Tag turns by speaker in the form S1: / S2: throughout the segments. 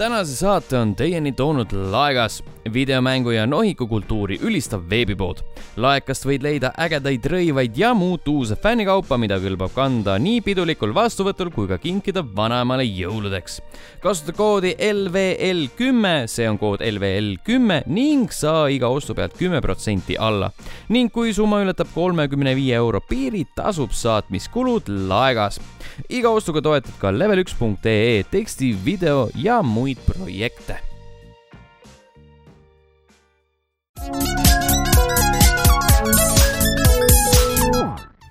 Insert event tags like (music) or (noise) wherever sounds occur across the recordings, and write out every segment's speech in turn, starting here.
S1: tänase saate on teieni toonud Laegas, videomängu ja nohikukultuuri ülistav veebipood. laekast võid leida ägedaid rõivaid ja muud uuse fännikaupa, mida kõlbab kanda nii pidulikul vastuvõtul kui ka kinkida vanaemale jõuludeks. kasuta koodi E LVL kümme, see on kood LVL kümme ning saa iga ostu pealt kümme protsenti alla. ning kui summa ületab kolmekümne viie euro piiri, tasub saatmiskulud Laegas. iga ostuga toetad ka level1.ee teksti , video ja muid projekte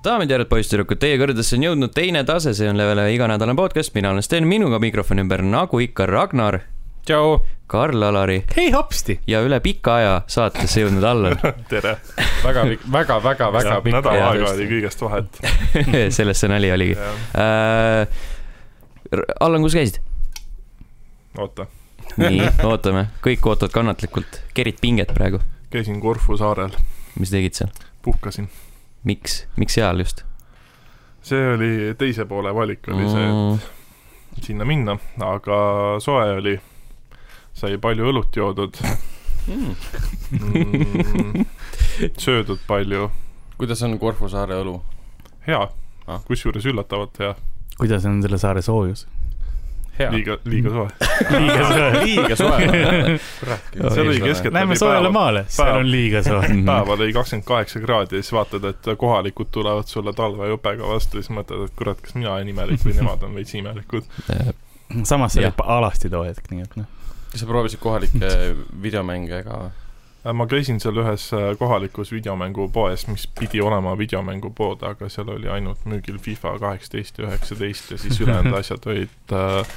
S1: daamid ja härrad , poisssüdrukud , teie kõrgedesse on jõudnud teine tase , see on Levele iganädalane podcast , mina olen Sten , minuga mikrofoni ümber , nagu ikka , Ragnar ,
S2: tšau .
S1: Karl-Alari
S3: hei hopsti .
S1: ja üle pika aja saatesse jõudnud
S3: (laughs)
S1: Allan . (laughs)
S2: tere .
S3: väga pikk , väga , väga , väga pikk .
S2: nädal
S1: jaa,
S2: aega
S1: tõesti.
S2: oli kõigest vahet .
S1: selles see nali oligi . Allan , kus Äh, käisid ?
S2: oota ,
S1: nii , ootame , kõik ootavad kannatlikult , kerid pinget praegu .
S2: käisin Korfu saarel ,
S1: mis tegid seal ?
S2: puhkasin .
S1: miks , miks seal just ?
S2: see oli teise poole valik oli see ,
S1: Mm,
S2: et sinna minna , aga soe oli . sai palju õlut joodud mm, , söödud palju ,
S4: kuidas on Korfu saare õlu ?
S2: hea
S4: Ah. ,
S2: kusjuures üllatavalt hea ,
S3: kuidas on selle saare soojus ?
S4: hea .
S2: liiga , liiga soe .
S3: liiga (laughs) soe .
S4: liiga soe .
S2: seal oli keskelt oli
S3: Lähme soojale
S2: päeval ,
S3: maale , seal on liiga soe .
S2: päeval oli kakskümmend kaheksa kraadi ja siis vaatad , et kohalikud tulevad sulle talvejopega vastu ja siis mõtled , et kurat , kas mina olen imelik või nemad on veits imelikud .
S3: samas see
S1: Jah.
S3: oli pa- alasti too hetk , nii et noh .
S4: kas sa proovisid kohalikke videomänge ka või ?
S2: Äh, ma käisin seal ühes äh, kohalikus videomängupoes , mis pidi olema videomängupood , aga seal oli ainult müügil FIFA kaheksateist ja üheksateist ja siis ülejäänud asjad olid äh,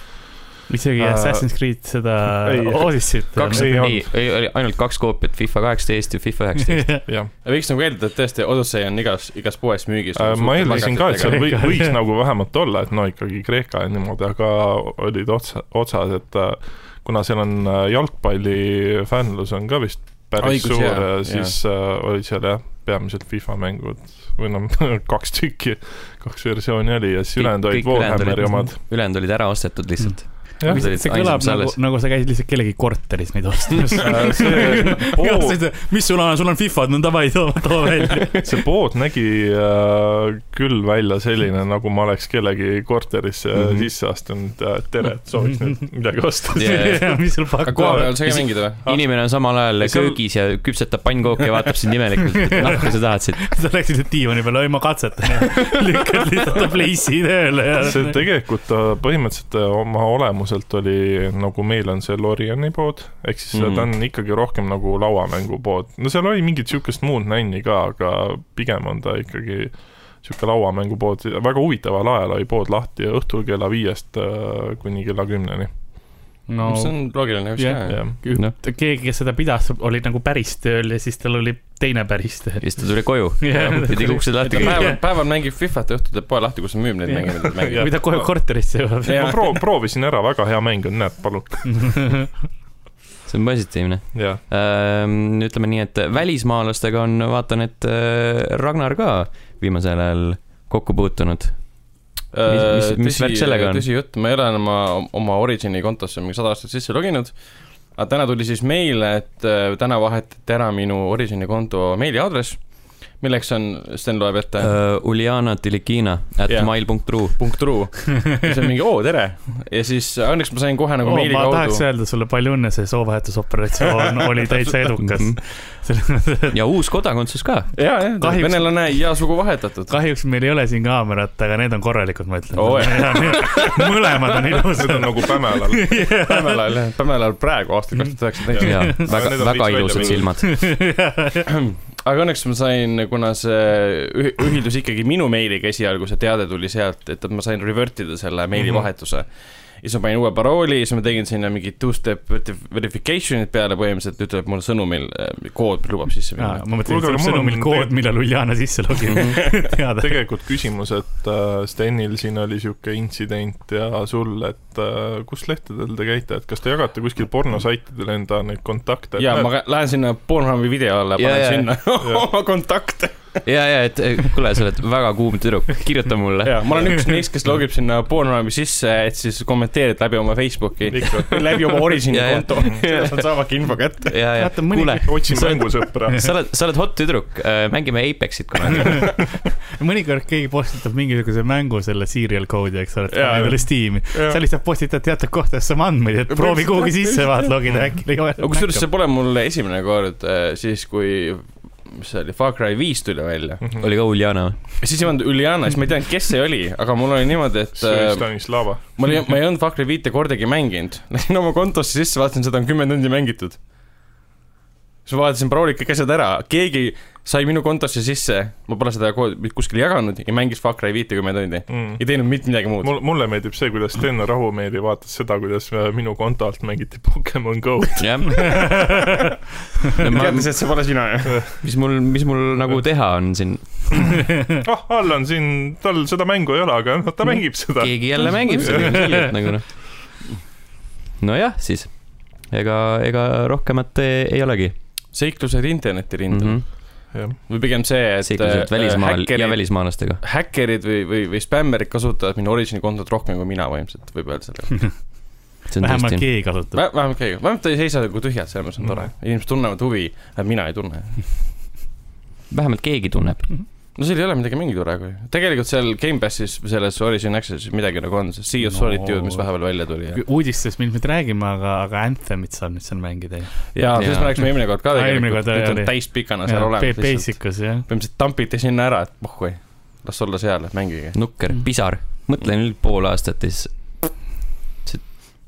S3: isegi
S2: Äh,
S3: Assassin's Creed seda
S2: ei.
S3: Odyssey't .
S2: Kaks-
S1: ei
S2: ei
S1: olnud , ei , oli ainult kaks koopiat , FIFA kaheksateist ja FIFA
S3: (laughs)
S1: üheksateist .
S2: jah ,
S4: võiks nagu eeldada , et tõesti Odyssey on igas , igas poes müügis .
S2: Äh, ma eeldasin ka , et seal või,
S3: Kreeka-
S2: võiks nagu vähemalt olla , et no ikkagi Kreeka ja niimoodi , aga olid otsa , otsas , et äh, kuna seal on äh, jalgpallifännlus on ka vist päris Aigus,
S4: Õigus,
S2: suur
S4: jaa, ,
S2: siis äh, olid seal jah , peamiselt FIFA mängud või noh , (laughs) kaks tükki , kaks versiooni oli ja siis
S1: Kõik-
S2: ülejäänud
S1: kõik
S2: olid
S1: ülejäänud
S2: Warhammeri
S1: olid- mm-hmm.
S2: omad .
S1: ülejäänud olid ära ostetud lihtsalt .
S2: Jah.
S3: see kõlab nagu , nagu sa käisid lihtsalt kellegi korteris neid ostmas
S2: Äh, see- oo.
S3: mis sul on , sul on Fifad , no davai , too , too välja .
S2: see pood nägi äh, küll välja selline , nagu ma oleks kellegi korterisse mm
S1: Mhm.
S2: -hmm. sisse astunud äh, . tere , et sooviks nüüd midagi
S3: (laughs)
S2: osta
S1: Jaa, jaa.
S2: yeah. .
S3: mis sul
S4: aga koha
S3: pakub ?
S4: peal sai ka mängida või ?
S2: Ah.
S1: inimene on samal ajal
S2: Seal-
S1: köögis ja küpsetab pannkooki ja vaatab sind
S2: (laughs)
S1: imelikult , et noh , kui sa tahad siit .
S3: sa läksid lihtsalt diivani peale , oi ma katsetan (laughs) ja lükkad lihtsalt pleissi tööle ja .
S2: see tegelikult äh, põhimõtteliselt äh, oma olemuselt oli nagu meil on see Loriani pood , ehk siis mm
S1: Mhm.
S2: -hmm. ta on ikkagi rohkem nagu lauamängupood . no seal oli mingit siukest muud nänni ka , aga pigem on ta ikkagi sihuke lauamängupood , väga huvitaval ajal oli pood lahti ja õhtul kella viiest äh, kuni kella kümneni
S3: no
S4: see on loogiline nagu vist
S3: Jah.
S4: ka .
S2: yeah. .
S1: Noh.
S3: keegi , kes seda pidas , oli nagu päris tööl ja siis tal oli teine päris töö
S1: ja . siis ta tuli
S2: (laughs)
S1: koju ja tegi uksed lahti kõik .
S4: päeval , päeval mängib Fifat ja õhtul teeb poe lahti , kus ta müüb neid
S3: Jah.
S4: mänge , mida ta
S2: (laughs)
S4: mängib .
S3: mida kohe korterisse jõuab .
S2: ma proov- , proovisin ära , väga hea mäng on , näed , palun .
S1: see on positiivne .
S2: jah ,
S1: Ehm, ütleme nii , et välismaalastega on , vaatan , et äh, Ragnar ka viimasel ajal kokku puutunud . Mis- mis-
S4: Äh,
S1: mis värk sellega on?
S4: tõsijutt , ma ei ole enam oma- oma Origini kontosse mingi sada aastat sisse loginud . aga täna tuli siis meile , et äh, täna vahetati ära minu Origini konto meiliaadress , milleks on , Sten loeb ette
S3: Äh.
S4: uh, ,
S1: Äh, Uljana Tilikina at
S4: Jah.
S1: yeah. mail.ru .
S4: punkt ru . siis on mingi oo , tere . ja siis õnneks ma sain kohe nagu oh, meili
S3: ma tahaks äh,
S4: kaudu .
S3: öelda sulle palju õnne , see soovahetusoperatsioon
S2: (laughs)
S3: oli täitsa edukas .
S2: Mhm.
S1: ja uus kodakondsus ka .
S4: ja , ja ,
S3: Kahjuks-
S4: venelane ja sugu
S3: (laughs)
S4: vahetatud .
S3: kahjuks meil ei ole siin kaamerat , aga need on korralikud , ma ütlen
S4: Oo,
S3: (laughs) oh, . mõlemad on
S2: need on
S3: ilusad .
S2: nagu
S4: (laughs)
S2: Pämelal .
S4: Pämmelal , Pämmelal praegu aastal kaks tuhat üheksateist .
S1: ja
S2: Aga
S1: väga
S2: need , on
S1: väga
S2: võiks välja
S1: ilusad
S2: minna.
S1: silmad .
S4: (clears throat) aga õnneks ma sain , kuna see üh- ühildus ikkagi minu meiliga esialgu , see teade tuli sealt , et , et ma sain revert ida selle meilivahetuse mm . -hmm. ja siis ma panin uue parooli , siis ma tegin sinna mingi two-step verif- verification'id peale põhimõtteliselt , ütleb mul sõnumil , kood lubab sisse minna .
S3: ma mõtlesin ,
S2: Kuulge, aga mul
S3: et sul on
S2: on
S3: sõnumil kood ,
S2: tegelikult- Mhm.
S3: millal Uljana sisse logib . (laughs) teada .
S2: tegelikult küsimus , et äh, Stenil siin oli sihuke intsident ja sul , et äh, kus lehtedel te käite , et kas te jagate kuskil pornosaitidel enda neid kontakte ?
S4: ja ma ka- lähen sinna Pornhubi video alla ,
S1: Jaa,
S4: panen
S1: jaa.
S4: sinna (laughs) oma kontakte .
S1: ja , ja , et eh, kuule , sa oled väga kuum tüdruk , kirjuta mulle .
S4: ja ma olen (laughs) üks neist , kes logib sinna Pornhubi sisse , et siis kommenteerida läbi oma Facebooki ,
S2: ikka .
S4: (laughs) läbi oma Origini
S1: Ja, ja.
S4: konto , sealt saavadki info kätte .
S1: ja , ja ,
S3: Vaata, mõni-
S1: kuule ,
S2: otsin
S4: (laughs)
S2: mängusõpra .
S1: sa oled , sa oled hot tüdruk , mängime Apexit kunagi .
S3: mõnikord keegi postitab mingisuguse mängu selle serial code'i , eks ole , et
S2: Jaa,
S3: pane endale Steam'i . sa lihtsalt postitad teatud kohtadesse oma andmeid , et proovi kuhugi sisse vaata , logida äkki leiad .
S4: aga kusjuures see pole mul esimene kord , siis kui , mis see oli , Far Cry viis tuli välja .
S2: Mhm.
S1: oli ka Uljana või ?
S4: siis ei olnud Uljana , siis ma ei teadnud , kes see oli , aga mul oli niimoodi , et
S2: see oli
S4: äh,
S2: Stanislava .
S4: ma olin , ma ei olnud Far Cry viite kordagi mänginud . (laughs) Läksin oma kontosse sisse , vaatasin , seda on kümme tundi mängitud . siis ma vaatasin paroolid kõik asjad ära , keegi sai minu kontosse sisse , ma pole seda kood- kuskil jaganud ja mängis Far Cry viite kümme tundi . ei teinud mitte midagi muud .
S2: Mm. mul , mulle meeldib see , kuidas Sten Rahumeeli vaatas seda , kuidas äh, minu konto alt mängiti Pokemon
S4: (laughs)
S2: Go-d .
S1: jah .
S4: teadis , et see pole
S1: (laughs)
S4: sina ju .
S1: mis mul , mis mul nagu teha on siin ?
S2: ah , Allan siin , tal seda mängu ei ole , aga noh ,
S4: Mm.
S2: ta mängib seda .
S1: keegi jälle mängib seda ilmselgelt nagu noh . (laughs) nojah , siis ega , ega rohkemat ei ei olegi
S4: seiklused interneti
S1: mm .
S4: rindel mm .
S1: -hmm.
S2: jah ,
S4: -hmm. või pigem see , et . äh,
S1: seiklused välismaal ja välismaalastega .
S4: häkkerid või , või , või spämmerid kasutavad minu Origini kontot rohkem kui mina võimaliselt , võib öelda selle .
S1: see on
S3: vähemalt
S1: tõesti ,
S3: keegi kasutab .
S4: vähemalt keegi , vähemalt ta ei seisa nagu tühjalt , selles mõttes on tore .
S3: Mhm.
S4: inimesed tunnevad huvi , aga mina ei tunne .
S1: vähemalt keegi tunneb .
S4: no seal ei ole midagi mängida praegu ju . tegelikult seal Gamepassis , selles Origin Accessis midagi nagu on , see Sea of
S3: No.
S4: Solitude , mis vahepeal välja tuli ja ,
S3: uudistest me ilmselt räägime , aga , aga Anthemit saab nüüd seal mängida ju .
S4: ja sellest
S1: Jaa.
S4: me rääkisime eelmine kord ka
S3: Aa, eelmine
S4: tegelikult ,
S3: kord oli,
S4: nüüd on
S3: oli.
S4: täispikana seal olemas lihtsalt .
S3: Basicus jah .
S4: põhimõtteliselt tampiti sinna ära , et pohhui , las olla seal , mängige .
S1: nukker ,
S3: Mhm.
S1: pisar , mõtle nüüd pool aastat ja siis .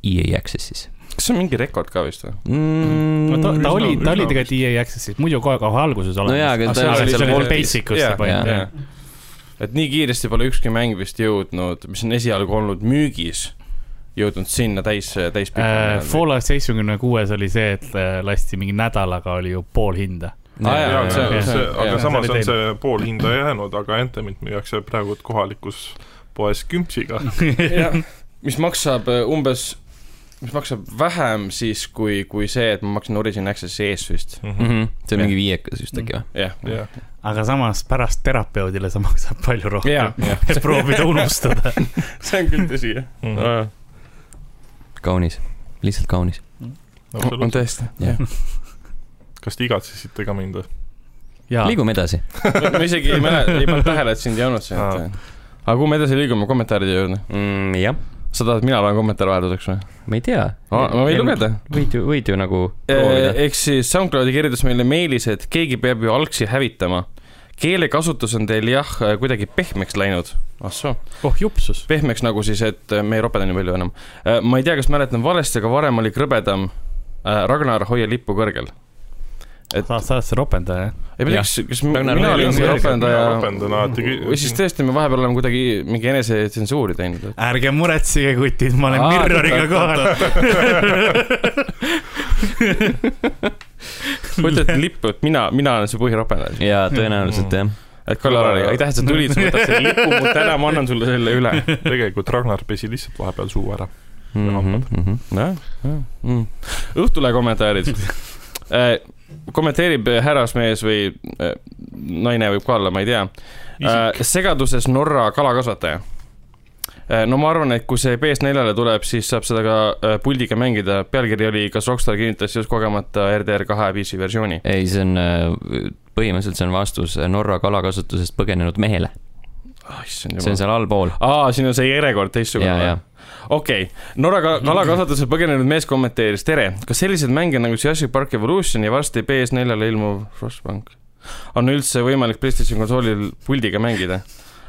S1: EA Access'is
S4: kas see on mingi rekord ka vist või ?
S3: no ta ,
S1: mm, .
S3: ta
S2: üsna-
S3: oli , ta oli
S2: üsna-
S3: tegelikult E EA Access'is , muidu kohe kohe alguses olemas .
S1: jaa, aga
S3: aga
S1: ta
S3: see
S1: oli
S3: oli
S1: seal
S3: seal
S1: Vaultis.
S3: Basicus see
S1: Jaa.
S3: pandi jah .
S4: et nii kiiresti pole ükski mäng vist jõudnud , mis on esialgu olnud müügis , jõudnud sinna täis ,
S3: Äh,
S4: täispikka .
S3: Fallout seitsmekümne kuues oli see , et äh, lasti mingi nädalaga oli ju pool hinda .
S4: Aa, jaa,
S2: jaa ,
S4: jaa,
S2: see ,
S4: jaa.
S2: see ,
S4: Jaa,
S2: aga samas
S3: see oli
S2: on see pool hinda jäänud , aga Anthemit müüakse praegu kohalikus poes kümpsiga .
S4: Mhm. (laughs) mis maksab äh, umbes , mis maksab vähem siis kui , kui see , et ma maksin Origin Accessi ees vist .
S1: Mhm. see on mingi viiekas vist äkki või ?
S4: jah ,
S2: Mhm. jah ,
S3: aga samas pärast terapeudile (laughs) sa maksad palju
S4: jah
S3: rohkem .,
S4: jah ,
S3: (laughs) et proovida
S1: (laughs)
S3: unustada .
S4: (laughs) see on küll tõsi , jah .
S2: Mhm.
S1: kaunis , lihtsalt kaunis .
S4: on
S2: absoluutselt .
S4: tõesti .
S1: jah ,
S2: kas te igatsesite ka mind või ?
S3: jaa ,
S1: liigume edasi .
S4: ma isegi ei mäleta , ei pannud tähele , et sind ei olnud siin .
S2: Aa.
S4: aga kuhu me edasi liigume , kommentaaride juurde . Mm,
S1: jah ,
S4: sa tahad , et mina loen kommentaare vahelduseks või ?
S1: ma ei tea .
S4: ma võin lugeda .
S1: võid ju , võid ju nagu proovida .
S4: ehk Eh, siis SoundCloudi kirjutas meile meilis , et keegi peab ju algsi hävitama . keelekasutus on teil jah , kuidagi pehmeks läinud . ah soo .
S3: oh jupsus .
S4: pehmeks nagu siis , et me ei ropeda nii palju enam . ma ei tea , kas mäletan valesti , aga varem oli krõbedam . Ragnar , hoia lippu kõrgel . et
S3: sa , sa oled see ropendaja , jah ?
S4: ei ma ei tea , kas , kas mi-
S1: Ragnar,
S4: mina
S1: hoia
S4: olin
S1: lippu
S4: see
S1: kõrgel.
S4: ropendaja
S2: ropendan alati
S4: või siis tõesti , me vahepeal oleme kuidagi mingi enesetsensuuri teinud .
S3: ärge muretsege , kutid , ma olen
S4: Aa,
S3: Mirroriga kohal . (laughs)
S4: kujuta ette lippu , et mina , mina olen see põhiropendaja .
S1: jaa , tõenäoliselt jah .
S4: et Kalle-Laar , aitäh , et sa tulid , sa võtad selle lipu mult ära , ma annan sulle selle üle .
S2: tegelikult Ragnar pesi lihtsalt vahepeal suu ära .
S4: nojah , mm. . Õhtule
S1: (laughs)
S4: kommentaarid Eh, kommenteerib äh, härrasmees või eh, naine võib ka olla , ma ei tea . segaduses Norra kalakasvataja . no ma arvan , et kui see PS4-le tuleb , siis saab seda ka eh, puldiga mängida . pealkiri oli , kas Rockstar kinnitas just kogemata RDR kahe PC versiooni .
S1: ei , see on , põhimõtteliselt see on vastus Norra kalakasutusest põgenenud mehele ,
S4: Ah, issand
S1: see on seal allpool .
S4: aa , siin on see järjekord teistsugune
S1: ja , ja
S4: või ?, okei okay. , Norra ka- kalakasvatuse põgenenud mees kommenteeris , tere , kas sellised mänge nagu Jurassic Park Evolution ja varsti PS4-le ilmuv Frostbank on üldse võimalik PlayStation konsoolil puldiga mängida ?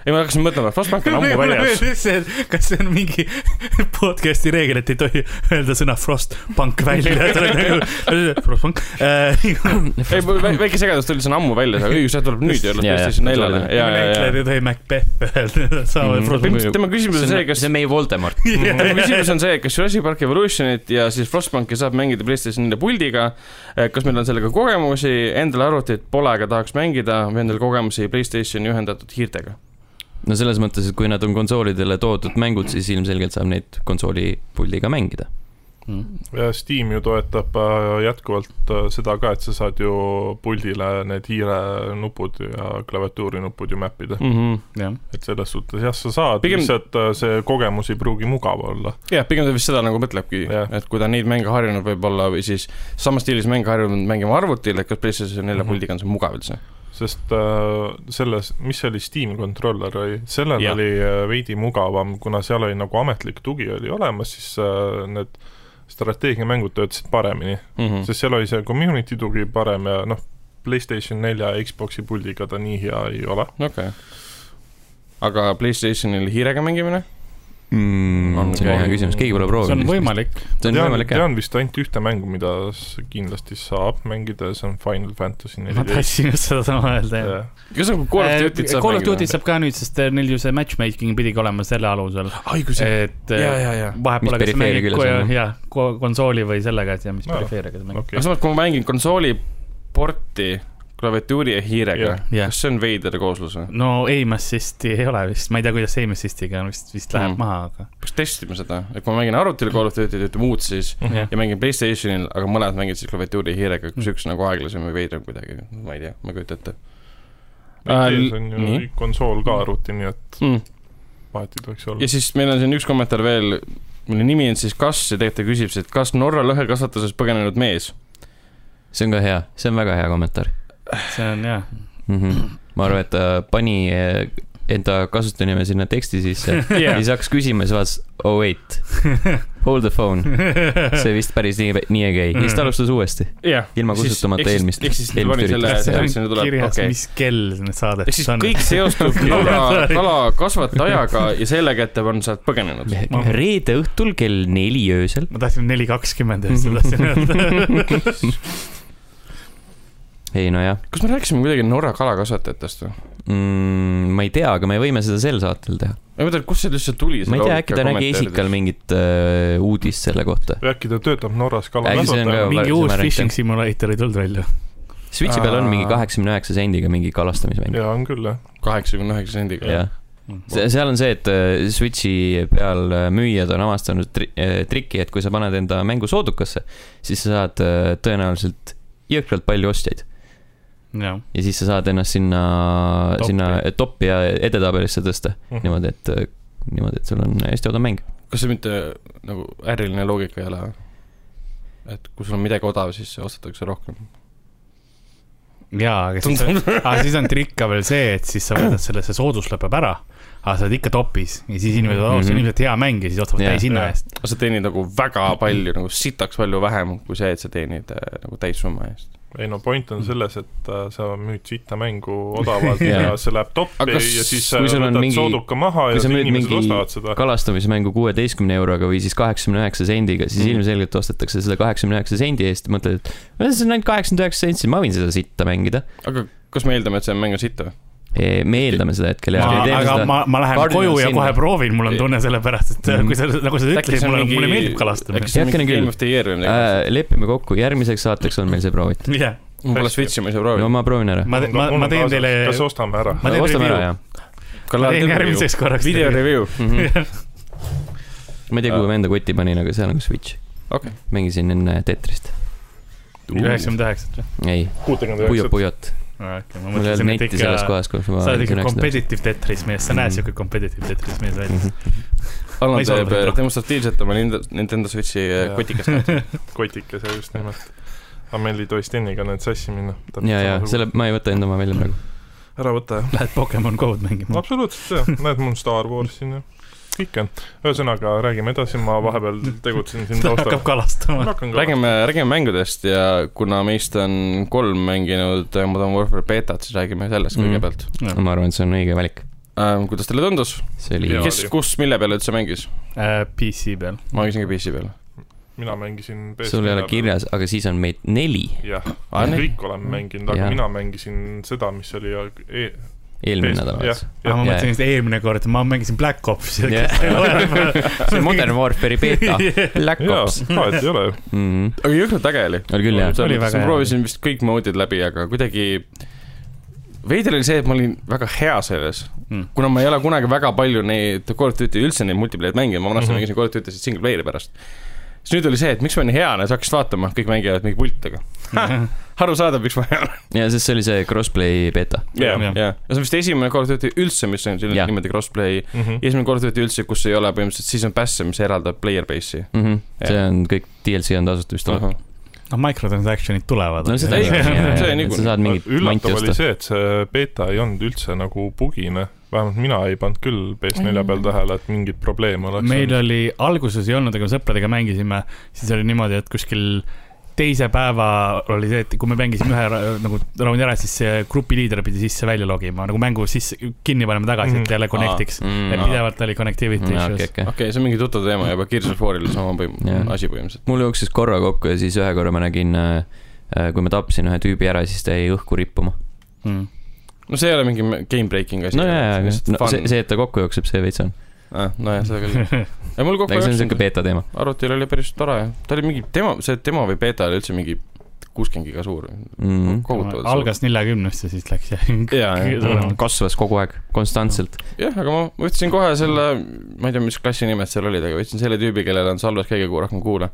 S4: ei , ma hakkasin mõtlema , Frostbank on ammu väljas . (laughs)
S3: kas see on mingi (laughs) podcast'i reegel , et ei tohi öelda sõna frostpunk välja , et
S4: (laughs)
S3: oled nagu frostpunk . Äh, nagu
S4: ei , väike segadus tuli , see on ammu väljas , aga õigus , see tuleb nüüd ju alles
S1: Jaa, jaa,
S4: PlayStation 4-le
S1: tuleb.
S4: ja , ja , ja
S3: näitlejad ei tohi Macbeth öelda , saavad
S1: Mhm.
S3: (laughs) frostpunki .
S4: põhimõtteliselt tema küsimus
S1: see
S4: on see ,
S1: on ,
S4: kas
S1: see on meie Voldemort .
S4: mu Mhm. küsimus on see , kas Jurassic Park Evolutionit ja siis Frostbanki saab mängida PlayStationile puldiga . kas meil on sellega kogemusi , endal arvutit pole , aga tahaks mängida või on teil kogemusi PlayStationi ühendatud hiirtega ?
S1: no selles mõttes , et kui nad on konsoolidele toodud mängud , siis ilmselgelt saab neid konsooli puldiga mängida .
S3: Mhm.
S2: ja Steam ju toetab äh, jätkuvalt äh, seda ka , et sa saad ju puldile need hiirenupud ja klaviatuurinupud ju mäppida .
S3: jah .
S2: et selles suhtes jah , sa saad Pigem... ,
S4: Pigem-
S2: lihtsalt äh, see kogemus ei pruugi mugav olla .
S4: jah , pigem ta vist seda nagu mõtlebki
S2: Jah. ,
S4: et kui ta neid mänge harjunud võib-olla või siis samas stiilis mänge harjunud mängima arvutil , et kas PlayStation 4
S2: Mhm.
S4: puldiga on see mugav üldse .
S2: sest äh, selles , mis see oli , Steam Controller oli , sellel
S4: Jah.
S2: ja. oli äh, veidi mugavam , kuna seal oli nagu ametlik tugi oli olemas , siis äh, need strateegiamängud töötasid paremini mm. ,
S3: Mhm.
S2: sest seal oli see community tugi parem ja noh , Playstation nelja ja Xbox'i puldiga ta nii hea ei ole .
S4: okei . aga PlayStationil hiirega mängimine ?
S1: mm, . see on hea küsimus , keegi pole
S3: see on
S1: proovinud .
S3: võimalik .
S1: see on
S2: tean ,
S1: võimalik jah .
S2: tean vist ainult ühte mängu , mida s- kindlasti saab mängida ja see on Final Fantasy
S3: ma
S2: neliteist .
S3: tahtsin just sedasama öelda , jah .
S4: kas nagu Call of Duty't saab
S3: Eh, Call of Duty't ? saab ka nüüd , sest äh, neil ju see matchmaking pidigi olema selle alusel ,
S4: õigus , jah .
S3: et äh,
S4: ja , ja , ja .
S3: vahepeal
S1: Mis
S3: aga sa
S1: perifeeria
S3: mängid
S1: küljes
S3: ko-
S1: on, jah?
S3: jah , ko- konsooli või sellega , et ja mis
S2: Aa.
S3: perifeeriaga sa mängid .
S2: okei
S4: aga , samas , kui ma mängin konsooli porti klaviatuuri ja hiirega
S2: Jah.
S3: Jah.
S4: kas see on veider kooslus või ?
S3: no aim assist'i ei ole vist , ma ei tea , kuidas aim assist'iga on vist , vist läheb
S4: Mm.
S3: mm. maha , aga
S4: peaks testima seda , et kui ma mängin arvutil Call of Duty't ja ütleme uut , siis
S2: Mhm.
S3: jah
S4: ja mängin Playstationil , aga mõlemad mängid siis klaviatuuri ja hiirega , kus üks nagu aeglasem ja veidram kuidagi , ma ei tea , ma ei kujuta ette Äh,
S2: Ei, see on ju
S4: nii.
S2: nii. konsool ka arvuti , nii et
S4: mm. .
S2: vahet ei tohiks olla
S4: ja . siis meil on siin üks kommentaar veel , mille nimi on siis Kas ja tegelikult ta küsib siis , et kas Norra lõhekasvatuses põgenenud mees .
S1: see on ka hea , see on väga hea kommentaar
S3: see on jah .
S1: mm . -hmm. ma arvan , et ta pani eh, enda kasutusnime sinna teksti sisse yeah. , siis hakkas küsima ja siis vaatas , oh wait , hold the phone , see vist päris nii , nii ei käi ja siis ta alustas uuesti .
S4: jah .
S1: Ilma kustutamata eelmist-
S4: ehk siis ta
S1: eelmist
S4: pani selle ,
S1: üritust.
S3: see
S4: selle , sinna
S3: on
S4: tuleb ,
S3: kirjas okay. ,
S4: okei .
S3: mis kell need saadet
S4: ehk siis
S3: on .
S4: kõik
S3: (laughs)
S4: seostub (laughs) kala , kalakasvatajaga ja sellega , et ta on sealt põgenenud .
S3: Ma-
S1: reede õhtul kell neli öösel .
S3: ma tahtsin neli kakskümmend ja siis ma tahtsin
S4: (laughs)
S3: öelda . (laughs)
S1: ei nojah
S4: kas me rääkisime kuidagi Norra kalakasvatajatest või ?
S1: mm, , ma ei tea , aga me võime seda sel saatel teha .
S4: ma ei mõtle , kust see üldse tuli .
S1: ma ei tea , äkki ta nägi Esikal . mingit uh, uudist selle kohta .
S2: või äkki ta töötab Norras
S1: Äkki see on ka-
S2: kalakasvatajana ?
S3: mingi
S1: see
S3: uus
S1: variant,
S3: fishing simulator ei tulnud välja .
S1: Switchi peal on mingi
S4: Aa.
S1: kaheksakümne üheksa sendiga mingi kalastamismäng ,
S2: jaa , on küll jah .
S4: kaheksakümne üheksa sendiga .
S1: jah . see , seal on see , et äh, Switchi peal äh, müüjad on avastanud tri- , triki , et kui sa paned enda mängu soodukasse , siis sa saad äh, tõenäoliselt jõhkralt palju ostjaid .
S3: jah ,
S1: ja siis sa saad ennast sinna ,
S2: Toppi.
S1: sinna äh, toppi ja edetabelisse tõsta
S2: Mhm.
S1: niimoodi , et , niimoodi , et sul on hästi odav mäng .
S4: kas see mitte nagu äriline loogika ei ole või ? et kui sul on midagi odav , siis ostetakse rohkem .
S3: jaa , aga siis on , aga siis on trikk ka veel see , et siis sa võtad selle , see soodus lõpeb ära , aga sa oled ikka topis ja siis inimesed , oo , see on
S1: Mhm.
S3: ilmselt hea mäng ja siis ostavad
S1: Jah.
S3: täishinna
S2: Jah.
S3: eest .
S4: sa teenid nagu väga palju , nagu sitaks palju vähem kui see , et sa teenid äh, nagu täissumma eest .
S2: ei no point on selles , et äh, sa müüd sitta mängu (laughs) odavalt
S1: Jaa.
S2: ja see läheb
S4: Aga
S2: toppi
S4: kas-
S2: ja siis
S1: kui
S2: äh,
S1: sul on
S2: võtad
S1: mingi-
S2: sooduka maha
S1: kui
S2: ja
S1: sa
S2: siis
S1: müüd
S2: inimesed
S1: mingi
S2: ostavad seda .
S1: kalastamismängu kuueteistkümne euroga või siis kaheksakümne üheksa sendiga , siis
S4: Mhm.
S1: ilmselgelt ostetakse seda kaheksakümne üheksa sendi eest , mõtled , et "No see on ainult kaheksakümmend üheksa sentsi , ma võin seda sitta mängida .
S4: aga kas me eeldame , et see mäng on sitt või ?
S1: me eeldame seda hetkel ja .
S3: aga ma , ma lähen
S1: Cardinal
S3: koju ja
S1: sinna.
S3: kohe proovin , mul on tunne selle pärast , et
S1: Mhm.
S3: kui sa , nagu sa ütlesid , mulle , mulle meeldib kalastamine
S4: äkki . see on
S1: Heakene
S4: mingi
S1: küll.
S4: Game of the Year või midagi ?
S1: Äh, lepime kokku , järgmiseks saateks on meil see proovitud .
S3: jah ,
S4: ma pole Switch'i , ma ei saa
S1: no
S4: proovida .
S1: ma proovin ära .
S3: ma , ma , ma teen teile ,
S2: kas ostame ära ?
S3: ma teen
S1: ostame ära
S3: review ,
S1: jah .
S3: ma teen järgmiseks korraks .
S4: video
S3: (laughs)
S4: review .
S1: ma ei tea , kuhu ma enda kotti panin , aga seal on ka Switch .
S4: Okei. .
S1: mängisin enne Tetrist .
S3: üheksakümmend üheksat või ?
S1: ei ,
S2: kuutekümmend
S1: Puyo
S2: üheksa .
S1: Puyot .
S3: okei , ma
S1: mul ei olnud
S3: mõtlesin , et
S1: neti selles
S3: ikka ,
S1: kohas , kus ma
S3: sa oled ikka
S1: üheksakümne üheksa-
S3: competitive tetris mees , sa näed
S1: Mhm.
S3: siuke competitive tetris mees välja .
S1: Mhm.
S3: Ma
S4: Allan
S3: ei saa
S4: teeb
S3: proovida.
S4: äh, demonstratiivselt oma Nind- Nintendo Switch'i äh,
S2: Jaa.
S4: kotikas .
S2: (laughs) kotikese just nimelt . aga meil ei tohi Steniga need sassi minna .
S1: ja , ja selle , ma ei võta enda oma välja praegu .
S2: ära võta jah .
S3: (laughs) Lähed Pokemon Go'd
S1: Mm.
S3: mängima . (laughs)
S2: absoluutselt jah , näed mul on Star Wars siin ja kõik on . ühesõnaga , räägime edasi , ma
S1: (laughs)
S2: vahepeal tegutsen siin
S3: ta hakkab
S2: taustal . (laughs)
S3: kalastama .
S4: räägime , räägime mängudest ja kuna meist on kolm mänginud äh, Modern Warfare beetat , siis räägime sellest
S1: Mhm.
S4: kõigepealt .
S1: ma arvan , et see on õige valik .
S4: Ähm, kuidas teile tundus ,
S1: see oli
S2: Jaa,
S4: kes
S2: oli. ,
S4: kus , mille peal üldse mängis ?
S3: PC Äh, peal .
S4: ma mängisin ka PC peal .
S2: mina mängisin .
S1: sul ei ole . kirjas , aga siis on meid neli
S2: jah ,
S4: Aa,
S2: me
S4: nii.
S2: kõik oleme mänginud , aga
S1: Jaa.
S2: ja. mina mängisin seda , mis oli e
S1: eelmine
S2: Peest-
S1: nädal
S2: jah.
S1: alles .
S3: aga Ah, ma
S1: Jah.
S3: mõtlesin , et eelmine kord ma mängisin Black Opsi .
S1: Jah. see on Modern Warfare'i
S3: (laughs)
S1: beeta , Black
S2: jaa
S1: Ops ,.
S2: vahet ei ole
S4: (laughs)
S2: ju .
S4: aga jõhkralt äge oli .
S1: oli küll jah .
S3: Oli väga
S4: ma
S3: hea.
S4: proovisin vist kõik mode'id läbi , aga kuidagi veider oli see , et ma olin väga hea selles mm.
S3: Mm. .
S4: kuna ma ei ole kunagi väga palju neid Call of Duty , üldse neid multiplayer mänginud , ma vanasti mm
S2: Mhm.
S4: -hmm. mängisin Call of Duty'sid single player'i pärast . siis nüüd oli see , et miks ma nii hea olen , siis hakkasid vaatama , kõik mängivad mingi pultidega . (laughs) arusaadav , miks ma hea olen .
S1: ja sest see oli see crossplay beeta .
S4: ja ,
S3: Jah.
S4: ja , ja see on vist esimene kord üldse , üldse , mis on
S1: Jah.
S4: selline niimoodi crossplay .
S2: Mhm.
S4: esimene kord üldse , kus ei ole põhimõtteliselt season pass'e , mis eraldab player base'i .
S1: Mm -hmm. see on kõik DLC on tasuta vist olemas .
S3: (laughs) noh , microtransaction'id tulevad .
S1: no seda
S4: Ei,
S1: ikka ,
S3: (laughs)
S4: see on
S1: sa
S4: niikuinii.
S1: saad mingit manti
S2: üllatav oli
S1: osta .
S2: see , et see beeta ei olnud üldse nagu bugine , vähemalt mina ei pannud küll PS4 peal tähele , et mingit probleeme oleks .
S3: meil oli , alguses ei olnud , aga sõpradega mängisime , siis oli niimoodi , et kuskil teise päeva oli see , et kui me mängisime ühe ra- nagu raundi ära , siis see grupiliider pidi sisse-välja logima , nagu mängu sisse , kinni panema tagasi , et jälle connect'iks . et pidevalt oli connectivity issues .
S1: Mm. okei , okei .
S4: Mm, okei , see on mingi tuttav teema juba , Gears of War'il sama
S1: Jah.
S4: põhim- , asi põhimõtteliselt .
S1: mul jooksis korra kokku ja siis ühe korra ma nägin , kui ma tapsin ühe tüübi ära , siis ta jäi õhku rippuma .
S4: no see ei ole mingi game breaking asi .
S1: no jaa , jaa , no see , see , et ta kokku jookseb , see veits on .
S4: nojah , seda
S1: (laughs)
S4: küll .
S3: Mm.
S4: (laughs) ei , mul kokku
S1: aga see on siuke
S4: üheksakümmend ,
S1: beeta teema .
S4: arvutil oli päris tore jah . ta oli mingi demo , see demo või beeta oli üldse mingi kuuskümmend giga suur .
S1: Mhm.
S4: kohutavalt suur .
S3: algas neljakümnest ja siis läks jah . (laughs)
S4: jaa , jaa .
S3: suuremaks .
S1: kasvas kogu aeg , konstantselt .
S4: jah , aga ma võtsin kohe selle , ma ei tea , mis klassi nimed seal olid , aga võtsin selle tüübi , kellel on salves kõige kuu- rohkem kuule .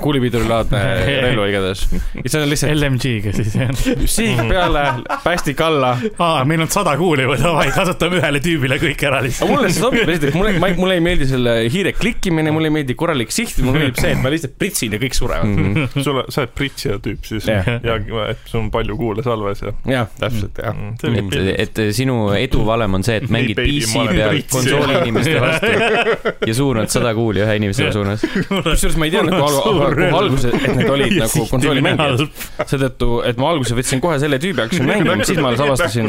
S4: kuulipidurilaadne relv oli igatahes . ja see on lihtsalt
S3: LMG-ga siis jah .
S4: siig peale , päästik alla .
S3: aa , meil on sada kuuli või davai , kasutame ühele tüübile kõik ära
S4: aga
S3: lihtsalt .
S4: mulle
S3: (laughs)
S4: see sobib , esiteks mulle , mulle ei meeldi selle hiire klikkimine , mulle ei meeldi korralik siht , mulle meeldib see , et ma lihtsalt pritsin ja kõik surevad .
S1: Mm.
S2: (laughs) sul , sa oled pritsija tüüp siis
S4: Jah.
S2: ja et sul on palju kuule salves ja . Mm.
S4: jah , täpselt ,
S1: et ,
S4: jah .
S1: et sinu eduvalem on see , et mängid
S2: baby,
S1: PC
S2: ma olen
S1: peal
S2: prits.
S1: konsooli inimeste vastu ja suunad sada kuuli ühe inimese suunas .
S4: kusjuures ma ei nagu teadnud
S3: Mul on
S4: kohe
S3: suur
S4: kohe
S3: relv.
S4: alguses , et need
S3: (laughs)
S4: olid nagu konsoolimängijad ,. seetõttu , et ma alguses võtsin kohe selle tüübi ,
S2: (laughs)
S4: hakkasin mängima , siis ma alles avastasin ,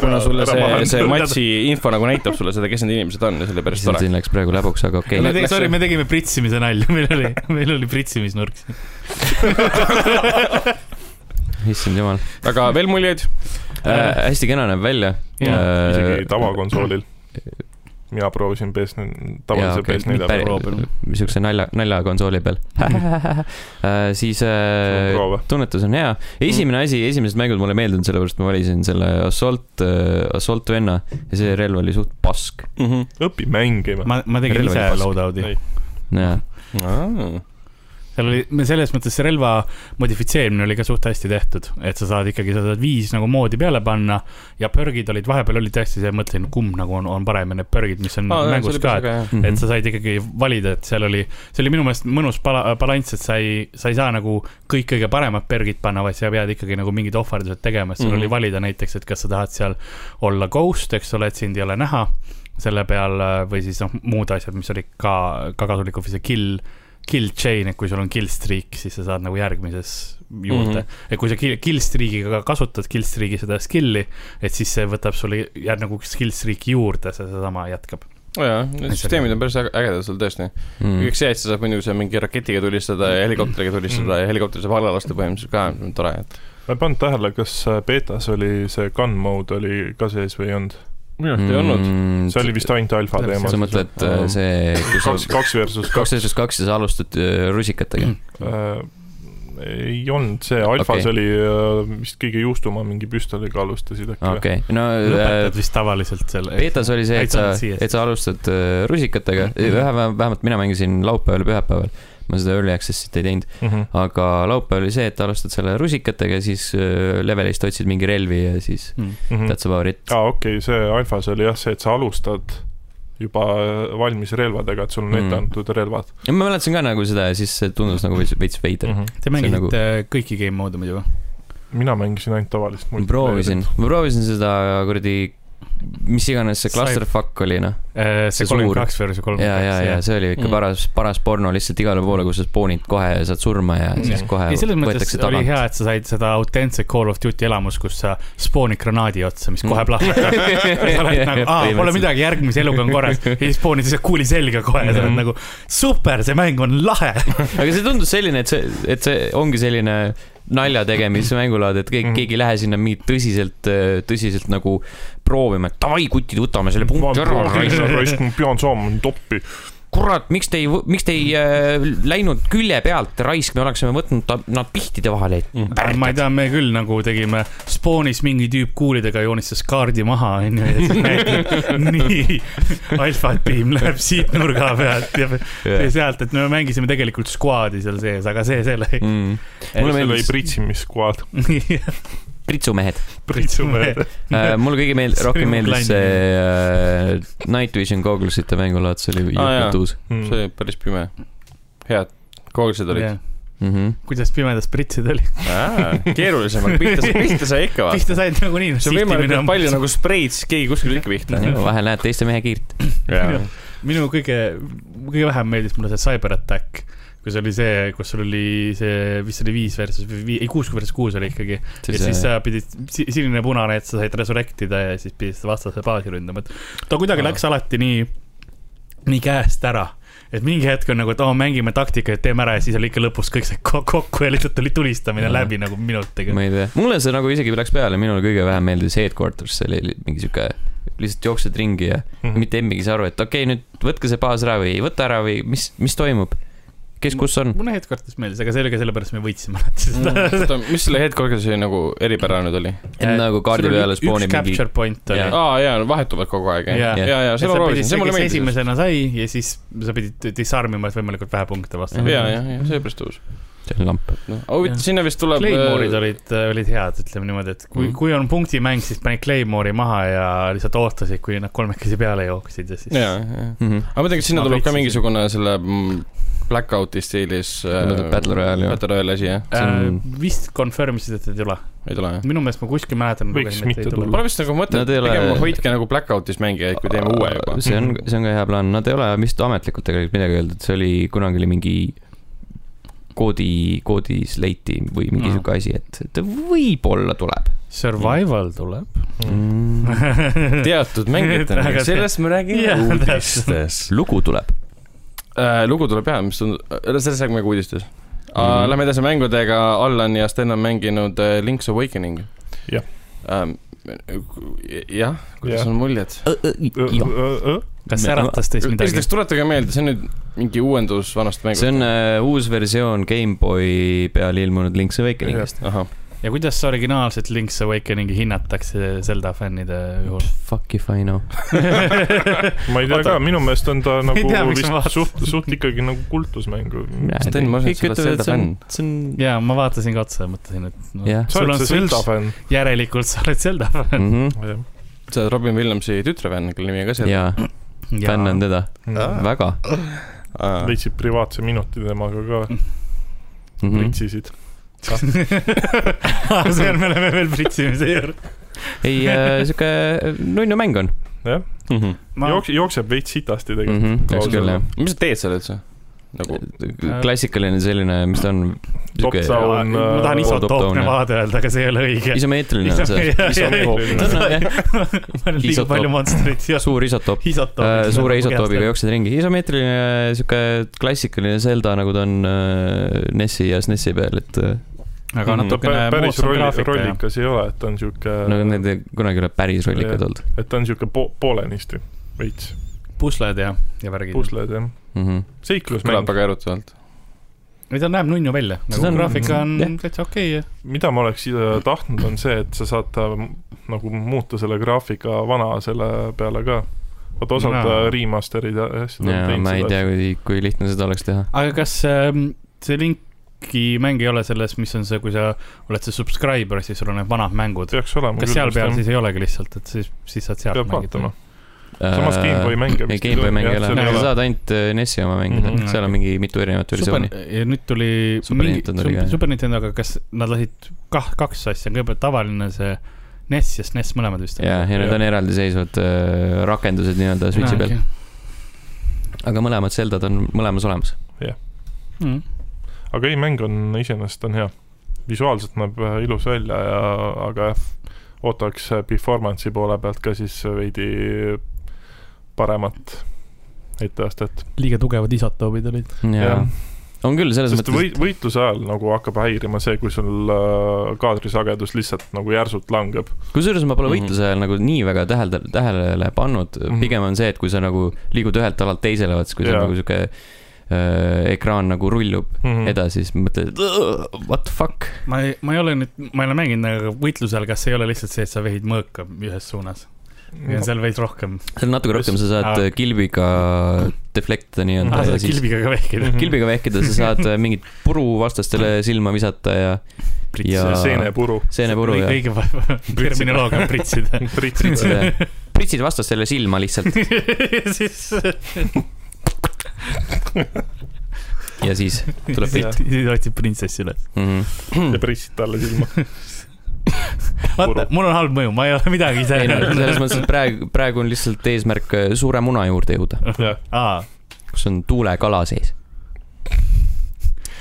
S4: kuna sulle see , see matši info nagu näitab sulle seda , kes need inimesed on ja sellepärast tore .
S1: siin läks praegu läbuks , aga okei okay. .
S3: me
S4: Läks-
S3: tegime , sorry ,
S4: läks-
S3: me tegime pritsimise nalja , (laughs) meil oli , meil oli pritsimisnurk siin .
S1: issand jumal
S4: aga veel muljeid ?
S1: äh, . hästi kena näeb välja . Äh,
S2: isegi tavakonsoolil . mina proovisin PS4 , tavalise okay, PS4 peal
S1: peal . niisuguse nalja , naljakonsooli peal äh, . siis äh,
S2: proove .
S1: tunnetus on hea . esimene asi , esimesed mängud mulle ei meeldinud , sellepärast ma valisin selle Assault äh, , Assault venna ja see relv oli suht pask .
S2: õpi mängima .
S3: ma , ma tegin
S1: Relv oli
S3: ise
S1: pask.
S3: loadout'i .
S1: jaa ,
S4: Mm-hmm. Mhm.
S3: seal oli , selles mõttes see relva modifitseerimine oli ka suht hästi tehtud , et sa saad ikkagi , sa saad viis nagu moodi peale panna ja pörgid olid , vahepeal oli tõesti see , mõtlesin , kumb nagu on , on parem ja need pörgid , mis on ah, mängus ka , et
S1: Mhm.
S3: et sa said ikkagi valida , et seal oli , see oli minu meelest mõnus pala- , balanss , et sa ei , sa ei saa nagu kõik kõige paremad pörgid panna , vaid sa pead ikkagi nagu mingid ohverdused tegema , et sul
S4: Mhm.
S3: mm -hmm. oli valida näiteks , et kas sa tahad seal olla ghost , eks ole , et sind ei ole näha selle peal äh, või siis noh , muud asjad , mis olid ka , ka kasulikud või see kill , kill chain , et kui sul on kill streak , siis sa saad nagu järgmises juurde mm , -hmm. et kui sa kill, kill streak'iga ka kasutad kill streak'i seda skill'i , et siis see võtab sulle , jääb nagu skill streak'i juurde , see seesama jätkab .
S4: jaa , need süsteemid on päris äge- ägedad seal tõesti .
S1: mm. .
S4: kõik see , et sa saad muidugi seal mingi raketiga tulistada ja helikopteriga tulistada ja helikopter saab alla lasta põhimõtteliselt ka , see on tore , et .
S2: ma ei pannud tähele , kas äh, betas oli see gun mode oli ka sees või ei olnud .
S4: minu arust ei olnud .
S2: see oli vist ainult alfa teema .
S1: Mm. sa mõtled äh, see , kus
S2: kaks ,
S1: sa
S2: kaks versus
S1: kaks
S2: kaks .
S1: versus kaks ja sa alustad äh,
S3: Mm.
S1: rusikatega .
S2: ei olnud , see alfas
S1: Okei.
S2: oli äh, vist kõige juustuma mingi püstoliga alustasid äkki .
S1: okei , no äh,
S3: lõpetad vist tavaliselt selle .
S1: beetas oli see , et
S3: Täitsa
S1: sa
S3: olen siias. ,
S1: et sa alustad äh, rusikatega , ühe , vähemalt mina mängisin laupäeval ja pühapäeval . ma seda early access'it ei teinud ,
S2: Mhm,
S1: aga laupäev oli see , et alustad selle rusikatega , siis äh, levelist otsid mingi relvi ja siis
S3: Mm.
S1: that's about it .
S2: mhm. aa , okei , see alfas oli jah see , et sa alustad juba äh, valmis relvadega , et sul on
S1: Mm.
S2: ette antud relvad .
S1: ja ma mäletasin ka nagu seda ja siis see tundus nagu veits , veits veider .
S3: Te
S1: See on
S3: mängisite
S1: nagu-
S3: nagu... kõiki game mode'e muidu või ?
S2: mina mängisin ainult tavalist
S1: ma proovisin , ma proovisin seda kuradi , mis iganes see
S3: Sai- Mhm.
S1: clusterfuck oli noh .
S3: Äh, see
S1: See suur-
S3: kolmkümmend kaks versus
S1: ja ,
S3: kolmkümmend
S1: ja , ja
S3: kaks .
S1: see oli ikka
S4: Mm.
S1: paras , paras porno lihtsalt igale poole , kus sa spoonid kohe ja saad surma ja siis
S3: Mm.
S1: kohe
S3: ei , selles mõttes
S1: võetakse
S3: oli
S1: tagant .
S3: hea , et sa said seda autentset Call of Duty elamust , kus sa spoonid granaadi otsa , mis
S1: Mm.
S3: kohe
S1: (laughs)
S3: plahvatab . sa oled nagu , aa , pole midagi , järgmise eluga on korras . ja siis spoonid lihtsalt kuuli selga kohe ja sa
S1: Mhm.
S3: oled nagu , super , see mäng on lahe .
S1: aga see tundus selline , et see , et see ongi selline nalja tegemise mängulaad , et keegi ,
S2: Mhm.
S1: keegi ei lähe sinna mingit tõsiselt , tõsiselt nagu proovima , et davai , kutid , võtame selle punkti ära .
S2: pean saama toppi .
S1: kurat , miks te ei , miks te ei äh, läinud külje pealt , raisk , me oleksime võtnud ta, nad pihtide vahele .
S3: ma ei tea , me küll nagu tegime spoonis mingi tüüp kuulidega joonistas kaardi maha , onju , ja siis
S1: (laughs)
S3: näidati , nii , alfa tiim läheb siit nurga pealt ja ja sealt , et me mängisime tegelikult skuaadi seal sees , aga see selle
S1: mm. . mulle
S2: see
S3: (laughs)
S2: oli
S1: meeldis ,
S2: pritsimiskuad .
S1: pritsumehed
S2: pritsumehed .
S1: äh, . mulle kõige meeld- ,
S3: (laughs) See
S1: rohkem
S3: on
S1: meeldis
S3: klann.
S1: see äh, Night Vision google'site mängulaad , see oli
S4: Aa, jaa.
S3: Ah,
S1: jõhkralt uus
S2: Mhm,
S4: see oli päris pime . head , kogemused olid .
S1: mm . -hmm.
S3: kuidas pimedas pritsid oli ?
S4: keerulisemad , pihta , pihta sai ikka vaata .
S3: pihta said nagu nagunii .
S4: see on võimalik , et palju nagu spreid , siis keegi kuskil ikka pihta .
S1: vahel näed teiste mehe kiirt .
S3: Jah. minu kõige , kõige vähem meeldis mulle see CyberAttack , kus oli see , kus sul oli see , vist oli viis versus vii- , ei kuus versus kuus oli ikkagi . ja siis
S1: äh,
S3: äh, sa pidid , sinine ja punane , et sa said resurrect ida ja siis pidid seda vastase baasi ründama , et ta kuidagi läks alati nii , nii käest ära et mingi hetk on nagu , et oo , mängime taktikaid , teeme ära ja siis oli ikka lõpus kõik see ko- kokku ja lihtsalt oli tulistamine
S1: Jaa.
S3: läbi nagu minutiga .
S1: ma ei tea , mulle see nagu isegi läks peale , minule kõige vähem meeldis Headquarters , see oli mingi sihuke , lihtsalt jooksed ringi ja
S2: mhm.
S1: mitte emmigi ei saa aru , et okei okay, , nüüd võtke see baas ära või ei võta ära või mis , mis toimub , kes kus on .
S3: mulle headquarters meeldis , aga see oli ka sellepärast , me võitsime alati seda .
S4: oota , mis selle headcore'iga see nagu eripära nüüd oli ?
S3: (laughs)
S1: nagu kaardi peale spoonib
S3: mingi .
S1: mingi
S3: Capture point oli
S1: Jaa. .
S4: aa jaa , vahetuvad kogu aeg
S3: Jaa.
S4: jah ? ja , ja
S3: sa
S4: seda ma
S3: pidid
S4: proovisin , see
S3: see ,
S4: mulle
S3: kes
S4: meeldis .
S3: esimesena sai ja siis sa pidid disarmima , et võimalikult vähe punkte vastu .
S4: ja , ja , ja seepärast tõus .
S1: lamp .
S4: noh , aga huvitav ,
S3: Jah.
S4: sinna vist tuleb . äh,
S2: äh,
S3: Claymore'id olid , olid head , ütleme niimoodi , et kui ,
S2: Mhm.
S1: Mm.
S3: kui on punktimäng , siis panid Claymore'i maha ja lihtsalt ootasid , kui nad kolmekesi peale jooksid ja siis .
S4: jaa , jaa .
S1: Mhm.
S4: aga ma tean , kas sinna
S3: Ma
S4: tuleb ka
S3: võitsin
S4: mingisugune selle mm, Blackouti stiilis äh,
S1: tuleb Battle Royale, jah.
S4: Battle Royale asi jah ,
S3: Äh,
S1: see on-
S3: vist confirm isid , et ei tule ,
S4: ei tule jah ?
S3: minu meelest ma kuskil mäletan .
S2: Võiks mitte tulla.
S4: Pole vist nagu mõtet ,
S1: Nad ei
S4: pigem
S1: ole-
S4: ole... hoidke nagu Blackoutis mängijaid , kui teeme uue juba .
S1: see on , see on ka hea plaan , nad ei ole vist ametlikult tegelikult midagi öeldud , see oli kunagi oli mingi koodi , koodis leiti või mingi
S3: Aa.
S1: sihuke asi , et et võib-olla tuleb
S3: Survival
S2: (laughs)
S3: tuleb .
S1: mm. . (laughs)
S4: (laughs) teatud mängijatele
S3: Aga , see-
S4: sellest me räägime
S3: Jah,
S4: uudistes .
S1: lugu tuleb .
S4: Äh, lugu tuleb jah , mis tundub , sellest räägime ka uudistes .
S3: Mhm.
S4: Mm -hmm. Lähme edasi mängudega , Allan ja Sten on mänginud äh, Link's Awakening .
S2: Jah. .
S4: jah , kuidas
S2: Jah.
S4: on muljed ?
S1: Äh,
S3: (laughs) kas säratas teist midagi
S4: esiteks ? tuletage meelde , see on nüüd mingi uuendus vanast mängust .
S1: see on uh, uus versioon Gameboy peal ilmunud Link's Awakeningist .
S4: ahah ,
S3: ja kuidas originaalset Link's Awakeningi hinnatakse Zelda fännide
S2: (laughs)
S3: juhul ?
S1: Fuck if I know .
S2: ma ei tea ka , minu meelest on
S3: (laughs)
S2: ta nagu
S3: tea, miks ma
S2: vist
S3: vaatasin.
S2: suht , suht ikkagi nagu kultusmäng .
S4: Sten, ma arvan, et sa oled Zelda fänn.
S1: see on ,
S3: ja ma vaatasin ka otsa ja mõtlesin , et no,
S1: jah .
S2: sa
S3: Sul
S2: oled
S3: on
S2: see Zelda
S3: Switch.
S2: fänn .
S3: järelikult sa oled Zelda fänn .
S1: Mhm.
S4: sa oled Robin Williamsi tütre fänn , kelle nimi on ka seal .
S1: jaa , fänn on teda , väga .
S2: Mm. leidsid privaatse minuti temaga ka ,
S1: Mhm.
S3: Mhm.
S2: pritsisid .
S3: Ah, (laughs) see on , me oleme veel pritsimise juurde .
S1: ei , sihuke nunnu mäng on .
S2: jah ,
S3: ma
S2: jookseb , jookseb veits sitasti tegelikult .
S1: eks Mhm, küll , jah . Äh,
S4: mis sa teed seal üldse ? nagu
S1: klassikaline selline , mis ta on , sihuke
S2: Top-down.
S3: jaa,
S2: on,
S3: ma tahan
S2: äh,
S3: isotoopne
S1: top-down, jah.
S3: vaade öelda , aga see ei ole õige .
S1: isomeetriline on see . ta on jah ,
S3: ma olen liiga
S1: Isotoop.
S3: palju monstreid ja
S1: suur isotoop .
S3: isotoop .
S1: Äh, suure isotoobiga . jooksed ringi , isomeetriline sihuke klassikaline Zelda , nagu ta on äh, NES-i ja SNES-i peal , et äh,
S3: Mhm. aga
S2: ta
S3: natukene
S2: pä- päris
S3: moodsam
S2: rolli-
S3: graafika ja
S2: rollikas ei ole , et ta on siuke ,
S1: no need ei- kunagi ei ole päris rollikad
S2: Jah.
S1: olnud
S2: et ta on siuke po- , poolenisti veits ,
S3: pusled ja , ja värgid .
S2: pusled jah ,
S1: mm . -hmm.
S2: seiklusmäng
S4: kõlab , väga erutavalt .
S3: ei , ta näeb nunnu välja .
S1: See
S3: nagu
S1: on-
S3: graafika on
S1: jah.
S3: täitsa okei ja .
S2: mida ma oleks äh, tahtnud , on see , et sa saad ta m- nagu muuta selle graafika vana selle peale ka . vaata osad
S3: Jaa.
S2: no. remaster'id ja asjad on
S1: ja
S2: teinud
S1: ma ei
S2: seda
S1: tea , kui , kui lihtne seda oleks teha .
S3: aga kas ähm, see Linki mäng ei ole selles , mis on see , kui sa oled see subscriber , siis sul on need vanad mängud .
S2: peaks olema .
S3: kas seal peal siis ei olegi lihtsalt , et siis , siis saad sealt
S2: peab vaatama . samas Gameboy mänge
S1: Äh, ei , Gameboy mänge ei ole ,
S3: seal ei
S1: sa
S3: ole.
S1: saad ainult äh, NES-i oma mängida mm ,
S2: Mhm.
S1: -hmm. seal on mingi mitu erinevat versiooni .
S3: Super- ja nüüd tuli
S1: Super
S3: mingi-
S1: Nintendo oli ka, jah.
S3: Super Nintendo , aga kas nad lasid kah , kaks asja , kõigepealt tavaline see NES ja SNES mõlemad vist .
S1: ja , ja need on eraldiseisvad äh, rakendused nii-öelda Switchi peal ,. aga mõlemad Zeldad on mõlemas olemas .
S3: Mm.
S2: aga ei , mäng on iseenesest on hea . visuaalselt näeb äh, ilus välja ja , aga jah , ootaks äh, performance'i poole pealt ka siis veidi paremat etteastet .
S3: liiga tugevad isotoobid olid .
S1: ja
S2: Jah.
S1: on küll , selles
S2: sest või,
S1: mõttes ,
S2: võitluse ajal nagu hakkab häirima see , kui sul äh, kaadrisagedus lihtsalt nagu järsult langeb .
S1: kusjuures ma pole
S4: Mhm.
S1: võitluse ajal nagu nii väga tähele , tähele pannud mm ,
S2: Mhm.
S1: -hmm. pigem on see , et kui sa nagu liigud ühelt alalt teisele , vaat siis kui sul
S2: Jaa.
S1: nagu sihuke äh, ekraan nagu rullub mm
S2: Mhm.
S1: -hmm. edasi , siis mõtled , what the fuck .
S3: ma ei , ma ei ole nüüd , ma ei ole mänginud , aga võitlusel , kas ei ole lihtsalt see , et sa vehid mõõka ühes suunas ja seal veid rohkem .
S1: seal natuke rohkem sa saad
S3: Aa.
S1: äh, kilbiga deflect'e nii-öelda
S3: aa ,
S1: ah, ja
S3: saad
S1: siis kilbi. Ah.
S3: kilbiga ka
S1: (laughs)
S3: vehkida .
S1: kilbiga vehkida , sa saad äh, mingit puru vastastele silma visata ja ja
S2: seenepuru .
S1: seenepuru (laughs) ja
S3: õige terminoloogia on
S1: (laughs)
S3: pritsida .
S2: pritsid .
S1: Jah. pritsid vastastele silma lihtsalt
S3: siis
S1: ja siis tuleb pilt
S2: Jah.
S3: siis otsib printsessi üles .
S1: (laughs) mm .
S2: ja
S1: -hmm.
S2: pritsid talle silma .
S3: vaata , mul on halb mõju , ma ei ole midagi ise
S1: ei no selles
S3: öelnud .
S1: mõttes , et praegu , praegu on lihtsalt eesmärk äh, suure muna juurde jõuda ,
S2: jah ,
S3: (laughs) aa ,
S1: kus on tuulekala sees .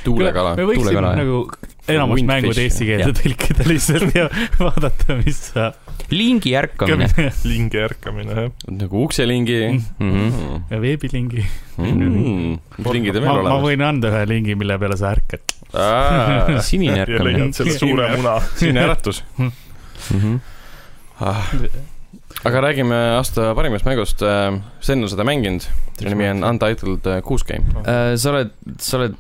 S4: tuulekala .
S3: me võiksime
S1: tuulekala, jah.
S3: nagu enamus
S1: Windfish,
S3: mängud eesti keelde
S1: jah.
S3: tõlkida lihtsalt ja (laughs) vaadata , mis saab .
S1: lingi ärkamine
S3: (laughs) ja
S2: lingi ärkamine , jah .
S4: nagu ukselingi
S1: mm . -hmm.
S4: mm. .
S3: veebilingi .
S4: Mm. mis lingid on
S3: ma
S4: veel ,
S3: ma
S4: olemas ?
S3: võin anda ühe lingi , mille peale sa ärkad .
S1: (laughs) sinine
S2: ja
S1: ärkamine
S2: leiad selle suure muna .
S4: siin äratus .
S1: mm . -hmm.
S4: Ah. aga räägime aasta parimast mängust . Sven on seda mänginud , selle nimi on Untitled äh, Goose Game .
S1: Äh, sa oled , sa oled ,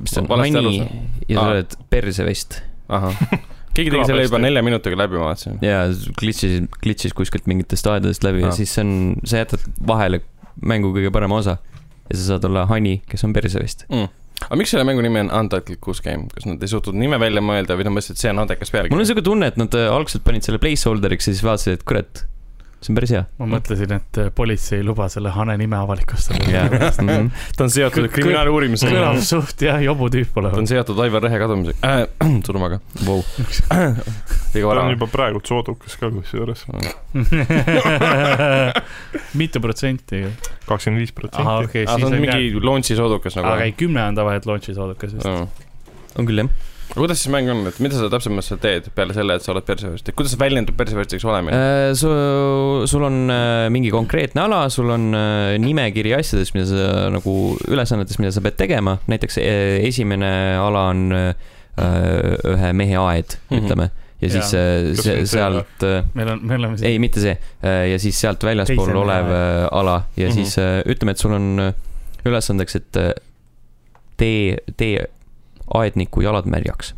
S1: mis see on ,
S4: Valesti aru
S1: Mani ja sa
S4: Aa.
S1: oled persevest
S4: ahah , keegi tegi
S2: Kõlab
S4: selle juba
S2: hästi.
S4: nelja minutiga läbi , ma vaatasin .
S1: ja glitch'is , glitch'is kuskilt mingitest aedadest läbi ja
S4: Aa.
S1: siis see on , sa jätad vahele mängu kõige parema osa ja sa saad olla Hani , kes on persevest .
S4: aga miks selle mängu nimi on Untitled Goose Game , kas nad ei suutnud nime välja mõelda või nad mõtlesid , et see on andekas pealkiri ?
S1: mul on siuke tunne , et nad äh, algselt panid selle placeholder'iks ja siis vaatasid , et kurat , see on päris hea .
S3: ma mõtlesin , et äh, politsei ei luba selle hane nime avalikustada .
S1: (laughs) Mhm.
S4: ta on seotud
S3: Kõ-
S4: kriminaaluurimisega (laughs)
S3: kõlab . suht jah , jobu tüüp
S4: ta on
S3: olevat .
S4: seotud Aivar Rehe kadumisega äh, , (clears throat) surmaga . (clears throat)
S1: Vau .
S4: liiga
S2: ta
S4: vara
S2: on . juba praegult soodukas ka kusjuures ,
S3: (laughs) mitu protsenti ?
S2: kakskümmend viis
S3: ahah ,
S2: protsenti .
S3: okei ,
S4: aa , Ah, ta
S3: siis
S4: on
S3: on mingi ,
S4: mingi launch'i soodukas nagu .
S3: aga ei , kümme on tavaliselt launch'is oodakas vist .
S4: aga
S1: on küll jah .
S4: kuidas see mäng on , et mida sa täpsemalt seal teed peale selle , et sa oled perseverist , et kuidas väljendub perseveristeks olemine ?
S1: Äh, su , sul on äh, mingi konkreetne ala , sul on äh, nimekiri asjadest , mida sa nagu ülesannetest , mida sa pead tegema , näiteks äh, esimene ala on äh, ühe mehe aed ,
S4: Mhm.
S1: ütleme , ja siis
S3: Jaa.
S1: äh,
S2: Kas
S1: se-
S2: see-
S1: sealt äh,
S3: meil on , me oleme
S1: ei ,
S3: (laughs) siin .
S1: mitte see . ja siis sealt väljaspool
S3: Teisele
S1: olev äh, ala ja mm -hmm.
S4: Mhm.
S1: siis äh, ütleme , et sul on äh, ülesandeks , et äh, tee , tee aedniku jalad märjaks .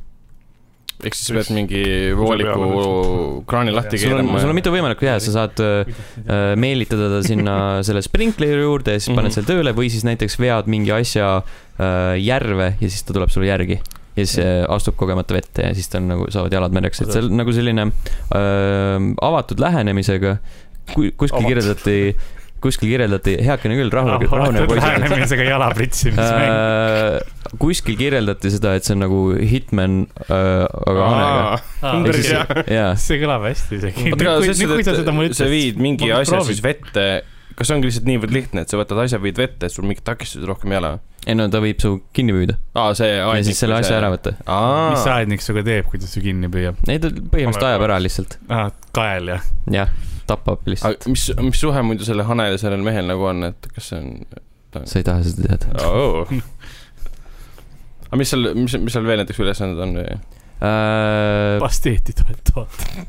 S4: ehk siis sa pead mingi vooliku kraani lahti
S1: sul on ,
S4: keerama
S1: sul on
S4: ja
S1: mitu võimalikku jää , sa saad äh, äh, meelitada ta sinna selle sprinkleri juurde ja siis paned
S4: Mhm.
S1: selle tööle või siis näiteks vead mingi asja äh, järve ja siis ta tuleb sulle järgi . ja siis äh, astub kogemata vette ja siis tal nagu saavad jalad märjaks , et see on nagu selline äh, avatud lähenemisega . kui , kuskil
S2: Avatud.
S1: kirjeldati , kuskil kirjeldati , heakene küll , rahulikult , rahunev
S3: avatud
S1: poiss .
S3: lähenemisega jala pritsimismäng .
S1: Äh, kuskil kirjeldati seda , et see on nagu Hitman , aga hanega .
S4: ümber
S1: Ehk siis-
S4: jah.
S3: (laughs)
S1: jaa ,
S3: see kõlab hästi isegi .
S4: oota , aga sa ütlesid , et sa viid mingi
S3: ma
S4: asja
S3: proovin.
S4: siis vette , kas see ongi lihtsalt niivõrd lihtne , et sa võtad asja , viid vette , et sul mingit takistust rohkem ei ole ?
S1: ei no ta võib su kinni püüda
S4: aa , see
S1: ja siis selle asja ära . võtta .
S3: mis
S4: aa ,
S3: aednik sinuga teeb , kui ta su kinni püüab ?
S1: ei , ta põhimõtteliselt ajab ära lihtsalt ,
S3: kael ja
S1: jah , tapab lihtsalt .
S4: mis , mis suhe muidu selle hanel ja sellel mehel nagu on , et kas see on
S1: sa ei taha seda teada (laughs)
S4: oh. ? aga mis seal , mis , mis seal veel näiteks ülesanded on või ?
S1: uh, .
S3: pasteeti tuleb (laughs) toota .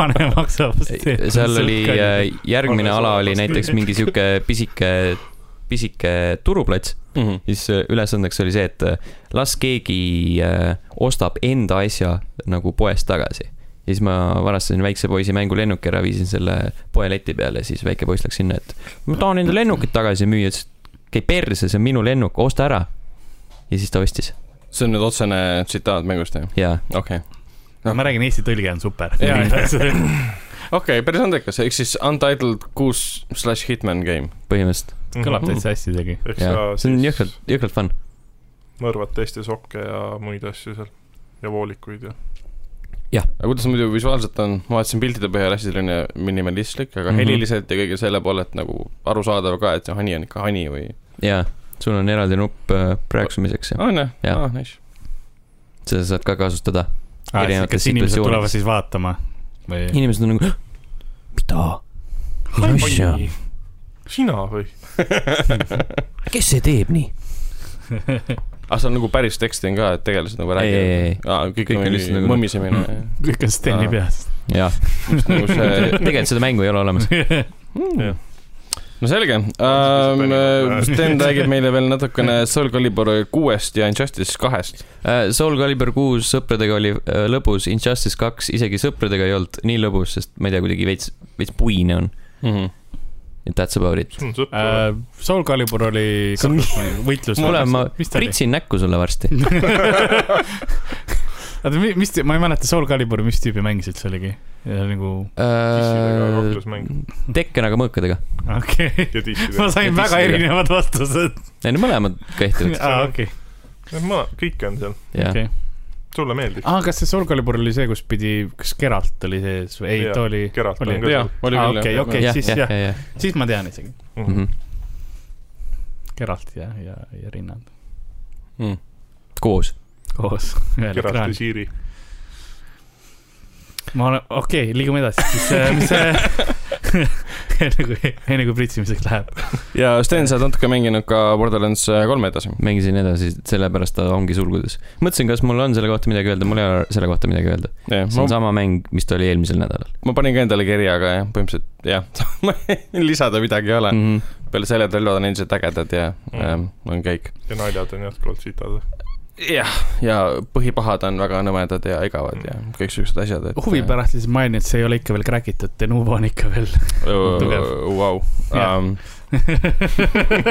S3: Hane maksab pasteeti .
S1: seal oli ,
S4: äh,
S1: järgmine
S2: Arve
S1: ala oli
S2: Saaremast.
S1: näiteks mingi sihuke pisike , pisike turuplats , siis äh, ülesandeks oli see , et äh, las keegi äh, ostab enda asja nagu poest tagasi . ja siis ma varastasin väikse poisi mängulennuki ära , viisin selle poeleti peale , siis väike poiss läks sinna , et ma tahan enda lennukit tagasi müüa , ütles , et käi perse , see on minu lennuk , osta ära . ja siis ta ostis
S4: see on nüüd otsene tsitaat mängust jah ?
S1: ja
S4: okei okay. .
S3: ma räägin , Eesti tõlge on super .
S4: Jaa, okei okay, , päris andekas , ehk siis Untitled kuus slash Hitman game .
S1: põhimõtteliselt ,
S3: kõlab täitsa hästi isegi .
S2: ehk
S1: jaa
S2: sa ,
S1: see on
S2: Mhm. siis
S1: jõhkralt , jõhkralt fun .
S2: mõrvad teiste sokke ja muid asju seal ja voolikuid ja .
S4: aga kuidas muidu visuaalselt on , ma vaatasin piltide põhjal hästi selline minimalistlik , aga mm
S1: Mhm.
S4: -hmm. heliliselt ja kõige selle poolelt nagu arusaadav ka , et see hani on ikka hani või .
S1: jaa , sul on eraldi nupp äh, prääksumiseks ja
S4: on jah
S1: Jah.
S4: ah, , nice .
S1: seda saad ka kasutada . Erinevates
S3: Ah, kas inimesed
S1: situatsioonides.
S3: tulevad siis vaatama või ?
S1: inimesed on nagu , mida , mis asja ,
S2: sina või ?
S1: kes see teeb nii ?
S4: aga seal nagu päris teksti on ka , et tegelased nagu
S1: ei , ei , ei ,
S4: räägivad . aa , kõik
S1: Kõik on
S4: on
S1: lihtsalt
S4: lihtsalt
S1: nagu-
S4: mõmisemine .
S3: kõik on Steni
S4: Aa.
S3: peas .
S1: jah .
S4: nagu see ,
S1: (laughs) tegelikult seda mängu ei ole olemas .
S4: no selge
S2: On siis
S4: um, .
S2: päris-
S4: Sten räägib meile veel natukene Soul Calibur kuuest ja Injustice kahest .
S1: Äh, Soul Calibur kuus sõpradega oli äh, lõbus , Injustice kaks isegi sõpradega ei olnud nii lõbus , sest ma ei tea , kuidagi veits , veits puine on .
S4: Mhm.
S1: et that's about it .
S2: sul on sõpru .
S3: Äh, Soul Calibur oli
S1: See on-
S3: võitlus .
S1: mulle , ma
S3: mis ta oli ?
S1: pritsin näkku sulle varsti .
S3: (laughs) oota , mis , ma ei mäleta , Soul Caliburi , mis tüüpi mäng see üldse oligi ? nagu ,
S1: Äh,
S2: Dissidega kaklusmäng
S1: tekkenaga mõõkadega .
S3: okei okay. ,
S2: (laughs) ja
S3: ma
S2: dissidega .
S3: sain
S1: Ja
S3: väga
S1: dissidega.
S3: erinevad vastused .
S1: Need mõlemad
S3: (laughs)
S1: kehtivad ,
S3: aa , okei ,
S2: ma , kõike on seal ,
S1: jah .
S3: Ah, okei .
S2: sulle meeldib .
S3: aa , kas see Soul Calibur oli see , kus pidi , kas Geralt oli sees või ei ,
S2: Jaa,
S3: ta oli ,
S2: Geralt on
S3: oli-
S2: ka
S4: jaa
S2: seal ,.
S4: oli
S3: Aa,
S4: küll
S3: Ah, okei,
S4: jah.
S3: okei.
S1: jah ,
S3: siis
S1: jah ,
S3: jah. Mhm.
S1: jah , Mhm.
S3: siis ma tean isegi .
S2: Mhm.
S1: jah .
S3: Geralt ja , ja , ja rinnad
S4: Mm.
S1: koos .
S3: koos ühel
S2: Geralt ja
S3: ekraanil .
S2: Siiri .
S3: ma olen , okei okay, , liigume edasi , siis äh, (laughs) mis see enne kui , enne kui pritsimiseks läheb .
S4: ja Sten , sa oled natuke mänginud ka Borderlands äh, kolme edasi .
S1: mängisin edasi , sellepärast ta ongi sulgudes . mõtlesin , kas mul on selle kohta midagi öelda , mul ei ole selle kohta midagi öelda . see on
S4: ma ,
S1: sama mäng , mis ta oli eelmisel nädalal
S4: ma panin ka endale kirja , aga jah , põhimõtteliselt jah , (laughs) lisada midagi ei ole .
S1: mm .
S4: peale selle , et relvad on endiselt ägedad ja
S2: Mm.
S4: ähm, on kõik .
S2: ja naljad on jätkuvalt sitad .
S4: jah , ja põhipahad on väga nõmedad ja igavad ja kõik siuksed asjad , et .
S3: huvi . pärast siis mainin , et see ei ole ikka veel kräkitud , Denuvo on ikka veel tugev.
S4: äh, Vau . Ähm,
S3: Jah.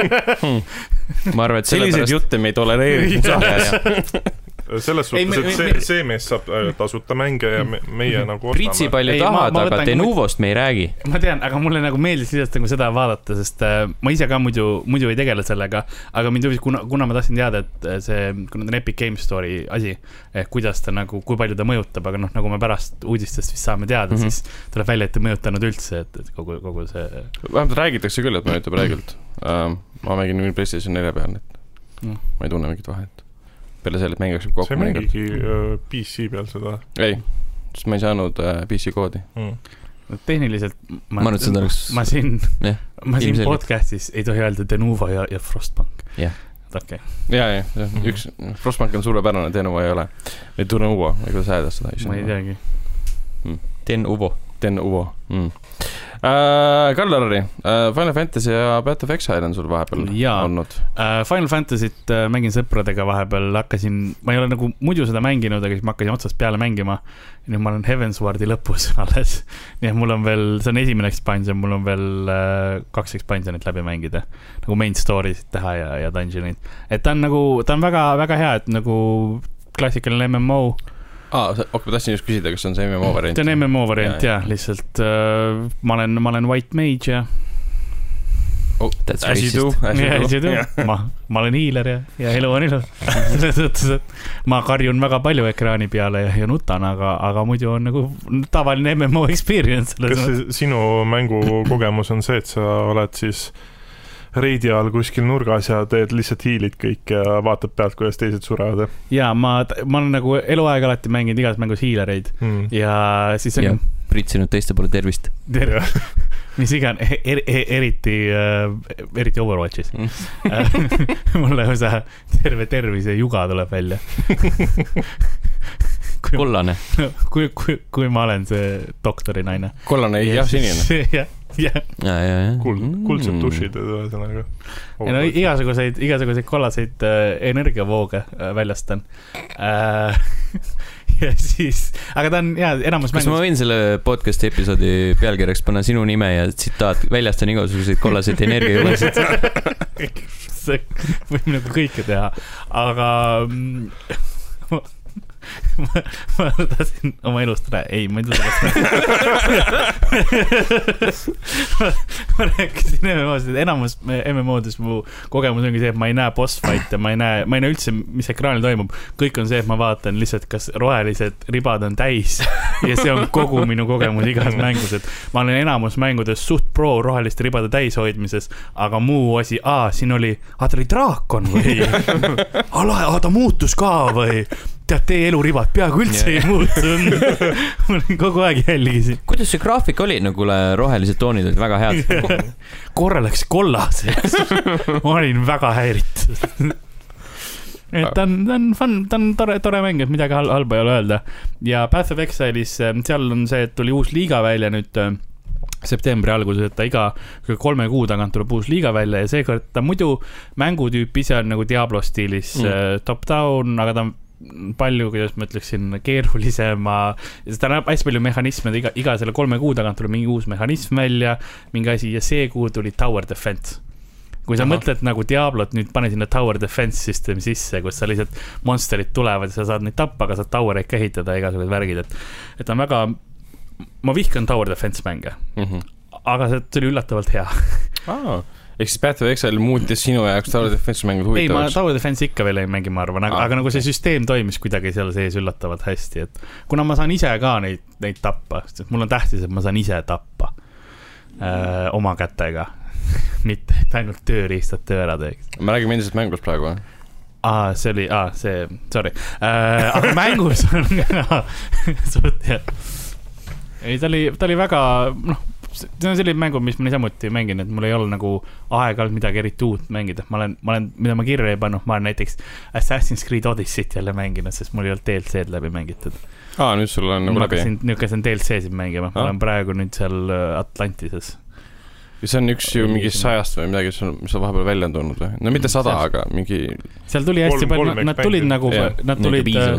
S1: -hmm. ma arvan , et
S4: selliseid
S1: sellepärast ,
S4: jutte me ei tolereeri (laughs) siin saates .
S2: selles
S3: Ei, me-
S2: suhtes , et
S3: me- Mhm.
S2: see , see mees saab äh, tasuta mänge ja me, meie nagu
S1: pritsi
S2: ostame .
S1: palju
S3: Ei, ma-
S1: tahad ,
S3: ma
S1: aga
S3: võtan-
S1: De Novost me ei räägi .
S3: ma tean , aga mulle nagu meeldis lihtsalt nagu seda vaadata , sest äh, ma ise ka muidu , muidu ei tegele sellega , aga mind huvis , kuna , kuna ma tahtsin teada , et äh, see , kuna ta on Epic Game Store'i asi , ehk kuidas ta nagu , kui palju ta mõjutab , aga noh , nagu me pärast uudistest vist saame teada mm ,
S1: Mhm.
S3: -hmm. siis tuleb välja , et ei mõjutanud üldse , et , et kogu , kogu see
S4: vähemalt räägitakse küll , et mõjutab räigelt ähm, . ma mängin nüüd PlayStation nelja peal , et
S3: Jah.
S4: ma ei tunne mingit vahet . peale selle , et mäng jookseb
S2: sa
S4: kokku
S2: ei
S4: mõnikord .
S2: mängigi äh, PC peal seda
S4: ei , sest ma ei saanud äh, PC koodi .
S2: mm. .
S3: tehniliselt .
S1: ma arvan , et seda oleks ,
S3: ma siin
S1: Jah, ,
S3: ma siin
S1: ilmselgelt.
S3: podcast'is ei tohi öelda Denuvo ja , ja Frostbank .
S1: Jah.
S3: okei ,
S4: ja , ja , ja
S3: Mhm.
S4: üks , Frostbank on suurepärane , Denuvo ei ole . või Denuvo , või kuidas hääldada seda
S3: ma ei . teagi .
S1: De Novo .
S4: Denuvo mm. . Äh, Kallarari , Final Fantasy ja Path of Exile on sul vahepeal
S3: Jaa.
S4: olnud .
S3: Äh, Final Fantasy't äh, mängin sõpradega vahepeal , hakkasin , ma ei ole nagu muidu seda mänginud , aga siis ma hakkasin otsast peale mängima . nüüd ma olen Heavenswardi lõpus (laughs) alles . nii et mul on veel , see on esimene expansion , mul on veel äh, kaks expansionit läbi mängida . nagu main story'sid teha ja , ja dungeon'id . et ta on nagu , ta on väga , väga hea , et nagu klassikaline MMO
S4: aa , okei , ma tahtsin just küsida , kas see on see MMO variant .
S3: ta on MMO variant
S4: Jaa,
S3: ja, , jah , lihtsalt äh, ma olen , ma olen white mage ja .
S1: That's
S4: As you do
S1: racist .,
S4: as you do .
S3: ma , ma olen hiiler ja , ja elu on ilus . (laughs) selles suhtes , et ma karjun väga palju ekraani peale ja, ja nutan , aga , aga muidu on nagu tavaline MMO experience selles
S2: kas
S3: mõttes .
S2: see sinu mängukogemus on see , et sa oled siis reidi all kuskil nurgas ja teed lihtsalt hiilid kõik ja vaatad pealt , kuidas teised surevad
S3: ja ma , ma olen nagu eluaeg alati mänginud igas mängus hiilereid
S2: mm. .
S3: ja siis on
S1: Jah. pritsinud teiste poole tervist .
S3: ter- , mis iganes er, , er, eriti äh, , eriti Overwatchis
S1: Mm.
S3: (laughs) mm. . mulle osa terve tervise juga tuleb välja . (laughs) kui ,
S1: kollane .
S3: kui, kui , kui ma olen see doktorinaine .
S4: kollane ja sinine .
S3: (laughs) jah , jah .
S1: ja , ja , Mm. ja .
S2: kuld , kuldsed dušid , ühesõnaga .
S3: Mhm.
S2: Oh,
S3: ei no igasuguseid , igasuguseid kollaseid äh, energiavooge äh, väljastan äh, . (laughs) ja siis , aga ta on jaa , enamus
S1: kas ma
S3: mängus .
S1: võin selle podcast'i episoodi pealkirjaks panna sinu nime ja tsitaat , väljastan igasuguseid kollaseid energiajõudusid ?
S3: (laughs) see (laughs) võib nagu kõike teha , aga mm, (laughs) ma, ma, ma tahtsin oma elust rääkida , ei , ma ei taha sellest rääkida . (laughs) ma rääkisin MMO-st , et enamus MMO-des mu kogemus ongi see , et ma ei näe boss fight'e , ma ei näe , ma ei näe üldse , mis ekraanil toimub . kõik on see , et ma vaatan lihtsalt , kas rohelised ribad on täis ja see on kogu minu kogemus igas mängus , et ma olen enamus mängudes suht pro roheliste ribade täishoidmises , aga muu asi , aa , siin oli , aa , ta oli draakon või ? aa , lahe , aa , ta muutus ka või ? tead , teie eluribad peaaegu üldse yeah. ei muutu . (laughs) ma olen kogu aeg jälgisin ,
S1: kuidas see graafik oli , no kuule , rohelised toonid olid väga head .
S3: korra läks kollaseks . ma olin väga häiritud . et ta on , ta on fun , ta on tore , tore mäng , et midagi hal- halba ei ole öelda . ja Path of Exile'is , seal on see , et tuli uus liiga välja nüüd äh, septembri alguses , et ta iga kui kolme kuu tagant tuleb uus liiga välja ja seekord ta muidu mängutüüp ise on nagu Diablo stiilis
S4: Mm.
S3: mm. top-down , aga ta on palju , kuidas ma ütleksin , keerulisema , ta näeb hästi palju mehhanisme , iga , iga selle kolme kuu tagant tuleb mingi uus mehhanism välja , mingi asi ja see kuu tuli tower defense . kui sa Aha. mõtled nagu Diablot , nüüd pane sinna tower defense system sisse , kus sa lihtsalt , monsterid tulevad ja sa saad neid tappa , aga saad tower eid ka ehitada ja igasugused värgid , et , et ta on väga , ma vihkan tower defense mänge
S4: Mhm.
S3: aga see tuli üllatavalt hea .
S4: ehk siis Path of Exile muutis sinu jaoks Tower Defense'i mängud
S3: ei , ma
S4: huvitavaks .
S3: Tower Defense ikka veel ei mängi , ma arvan , aga ,
S4: Aa,
S3: aga nagu see süsteem toimis kuidagi seal sees üllatavalt hästi , et kuna ma saan ise ka neid , neid tappa , sest mul on tähtis , et ma saan ise tappa öö, oma kätega , (laughs) mitte et ainult tööriistad töö ära teeks .
S4: me räägime endiselt mängust praegu , jah ?
S3: aa , see oli , aa , see , sorry äh, . aga mängus on (laughs) ka noh, suht hea . ei , ta oli , ta oli väga , noh , see on selline mängu , mis ma niisamuti mängin , et mul ei ole nagu aega olnud midagi eriti uut mängida . ma olen , ma olen , mida ma kirja ei pannud , ma olen näiteks Assassin's Creed Odyssey't jälle mänginud , sest mul ei olnud DLC-d läbi mängitud .
S4: aa , nüüd sul on nagu
S3: ma
S4: läbi .
S3: hakkasin niisuguseid DLC-sid mängima ,
S4: Ah.
S3: ma olen praegu nüüd seal äh, Atlantises .
S4: see on üks ju mingi sajast või midagi , mis on , mis on vahepeal välja on tulnud või ? no mitte
S3: Mm,
S4: sada , aga mingi
S3: seal tuli hästi
S2: Kolm-
S3: palju ,
S2: kolm
S3: nad tulid
S2: expansion'it.
S3: nagu
S4: Jah, ,
S3: nad tulid äh,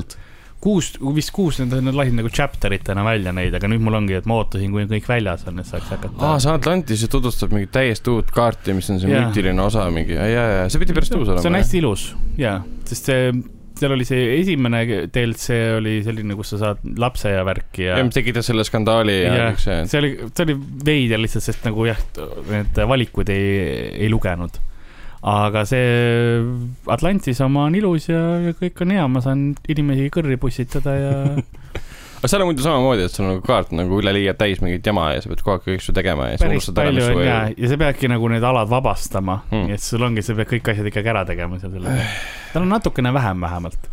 S3: kuus , vist kuus , nad nad lasid nagu chapter itena välja neid , aga nüüd mul ongi , et ma ootasin , kuni kõik väljas on , et saaks hakata
S4: aa , see Atlantis ju tutvustab mingit täiesti uut kaarti , mis on see
S3: Jaa.
S4: müütiline osa mingi , ja , ja , ja see pidi päris tõus
S3: see on
S4: olema .
S3: hästi ilus ja , sest see , seal oli see esimene DLC oli selline , kus sa saad lapse ja värki ja,
S4: ja mis tegi ta selle skandaali ja
S3: Jah.
S4: kõik see .
S3: see oli , see oli veider lihtsalt , sest nagu jah , need valikud ei , ei lugenud . aga see Atlantis oma on ilus ja, ja kõik on hea , ma saan inimesi kõrri pussitada ja
S4: (laughs) aga seal on muidu samamoodi , et sul on nagu kaart nagu üleliia täis mingit jama ja sa pead kogu aeg kõik su tegema ja siis
S3: päris
S4: unustad ära ,
S3: palju
S4: mis
S3: on
S4: su
S3: ja , ja sa peadki nagu need alad vabastama
S4: Mm.
S3: mm. , et sul ongi , sa pead kõik asjad ikkagi ära tegema seal selle . tal on natukene vähem vähemalt .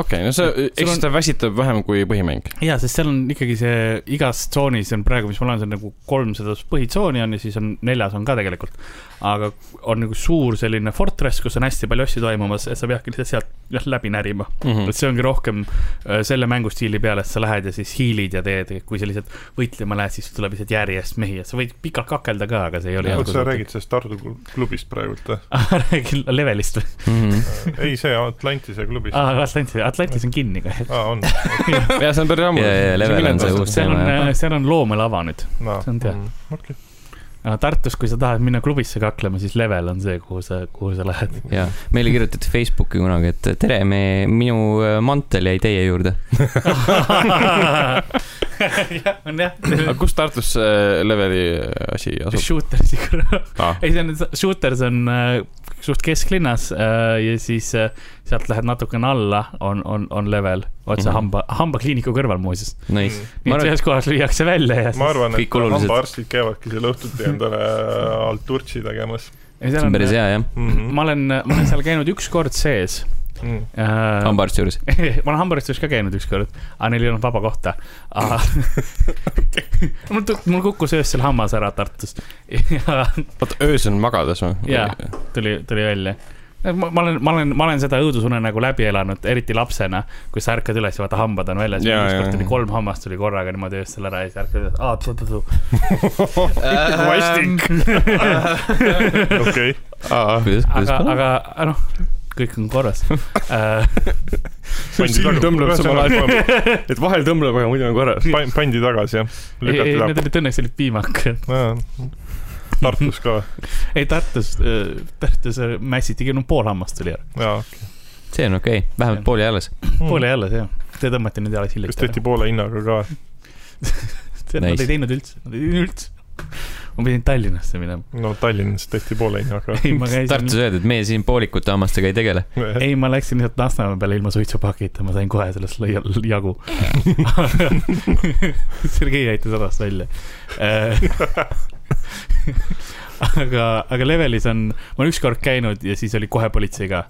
S4: okei , no see ,
S3: Sul
S4: eks
S3: on-
S4: ta väsitab vähem kui põhimäng .
S3: ja , sest seal on ikkagi see igas tsoonis on praegu , mis mul on , see on nagu kolmsada põhitsooni on ja siis on neljas on ka tegelikult . aga on nagu suur selline fortress , kus on hästi palju asju toimumas , et sa peadki lihtsalt sealt jah, läbi närima . et see ongi rohkem äh, selle mängustiili peale , et sa lähed ja siis hiilid ja teed , kui sa lihtsalt võitlema lähed , siis tuleb lihtsalt järjest mehi ja sa võid pikalt kakelda ka , aga see ei ole .
S2: sa
S3: (laughs)
S2: räägid sellest Tartu klu- klubist praegult või ?
S3: räägin levelist või ?
S4: Mhm.
S3: Mhm.
S2: ei , see Atlantise klubist .
S3: aa , Atlantis , Atlantis on kinni kohe .
S2: aa , on .
S4: ja see on päris ammu .
S1: ja , ja level on see uus
S3: seal
S1: teema .
S3: on , seal on loomelava nüüd .
S2: No,
S3: See on teada.
S2: mm, okei ,
S3: aga Tartus , kui sa tahad minna klubisse kaklema , siis level on see , kuhu sa , kuhu sa lähed .
S1: ja meile kirjutati Facebooki kunagi , et tere , me , minu äh, mantel jäi teie juurde .
S3: jah , on jah
S4: äh, aga . kus Tartus see leveli asi asub ?
S3: Shootersi kõrval .
S1: Ah.
S4: aa ,
S3: ei , see on , Shooters on äh, suht kesklinnas äh, ja siis äh, sealt lähed natukene alla , on , on , on level otse mm
S1: Mhm.
S3: -hmm. hamba , hambakliiniku kõrval muuseas .
S1: Nice .
S3: nii
S1: Ma
S3: et
S1: arvan-
S3: ühes kohas lüüakse välja ja
S2: Mm. ma arvan ,
S1: kõik
S2: et
S1: olulised-
S2: hambaarstid käivadki seal õhtuti endale alturtsi tegemas
S3: ja seal äh,
S1: see on päris hea jah ,
S2: mm .
S3: ma olen , ma olen seal käinud üks kord sees
S2: -hmm.
S3: äh,
S1: hambaarsti juures .
S3: (laughs) ma olen hambaristuses ka käinud ükskord , aga neil ei olnud vaba kohta .
S4: (laughs)
S3: mul , mul kukkus öösel hammas ära Tartus (laughs) ja
S4: oota , öösel magades või ?
S3: Jaa. tuli , tuli välja . ma ma olen , ma olen , ma olen seda õudusune nagu läbi elanud , eriti lapsena , kui sa ärkad üles ja vaata , hambad on väljas .
S4: Jaa, jaa,
S3: ükskord
S4: jaa.
S3: tuli kolm hammast tuli korraga niimoodi öösel ära ja siis ärkad üles , aa , tu-tu-tu .
S4: Äh, ähm.
S2: vastik ,
S4: (laughs)
S3: (laughs)
S2: okei .
S1: kuidas ,
S3: aga ,
S1: kuidas ?
S3: aga noh , kõik on
S4: (laughs)
S3: korras . Äh,
S4: silm tõmbleb samal ajal . et vahel tõmbleb , aga muidu on korras .
S2: pandi tagasi jah ,
S3: ei , ei , need
S2: lükati
S3: olid õnneks olid piimakad .
S2: taha . Tartus ka või ?
S3: ei , Tartus , Tartus mässitigi , no pool hammast tuli ära .
S2: jaa ,
S1: see on okei okay. , vähemalt pool jäi alles .
S3: pool ei ole see jah , te tõmbate nüüd alles
S2: kas
S3: hiljuti
S2: Hmm. tehti poole hinnaga ka ?
S3: ära . Nad
S1: Nice.
S3: ei teinud üldse , nad ei teinud üldse . ma pidin Tallinnasse minema .
S2: no Tallinnas tehti poole hinnaga .
S3: ei , ma
S1: Tartus
S3: käisin ,
S1: öeldi , et meie siin poolikute hammastega ei tegele .
S3: ei , ma läksin lihtsalt Lasnamäe peale ilma suitsupakita , ma sain kohe sellest lai- jagu . Sergei aitas hädast välja . (laughs) aga , aga levelis on , ma olen ükskord käinud ja siis oli kohe politsei ka .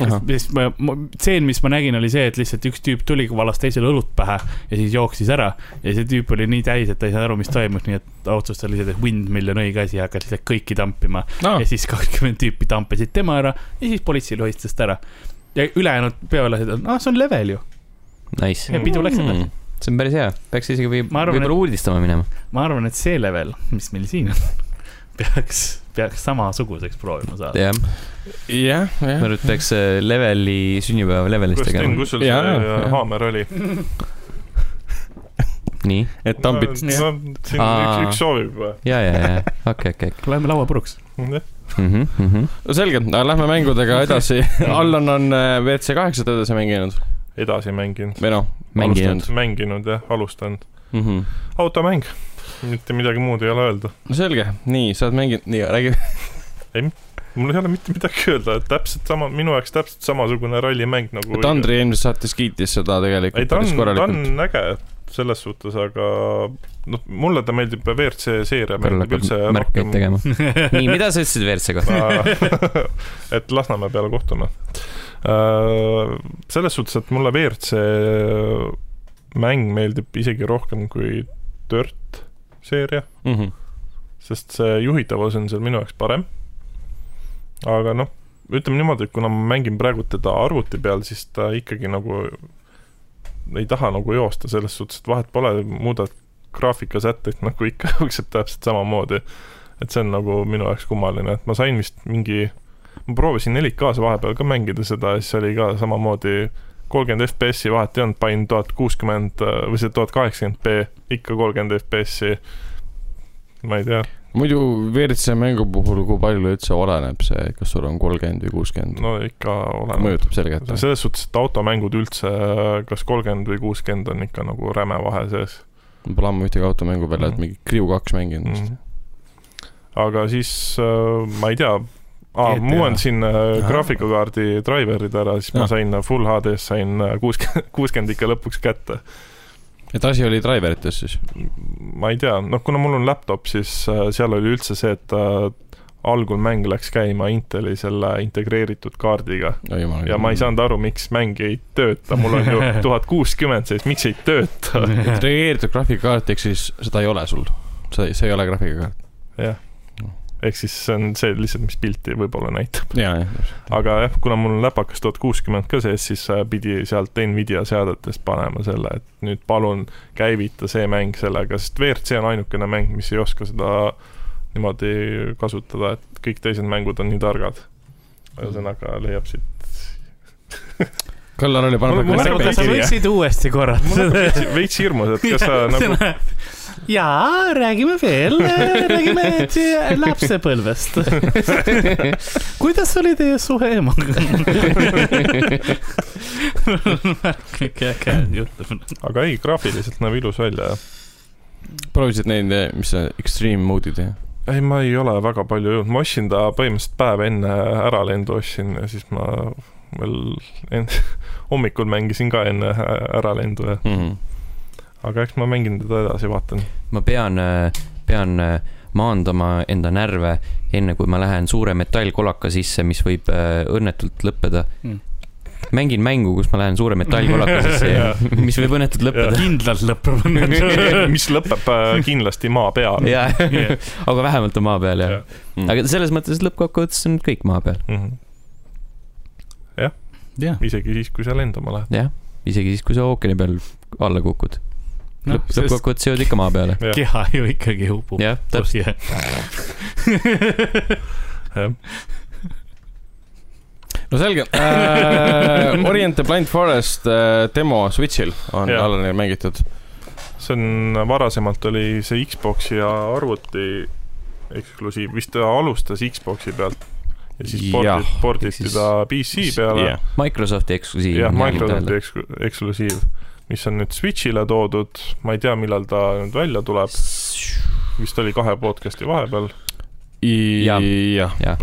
S3: sest ma, ma , tseen , mis ma nägin , oli see , et lihtsalt üks tüüp tuli , valas teisele õlut pähe ja siis jooksis ära . ja see tüüp oli nii täis , et ta ei saanud aru , mis toimus , nii et ta otsustas lihtsalt , et windmill on õige asi ja hakkas lihtsalt kõiki tampima . ja siis kakskümmend tüüpi tampasid tema ära ja siis politsei lohistas ta ära . ja ülejäänud peolased on , ah , see on level ju .
S1: Nice .
S3: ja pidu läks edasi .
S1: see on päris hea , peaks isegi võib-
S3: Ma arvan,
S1: võib-olla uudistama minema .
S3: ma arvan , et see level , mis meil siin on , (laughs) peaks , peaks samasuguseks proovima saada .
S1: jah ,
S4: jah ,
S1: ma
S4: jah .
S1: arvan , et peaks äh, leveli , sünnipäeva levelist
S2: (laughs) kuidas Tim ,
S1: tegema .
S2: kus sul see
S4: Jaa, jaa.
S2: äh, haamer oli ?
S1: nii ,
S4: et tambid .
S2: siin
S1: Aa.
S2: üks , üks soovib või ?
S1: ja , ja , ja , okei , okei , Mhm,
S3: loeme laua puruks .
S1: okei .
S4: selge , aga lähme mängudega edasi . (laughs) Allan on äh, WRC kaheksat edasi mänginud
S2: edasi mänginud .
S4: või noh ,
S1: mänginud .
S2: mänginud jah , alustanud .
S4: mm .
S1: Mhm.
S4: -hmm.
S2: automäng , mitte midagi muud ei ole öelda .
S4: no selge , nii , sa oled mänginud , nii , räägi .
S2: mul ei ole mitte midagi öelda , et täpselt sama , minu jaoks täpselt samasugune rallimäng nagu .
S4: Tandri eelmises saates kiitis seda
S2: ei ,
S4: tegelikult
S2: ta
S4: päris
S2: on , ta
S4: korralikult .
S2: on äge selles suhtes , aga noh , mulle ta meeldib , WRC seeria
S1: Karl
S2: meeldib
S1: hakkab
S2: üldse
S1: märkeid
S3: (laughs)
S2: rohkem .
S1: tegema . nii , mida sa ütlesid WRC kohta ?
S2: et Lasnamäe peale kohtume . selles suhtes , et mulle WRC mäng meeldib isegi rohkem kui Dirt seeria ,
S4: Mhm.
S2: sest see juhitavus on seal minu jaoks parem . aga noh , ütleme niimoodi , et kuna ma mängin praegu teda arvuti peal , siis ta ikkagi nagu ei taha nagu joosta selles suhtes , et vahet pole , muudad graafikasätteid (laughs) nagu ikka jaoksed täpselt samamoodi . et see on nagu minu jaoks kummaline , et ma sain vist mingi , ma proovisin 4K-s vahepeal ka mängida seda ja siis oli ka samamoodi kolmkümmend FPS-i vahet ei olnud , panin tuhat kuuskümmend äh, või see tuhat kaheksakümmend B ikka kolmkümmend FPS-i . ma ei tea ,
S4: muidu WRC mängu puhul , kui palju üldse oleneb see , kas sul on kolmkümmend või kuuskümmend ?
S2: no ikka oleneb .
S4: mõjutab selgelt .
S2: selles suhtes , et automängud üldse , kas kolmkümmend või kuuskümmend on ikka nagu räme vahe sees .
S4: ma pole ammu ühtegi automängu peale , et
S2: Mm.
S4: mingi Kriu kaks mänginud
S2: Mm.
S4: vist mm. .
S2: aga siis äh, ma ei tea , aa ,
S3: GTA.
S2: ma uuendasin äh,
S4: Ahah.
S2: graafikakaardi driver'id ära , siis ma
S4: Ah.
S2: sain äh, full HD-s sain kuuskümmend , (laughs) kuuskümmend ikka lõpuks kätte .
S4: et asi oli driiverites siis ?
S2: ma ei tea , noh , kuna mul on laptop , siis äh, seal oli üldse see , et äh, algul mäng läks käima Inteli selle integreeritud kaardiga
S4: oi jumal .
S2: ja ma ei . saanud aru , miks mäng ei tööta , mul on ju tuhat kuuskümmend sees , miks ei tööta ?
S4: reageeritud graafikakaart , ehk siis seda ei ole sul . see , see ei ole graafikakaart .
S2: jah , ehk siis see on see lihtsalt , mis pilti võib-olla näitab .
S4: ja , jah .
S2: aga jah , kuna mul on läpakas tuhat kuuskümmend ka sees , siis äh, pidi sealt Nvidia seadetest panema selle , et nüüd palun käivita see mäng sellega , sest WRC on ainukene mäng , mis ei oska seda niimoodi kasutada , et kõik teised mängud on nii targad . ühesõnaga leiab siit .
S4: Kallar oli
S2: Mul- mul-
S4: pannud .
S3: sa võiksid uuesti korrata
S2: mul on nagu
S3: seda .
S2: veits- veits hirmus , et kas
S3: (laughs)
S2: sa nagu ,
S3: jaa , räägime veel , räägime te- lapsepõlvest . kuidas oli teie suhe emaga ? kõik äge jutt .
S2: aga ei , graafiliselt näeb ilus välja , jah .
S4: proovisid neid , mis see , extreme mode'i teha ?
S2: ei , ma ei ole väga palju jõudnud , ma ostsin ta põhimõtteliselt päev enne äralendu ostsin ja siis ma veel en- , (laughs) hommikul mängisin ka enne ä- äralendu ja ,
S4: Mhm,
S2: aga eks ma mängin teda edasi ,
S1: (laughs)
S2: vaatan .
S1: ma pean , pean äh, maandama enda närve , enne kui ma lähen suure metallkolaka sisse , mis võib äh, õnnetult lõppeda
S3: Mm.
S1: mängin mängu , kus ma lähen suure metallkolaka sisse ja (laughs) mis võib õnnetult lõppeda .
S3: kindlalt lõpeb
S2: (laughs) mis lõpeb äh, kindlasti maa peal .
S1: jaa , (laughs) aga vähemalt on maa peal jah
S2: Jah. .
S4: mhm.
S1: aga selles mõttes lõppkokkuvõttes on kõik maa peal ,
S3: jah ,
S2: Mhm. isegi siis , kui sa lendama lähed .
S1: jah . isegi siis , kui sa ookeani peal alla kukud .
S3: noh ,
S1: lõpp ,
S3: sest
S1: lõppkokkuvõttes jõuad ikka maa peale .
S2: jah ,
S3: keha ju ikkagi upub .
S1: jah , täpselt .
S2: jah .
S4: no selge äh, . Orient the Blind Forest äh, demo Switch'il on
S2: Jah.
S4: Allanil mängitud .
S2: see on , varasemalt oli see Xbox'i ja arvuti eksklusiiv , vist ta alustas Xbox'i pealt ja siis
S4: Jah,
S2: porditi ,
S1: ehk
S2: porditi
S1: siis-
S2: ta PC peale
S4: jah.
S1: Microsofti eksklusiiv .
S2: jah , Microsofti eks- , eksklusiiv , mis on nüüd Switch'ile toodud , ma ei tea , millal ta nüüd välja tuleb , vist oli kahe podcast'i vahepeal ,
S1: Jah.
S4: jah ,
S2: jah .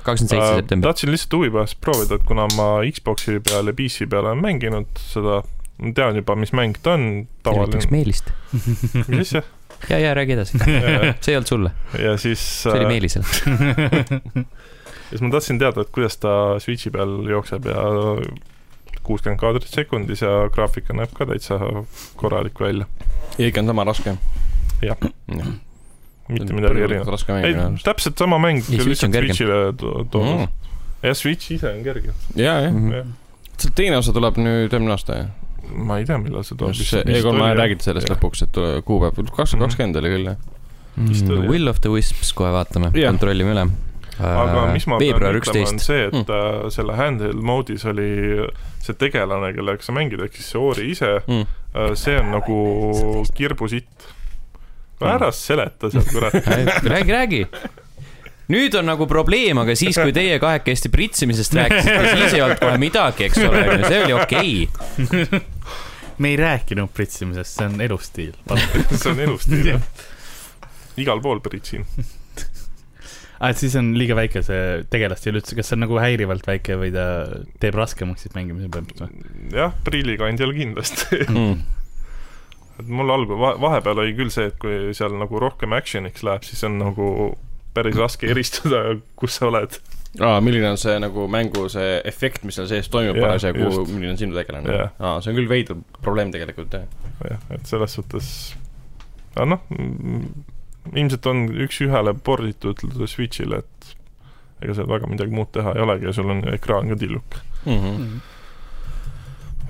S1: kakskümmend seitse september .
S2: Äh, tahtsin lihtsalt huvi pärast proovida , et kuna ma Xbox'i peal ja PC peal olen mänginud seda , ma tean juba , mis mäng ta on ,
S1: tervitaks
S2: tavaline ,
S1: Meelist .
S2: mis
S1: (laughs)
S2: asja ,
S1: ja , ja räägi edasi . see ei olnud sulle ,
S2: ja siis ,
S1: see oli
S2: ja (laughs)
S1: Meelisele .
S2: siis ma tahtsin teada , et kuidas ta Switch'i peal jookseb ja kuuskümmend kaadrit sekundis ja graafika näeb ka täitsa korralik välja ,
S4: ja ikka on sama raske .
S2: Jah. . mitte midagi erinevat .
S4: raske
S2: ei
S4: mängida ,.
S2: täpselt sama mäng ,
S1: Switch on
S2: lihtsalt
S1: kergem. Mm.
S2: Switch'ile to- toodud . jah , Switch ise on kerge .
S4: ja , jah .
S2: jah.
S4: see teine osa tuleb nüüd eelmine aasta , jah ?
S2: ma ei tea , millal see tuleb .
S1: E
S4: E3-e räägiti sellest . lõpuks , et tule- kuupäev ,
S2: Mhm.
S4: kakskümmend kakskümmend oli küll , jah ?
S2: Vist oli,
S1: mm, .
S2: jah.
S1: Will of the Wisps , kohe vaatame ,
S4: Jah.
S1: kontrollime üle .
S2: aga mis ma
S1: Äh, veebruar
S2: pean ütlema ,
S1: üksteist ,
S2: on
S1: Mm.
S2: see , et äh, selle handheld mode'is oli see tegelane , kellega sa mängid , ehk siis see Ori ise
S4: Mm.
S2: äh, , see on nagu kirbusitt . ära seleta seal , kurat . (laughs)
S1: Äh, räägi , räägi . nüüd on nagu probleem , aga siis , kui teie kahekesti pritsimisest rääkisite , siis ei olnud kohe midagi , eks ole , see oli okei okay. .
S3: me ei rääkinud pritsimisest , see on elustiil .
S2: see on elustiil ,
S3: (laughs)
S2: jah . igal pool pritsin .
S3: aa , Ah, et siis on liiga väike see tegelastiil üldse , kas see on nagu häirivalt väike või ta teeb raskemaks siis mängimise põhimõtteliselt
S2: jah , prillikandjal kindlasti . (laughs)
S3: või ?
S1: Mhm.
S2: et mul algul , vahepeal oli küll see , et kui seal nagu rohkem action'iks läheb , siis on nagu päris raske eristada , (laughs) kus sa oled .
S4: aa , milline on see nagu mängu see efekt , mis seal sees toimub
S2: Jah,
S4: parasjagu
S2: just. ,
S4: milline on sinu tegelane
S2: Jah.
S4: yeah. ? aa , see on küll veider probleem tegelikult , jah .
S2: jah , et selles suhtes , aga noh , ilmselt on üks-ühele porditud Switch'ile , et ega seal väga midagi muud teha ei olegi ja sul on ekraan ka tilluke .
S4: Mhm.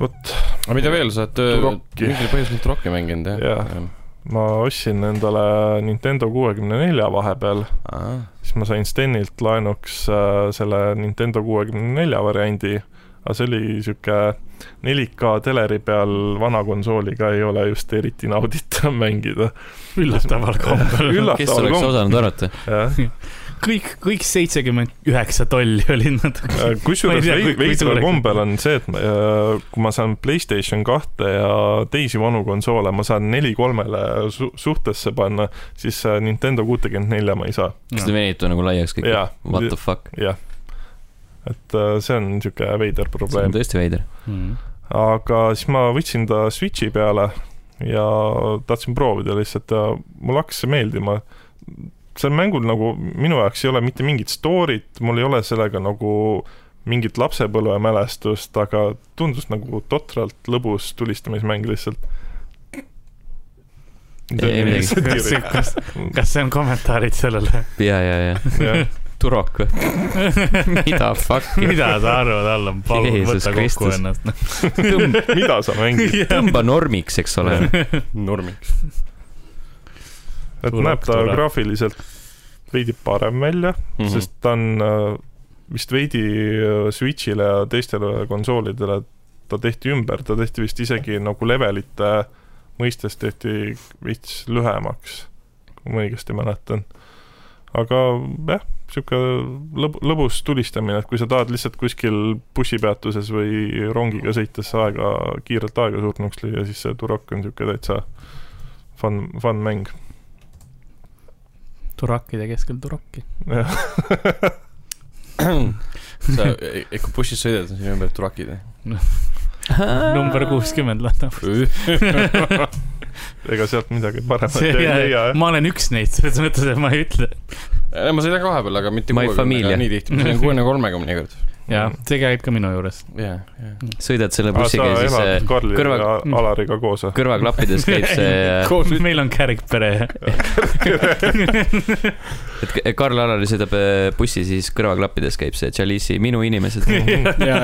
S2: vot ,
S4: aga mida veel , sa oled äh,
S2: Rocki.
S4: mingil põhjusel oled rocki mänginud ,
S2: Jah.
S4: jah ?
S2: ma ostsin endale Nintendo kuuekümne nelja vahepeal ,
S4: jah .
S2: siis ma sain Stenilt laenuks äh, selle Nintendo kuuekümne nelja variandi , aga see oli niisugune 4K teleri peal vana konsooliga ei ole just eriti nauditav mängida .
S3: (laughs) üllataval
S2: (laughs)
S3: kombel .
S1: kes oleks osanud arvata ?
S2: jah ,
S3: kõik , kõik seitsekümmend üheksa tolli olid nad . Ma ei
S2: Äh, kusjuures
S3: tea,
S2: vei-
S3: kui- kui
S2: veidral
S3: suureks.
S2: kombel on see , et ma- äh, kui ma saan Playstation kahte ja teisi vanu konsoole , ma saan neli kolmele su suhtesse panna , siis äh, Nintendo kuutekümmet nelja ma ei saa .
S1: kas ta venitab nagu laiaks kõik ?
S2: jah ,
S1: What the fuck ,
S2: jah . et äh, see on niisugune veider
S1: see on
S2: probleem ,
S1: tõesti veider .
S3: Mm.
S2: aga siis ma võtsin ta Switchi peale ja tahtsin proovida lihtsalt ja mulle hakkas see meeldima . sel mängul nagu minu jaoks ei ole mitte mingit story't , mul ei ole sellega nagu mingit lapsepõlvemälestust , aga tundus nagu totralt lõbus tulistamismäng lihtsalt .
S1: Ei midagi.
S3: kas , kas see on kommentaarid sellele ?
S1: ja , ja , ja Turok või ? mida fuck'i ?
S3: (laughs) mida sa arvad , Allan , palun
S1: Jeesus
S3: võta kokku
S1: Kristus.
S3: ennast .
S2: (laughs) mida sa
S3: (laughs)
S2: mängid ,
S1: tõmba normiks , eks ole .
S4: normiks .
S2: et
S3: Turok,
S2: näeb ta
S3: turok.
S2: graafiliselt veidi parem välja ,
S1: Mhm.
S4: (clears throat)
S2: sest ta on äh, vist veidi äh, Switch'ile ja teistele konsoolidele ta tehti ümber , ta tehti vist isegi nagu levelite mõistes tehti veits lühemaks , kui ma õigesti mäletan . aga jah , sihuke lõb- , lõbus tulistamine , et kui sa tahad lihtsalt kuskil bussipeatuses või rongiga sõites aega , kiirelt aega surnuks lüüa , siis see Turok on sihuke täitsa fun , fun mäng . (laughs)
S3: turakkide keskel turakki .
S4: sa , kui bussis sõidad , siis sinu ümber turakid ,
S3: number kuuskümmend lahendab .
S4: jah ?
S2: ega sealt midagi paremat ei leia , jah .
S3: ma olen üks neid , selles mõttes , et ma ei ütle .
S4: ma sõidan ka vahepeal , aga mitte
S1: My familia.
S4: nii tihti , ma sõidan kuuekümne kolmega mõnikord .
S2: Mm.
S3: jah , see käib ka minu juures .
S4: jah , (laughs) jah .
S1: sõidad selle
S2: aga Ah, sa
S1: bussiga ja siis
S2: elad
S1: äh,
S2: Karli
S1: kõrva-
S2: ja Alariga koos , eh? või ?
S1: kõrvaklappides
S3: (laughs)
S1: käib
S2: (laughs)
S1: see , äh,
S3: meil on kärgpere . (laughs)
S1: et K- Karl Alari sõidab äh, bussi , siis kõrvaklappides käib see Tšaliisi Minu
S2: (laughs)
S1: inimesed .
S4: ja , ja ,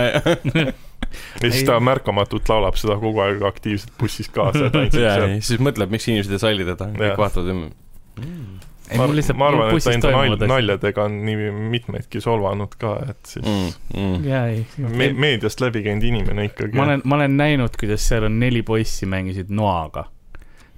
S2: ja
S4: (laughs)
S2: siis ta märkamatult laulab seda kogu aeg aktiivselt bussis
S4: (laughs)
S2: kaasa , et ainult
S4: ja
S2: seal .
S4: siis mõtleb , miks inimesed ei salli teda ,
S2: Jah.
S4: kõik vaatavad ümber .
S2: ma ar- ma arvan , et ta enda nal- . naljadega on nii mitmeidki solvanud ka , et siis mm.
S3: jaa , ei .
S2: me meediast läbi käinud inimene ikkagi .
S3: ma olen , ma olen näinud , kuidas seal on neli poissi mängisid noaga .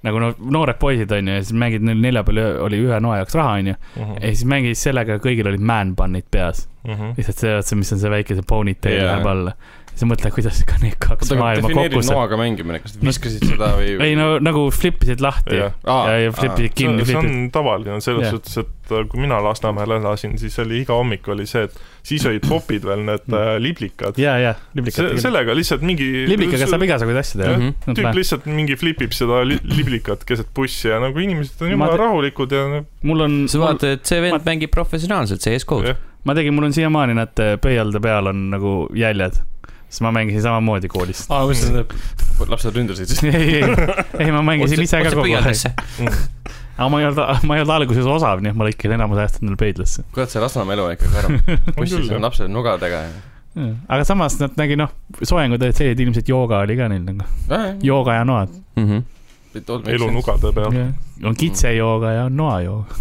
S3: nagu no noored poisid onju ja siis mängid neil nelja peal ühe- oli ühe noa jaoks raha onju .
S2: Mhm,
S3: ja siis mängid sellega , kõigil olid man-bun'id peas . lihtsalt see , see , mis on see väikese ponytail
S4: Jaa.
S3: läheb alla . siis mõtled , kuidas ka need kaks
S4: oota , aga
S3: maailma kokku
S4: defineeri
S3: saab .
S4: noaga mängimine , kas viskasid seda või ?
S3: ei no nagu flippisid lahti ja ,
S2: jah ,
S4: aa,
S3: ja flippisid kinni ,
S2: see
S3: flippisid .
S2: on tavaline selles
S3: Jah.
S2: suhtes , et äh, kui mina Lasnamäel elasin , siis oli iga hommik oli see , et siis olid popid veel need äh, liblikad .
S3: ja , ja
S2: Se-
S3: liblikatega .
S2: sellega lihtsalt mingi
S3: liblikaga saab igasuguseid asju teha
S2: Jah. .
S1: Mhm.
S2: tüüp
S3: Näed,
S2: lihtsalt mingi flipib seda li liblikat keset bussi ja nagu inimesed on
S3: Ma
S2: jumala
S3: te-
S2: rahulikud ja nagu-
S3: mul on ,
S1: sa vaatad , et see vend mängib professionaalselt CS-GO-d .
S3: ma tegin , mul on siiamaani nad pöialde peal on nagu jäljed , sest ma mängisin samamoodi koolis .
S4: aa , kus need lapsed ründasid siis ?
S3: (laughs) ei , ei , ei ma mängisin ise ka kogu aeg , aga ma ei olnud , ma ei olnud alguses osav , nii et ma lõikasin enamus ajast endale peidlasse . (laughs)
S4: kurat , see Lasnamäe elu on Noh, ikkagi ära . bussis
S2: küll,
S4: on
S2: jah.
S4: lapsed nugadega .
S3: aga samas nad nägi noh , soojangud olid sellised , ilmselt jooga oli ka neil nagu , jooga ja noad .
S1: mm .
S2: elu nugade peal .
S3: on kitsejooga ja on noajooga .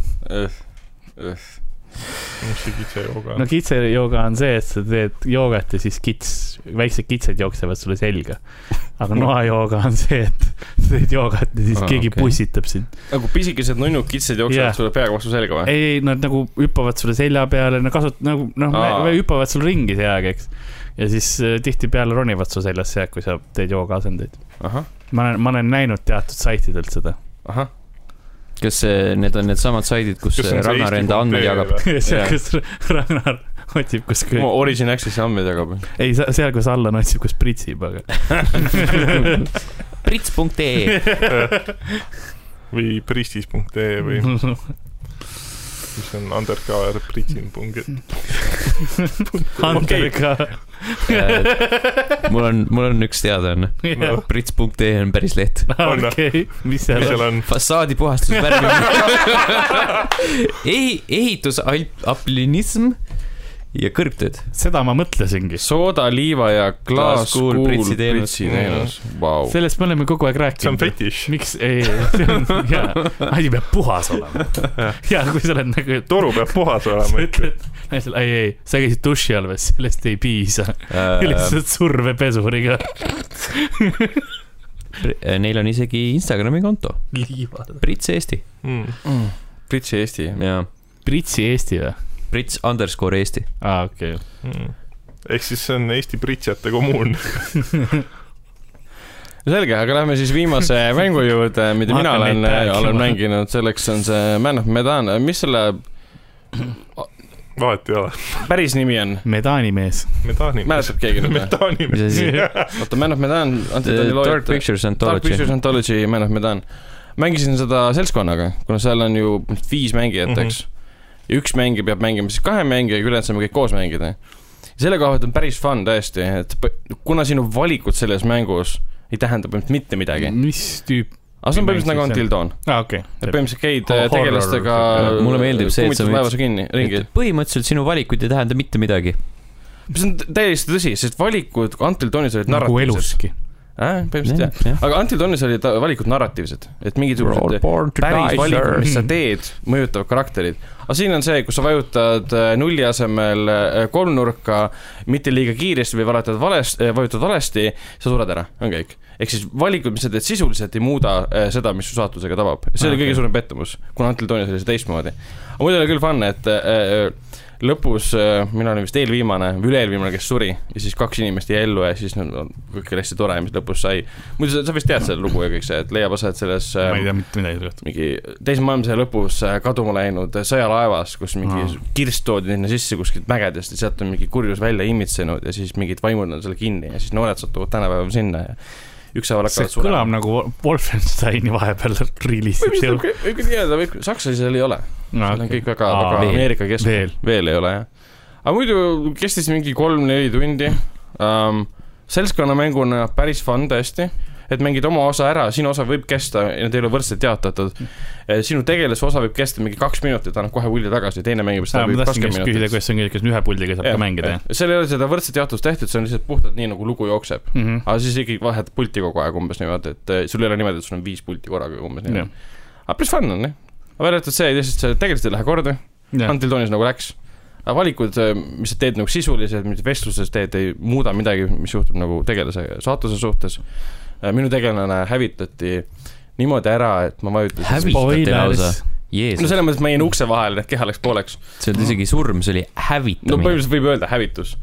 S2: mis see kitsejooga
S3: no
S2: on ?
S3: kitsejooga on see , et sa teed joogat ja siis kits , väiksed kitsed jooksevad sulle selga .
S1: (laughs)
S3: aga noajooga on see , et (laughs) sa teed joogat ja siis
S1: Aa,
S3: keegi
S1: okei.
S3: okay. pussitab sind .
S4: nagu pisikesed nunnud kitsed jooksevad
S3: Jah.
S4: yeah. sulle peaga vastu selga või ?
S3: ei , ei , nad nagu hüppavad sulle selja peale , nad kasut- , nagu noh
S4: Aa. ,
S3: hüppavad sul ringi see aeg , eks . ja siis äh, tihtipeale ronivad su seljasse jääb , kui sa teed joogaasendeid .
S4: ahah ,
S3: ma olen , ma olen näinud teatud saitidelt seda . (laughs)
S4: ahah ,
S1: kas see , need on needsamad saidid , kus
S2: Kas see on see
S1: Ragnar
S2: Eesti
S1: enda andmeid jagab ?
S2: punkt
S4: (laughs)
S2: ee või?
S3: seal ,
S4: Jah.
S3: kus Ragnar otsib , kus
S4: oma
S3: kõik ,
S4: Origin Access'i andmeid jagab .
S3: ei sa- seal , kus Allan otsib , kus pritsib ,
S2: (laughs)
S3: aga
S1: prits.ee
S2: või pristis.ee või
S3: Mhm.
S2: mis on undercover pritsing.ee .
S3: Hunteriga
S1: Äh, mul on , mul on üks teadaanne .
S3: Jah.
S1: prits.ee on päris leht .
S2: On,
S3: okei , mis seal
S2: mis
S3: on ?
S2: seal on ?
S1: fassaadi puhastus ,
S2: (laughs)
S1: värvimine Ehi, , ehitus , aplinism ja kõrgtööd .
S3: seda ma mõtlesingi .
S4: sooda , liiva ja
S1: Klaaskuul
S4: klaaskuul
S1: pritsiteenus.
S4: pritsiteenus ,
S3: (laughs)
S4: vau .
S3: sellest me oleme kogu aeg
S2: see on
S3: rääkinud .
S2: fetiš .
S3: miks , ei , see on , jaa , asi peab puhas
S4: (laughs)
S3: olema . ja kui sa oled nagu ,
S2: toru peab
S3: (laughs)
S2: puhas
S3: sa
S2: olema ikka .
S3: ütled naisele , ei , ei , sa käisid duši all või , sellest ei piisa . lihtsalt survepesuriga (laughs)
S1: äh, Neil on isegi Instagrami konto ,
S3: liivad .
S1: Prits Eesti
S2: Mm,
S4: pritsi Äh, Eesti .
S1: ja
S3: Pritsi Eesti või ?
S1: Prits underscore Eesti .
S3: aa , okei .
S2: mm. ehk siis see on Eesti pritsjate kommuun . (laughs)
S4: selge , aga lähme siis
S3: (laughs)
S4: viimase mängu juurde , mida
S3: Ma
S4: mina
S3: hakkan
S4: olen äh,
S3: neid , rääkima.
S4: olen mänginud , selleks on see Man of Medan , mis selle
S2: vahet ei ole .
S4: päris nimi on ?
S3: medaanimees .
S2: metaani .
S4: mäletab keegi nüüd
S2: (laughs)
S4: või ?
S2: metaani .
S1: mis asi see
S2: (laughs)
S4: oota , Man of Medan , antud oli
S1: Dark
S4: Lloyd . äh,
S1: Pictures
S4: Dark Pictures
S1: Anthology .
S4: Anthology , Man of Medan . mängisin seda seltskonnaga , kuna seal on ju viis mängijat ,
S2: Mhm.
S4: eks . ja üks mängija peab mängima siis kahe mängijaga , ülejäänud saame kõik koos mängida . selle koha pealt on päris fun tõesti , et p- kuna sinu valikud selles mängus ei tähenda põhimõtteliselt mitte midagi .
S1: Mm.
S3: mis tüüp ?
S4: aga see on põhimõtteliselt nagu
S3: Mis mäng
S4: Until Dawn .
S3: aa , okei .
S4: et põhimõtteliselt käid
S3: Horror-
S4: Horror, tegelastega
S1: sihuke. Mulle meeldib see, et sa
S4: kummitad
S1: võid-
S4: laevas kinni , ringi .
S1: põhimõtteliselt sinu valikuid ei tähenda mitte midagi .
S4: see on t- täiesti tõsi , sest valikud Until Dawnis olid
S3: nagu
S4: narratiivsed .
S3: eluski .
S4: äh, põhimõtteliselt jah . aga Until Dawnis olid ta- valikud narratiivsed , et mingisugused päris valikud , mis sa
S3: Mhm.
S4: teed , mõjutavad karakterid . aga siin on see , kus sa vajutad äh, nulli asemel äh, kolmnurka mitte liiga kiiresti või valetad valesti , vajutad valesti , sa sured ära , on kõik . ehk siis valikud , mis sa teed sisuliselt ei muuda äh, seda , mis su saatusega tabab . see oli
S3: Ah, Okei.
S4: kõige suurem pettumus , kuna Until Dawnis oli see teistmoodi . aga muidu oli küll fun , et äh, äh, lõpus äh, mina olin vist eelviimane või üle-eelviimane , kes suri ja siis kaks inimest jäi ellu ja siis no, no, kõik oli hästi tore , mis lõpus sai . muidu sa, sa vist tead seda lugu ja kõik see , et leiab aset selles äh,
S3: ma ei tea mitte midagi sellest .
S4: mingi teise maailmasõja lõpus äh, kaduma läinud äh, sõjalaevas , kus mingi
S3: Aa.
S4: kirst toodi sinna sisse kuskilt mägedest ja sealt on mingi kurjus välja imitsenud ja siis mingid vaimud on selle kinni ja siis noored satuvad tänapäeval sinna ja ükshaaval
S3: see
S4: hakkavad
S3: kõlab nagu Wol- Wolfensteini vahepeal reliisiti
S4: võib vist- võib küll jääda , võib , Saksas seal ei ole ,
S3: no,
S4: seal on kõik väga , Nagu
S3: Aa,
S4: väga
S3: veel.
S4: Ameerika keskmine ,
S3: veel .
S4: veel ei ole jah . aga muidu kestis mingi kolm-neli tundi um, . seltskonnamänguna päris fun tõesti , et mängid oma osa ära , sinu osa võib kesta , need ei ole võrdselt jaotatud . sinu tegelase osa võib kesta mingi kaks minutit , annab kohe hulli tagasi , teine mängib seda .
S3: ma tahtsin just küsida , kuidas see on , kas ühe puldiga saab ka mängida , jah ?
S4: seal ei ole seda võrdset jaotust tehtud , see on lihtsalt puhtalt nii nagu lugu jookseb .
S3: Mhm.
S4: aga siis ikkagi vahetad pulti kogu aeg umbes niimoodi , et eh, sul ei ole niimoodi , et sul on viis pulti korraga umbes niimoodi . aga päris fun on jah . aga välja arvatud see , lihtsalt see tegelikult ei lähe korda ,
S3: jah ,
S4: Until Dawnis nagu läks . aga valikud , mis sa teed nagu sisuliselt , mis vestluses teed , ei muuda midagi , mis juhtub nagu tegelase saatuse suhtes . minu tegelane hävitati niimoodi ära , et ma vajutasin .
S1: hävitati lausa .
S4: no
S1: Jeesus ,
S4: selles mõttes , et ma jäin ukse vahele , keha läks pooleks .
S1: see ei olnud isegi surm , see oli
S4: no
S1: hävitamine .
S4: põhimõtteliselt võib öelda hävitus .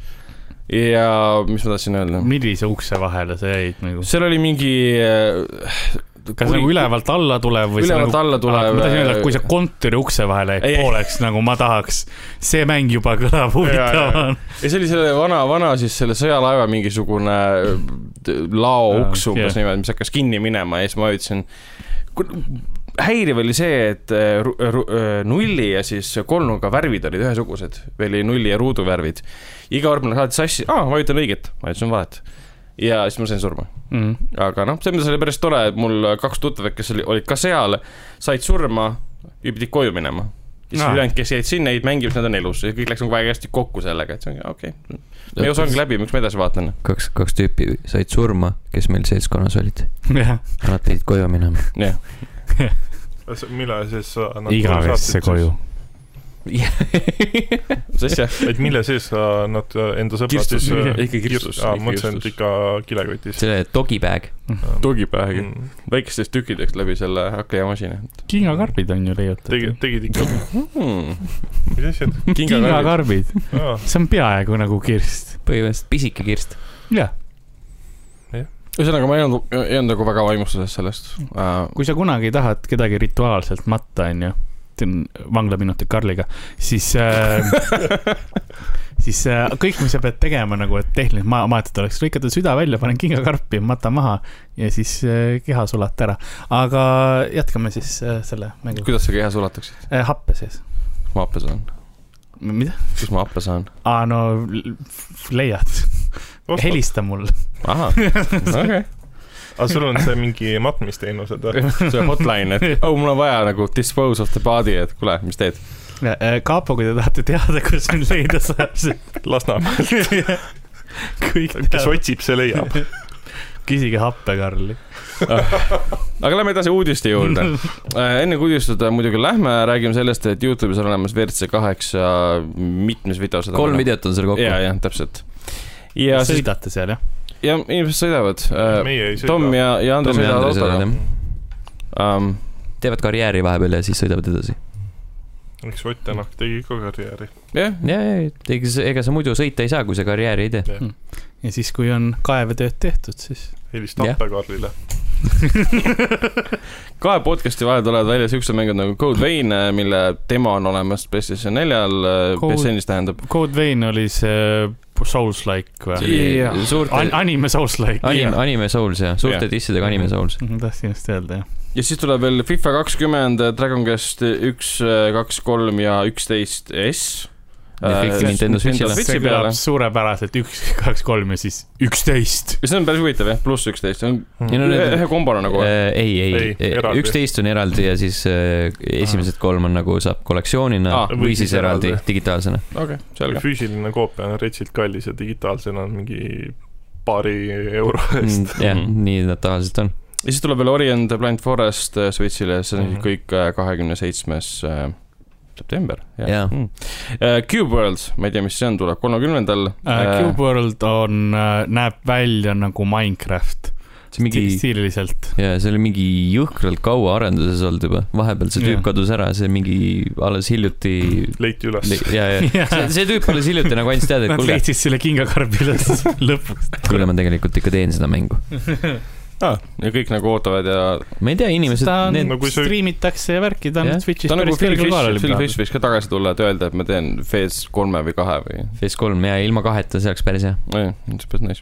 S4: ja mis ma tahtsin öelda ,
S3: millise ukse vahele sa jäid nagu ?
S4: seal oli mingi . äh,
S3: kas nagu ülevalt alla tuleb või ?
S4: ülevalt alla
S3: ma tahtsin öelda , et kui
S4: tulev äh,
S3: sa . kontori ukse vahele
S4: Ei,
S3: jäid
S4: ei.
S3: pooleks , nagu ma tahaks . see mäng juba
S4: (laughs)
S3: kõlab huvitavam .
S4: ja see oli selle vana , vana siis selle sõjalaeva mingisugune äh, lao
S3: Jaa,
S4: uks umbes
S3: jah.
S4: niimoodi , mis hakkas kinni minema ja siis ma ütlesin . häiriv oli see , et äh, ru- ru- äh, nulli ja siis kolmnurga värvid olid ühesugused , oli nulli ja ruudu värvid . iga kord ma saatsin sassi , aa , ma ütlen õiget , ma ütlesin valet . ja siis ma sain surma ,
S3: Mm.
S4: aga noh , selles mõttes oli päris tore , et mul kaks tuttavat , kes oli, olid ka seal , said surma ja pidid koju minema . ja siis
S3: Aa.
S4: ülejäänud , kes jäid sinna , jäid mängima , siis nad on elus ja kõik läks nagu väga hästi kokku sellega , et see ongi okei okay. . me ei osanudki läbi , miks ma edasi vaatan .
S1: kaks , kaks tüüpi said surma , kes meil seltskonnas olid .
S3: jah ,
S1: Nad pidid koju minema .
S4: jah ,
S2: mille siis sa nad
S3: igavesse
S2: saatsid
S3: koju .
S4: mis asja ?
S2: siis- et mille sees sa nad äh, enda sõbrad
S4: Kirstus.
S2: siis äh,
S4: Ikka kirstus.
S2: aa ,
S4: Ikka
S2: mõtlesin , et
S4: kirstus.
S2: ikka kilekotis .
S1: see dog'i bag .
S4: tugi pähe ,
S2: Mm.
S4: väikesteks tükkideks läbi selle hakklihamasina
S3: kingakarbid on ju
S2: tegid
S3: leiutatud .,
S2: tegid ikka ,
S4: hmm. .
S2: mis asjad ?
S3: kingakarbid ,
S2: aa ,
S3: see on peaaegu nagu kirst .
S1: põhimõtteliselt pisike kirst .
S3: jah ,
S4: ühesõnaga , ma ei olnud , ei olnud nagu väga vaimustuses sellest uh, .
S3: kui sa kunagi tahad kedagi rituaalselt matta , onju , teen vanglaminutid Karliga , siis äh, , (laughs) siis äh, kõik , mis sa pead tegema nagu , et tehniliselt ma- , maetud oleks , lõikad ta süda välja , panen kingakarpi , mata maha ja siis äh, keha sulata ära . aga jätkame siis äh, selle mänguga .
S4: kuidas sa keha sulataksid ?
S3: Äh, happe sees .
S4: kus ma happe saan ?
S3: mida ?
S4: kus ma happe saan ?
S3: aa , no l- leiad , helista mulle .
S4: ahah , okei okay. .
S2: aga sul on see mingi matmisteenused
S4: (laughs)
S2: või ?
S4: see hotline , et oh , mul on vaja nagu dispose of the body , et kuule , mis teed ?
S3: Äh, Kaapo , kui te tahate teada , kus mind leida saab , siis
S2: Lasnamäe ,
S3: kõik
S2: kes
S3: teavad .
S2: otsib , see leiab .
S3: küsige happe , Karli .
S4: aga lähme edasi uudiste juurde . enne kui uudistada muidugi lähme , räägime sellest , et Youtube'is on olemas WRC kaheksa mitmes video seda .
S1: kolm . videot on seal kokku .
S4: ja , jah , täpselt . ja siis ,
S3: sõidate seal , jah ?
S4: ja inimesed sõidavad .
S2: meie ei
S4: Äh,
S2: sõida .
S4: Tom
S2: Mm.
S4: ja , ja Andres
S1: Tom ja
S4: sõidavad
S1: Andres
S4: autoga
S1: sõidavad, .
S4: Um,
S1: teevad karjääri vahepeal ja siis sõidavad edasi .
S2: eks Ott Tänak tegi ka karjääri .
S4: jah ,
S1: ja , ja , ega sa , ega sa muidu sõita ei saa , kui sa karjääri ei tee .
S3: ja siis , kui on kaevetööd tehtud , siis .
S2: helista
S1: Jah.
S2: Appekarlile .
S4: kahe podcast'i vahel tulevad välja siuksed mängud nagu Code Vein , mille demo on olemas PlayStation neljal , äh,
S3: Code-
S4: PSN-is tähendab .
S3: Code Vein oli see Souls-like või ?
S4: Jah.
S1: suurte
S3: An- ,, anime Mhm. Souls-like .
S1: anime , anime Souls jah , suurte dissidega anime Souls .
S3: tahtsin just öelda , jah .
S4: ja siis tuleb veel FIFA kakskümmend , Dragon Quest üks , kaks , kolm ja üksteist S . Äh,
S1: Ja kõik Nintendo Switchile.
S3: see kõlab suurepäraselt , üks , kaks , kolm ja siis üksteist .
S4: ja see on päris huvitav jah , pluss üksteist , see on
S1: Ja no
S4: ühe
S1: need- Äh,
S4: ühe kombona nagu .
S1: ei ,
S2: Ei,
S1: ei ,
S2: eraldi.
S1: üksteist on eraldi ja siis äh, esimesed kolm on nagu saab kollektsioonina
S4: Aa,
S1: või siis eraldi
S2: eraldi.
S1: digitaalsena .
S4: okei , selge .
S2: füüsiline koopia on retsilt kallis ja digitaalsena on mingi paari euro eest .
S1: Mm, jah ,
S4: Mhm.
S1: nii nad tavaliselt on .
S4: ja siis tuleb veel Orient the Blind Forest äh, Switch'ile , see on
S2: Mhm.
S4: kõik äh, kahekümne seitsmes äh, september .
S1: Jaa.
S4: Mm. Äh, Cube World , ma ei tea , mis see on , tuleb kolmekümnendal .
S3: Äh,
S4: Äh,
S3: Cube World on , näeb välja nagu Minecraft .
S1: see mingi ,
S3: stiililiselt .
S1: jaa , see oli mingi jõhkralt kaua arenduses olnud juba , vahepeal see tüüp
S3: Jah.
S1: kadus ära , see mingi alles hiljuti ,
S2: (laughs) leiti üles .
S1: ja , ja see, see tüüp alles hiljuti nagu andis teada , et
S3: Nad
S1: kuulge ,
S3: leidsid selle kingakarbi üles lõpuks .
S1: kuule , ma tegelikult ikka teen seda mängu .
S4: Ah, ja kõik nagu ootavad ja
S1: ma ei tea , inimesed ,
S3: ta on
S1: need ,
S2: No kui sa-
S3: striimitakse ja värki , ta on
S1: Jah.
S3: Switch'is
S4: ta on nagu
S3: päris
S4: Phil
S3: kergel kohal
S4: Fish , Phil
S3: oli .
S4: Fish võiks ka tagasi tulla , et öelda , et ma teen Phase kolme või kahe või
S1: Phase kolm ja ilma kaheta , see oleks päris hea .
S4: nojah , see päris nice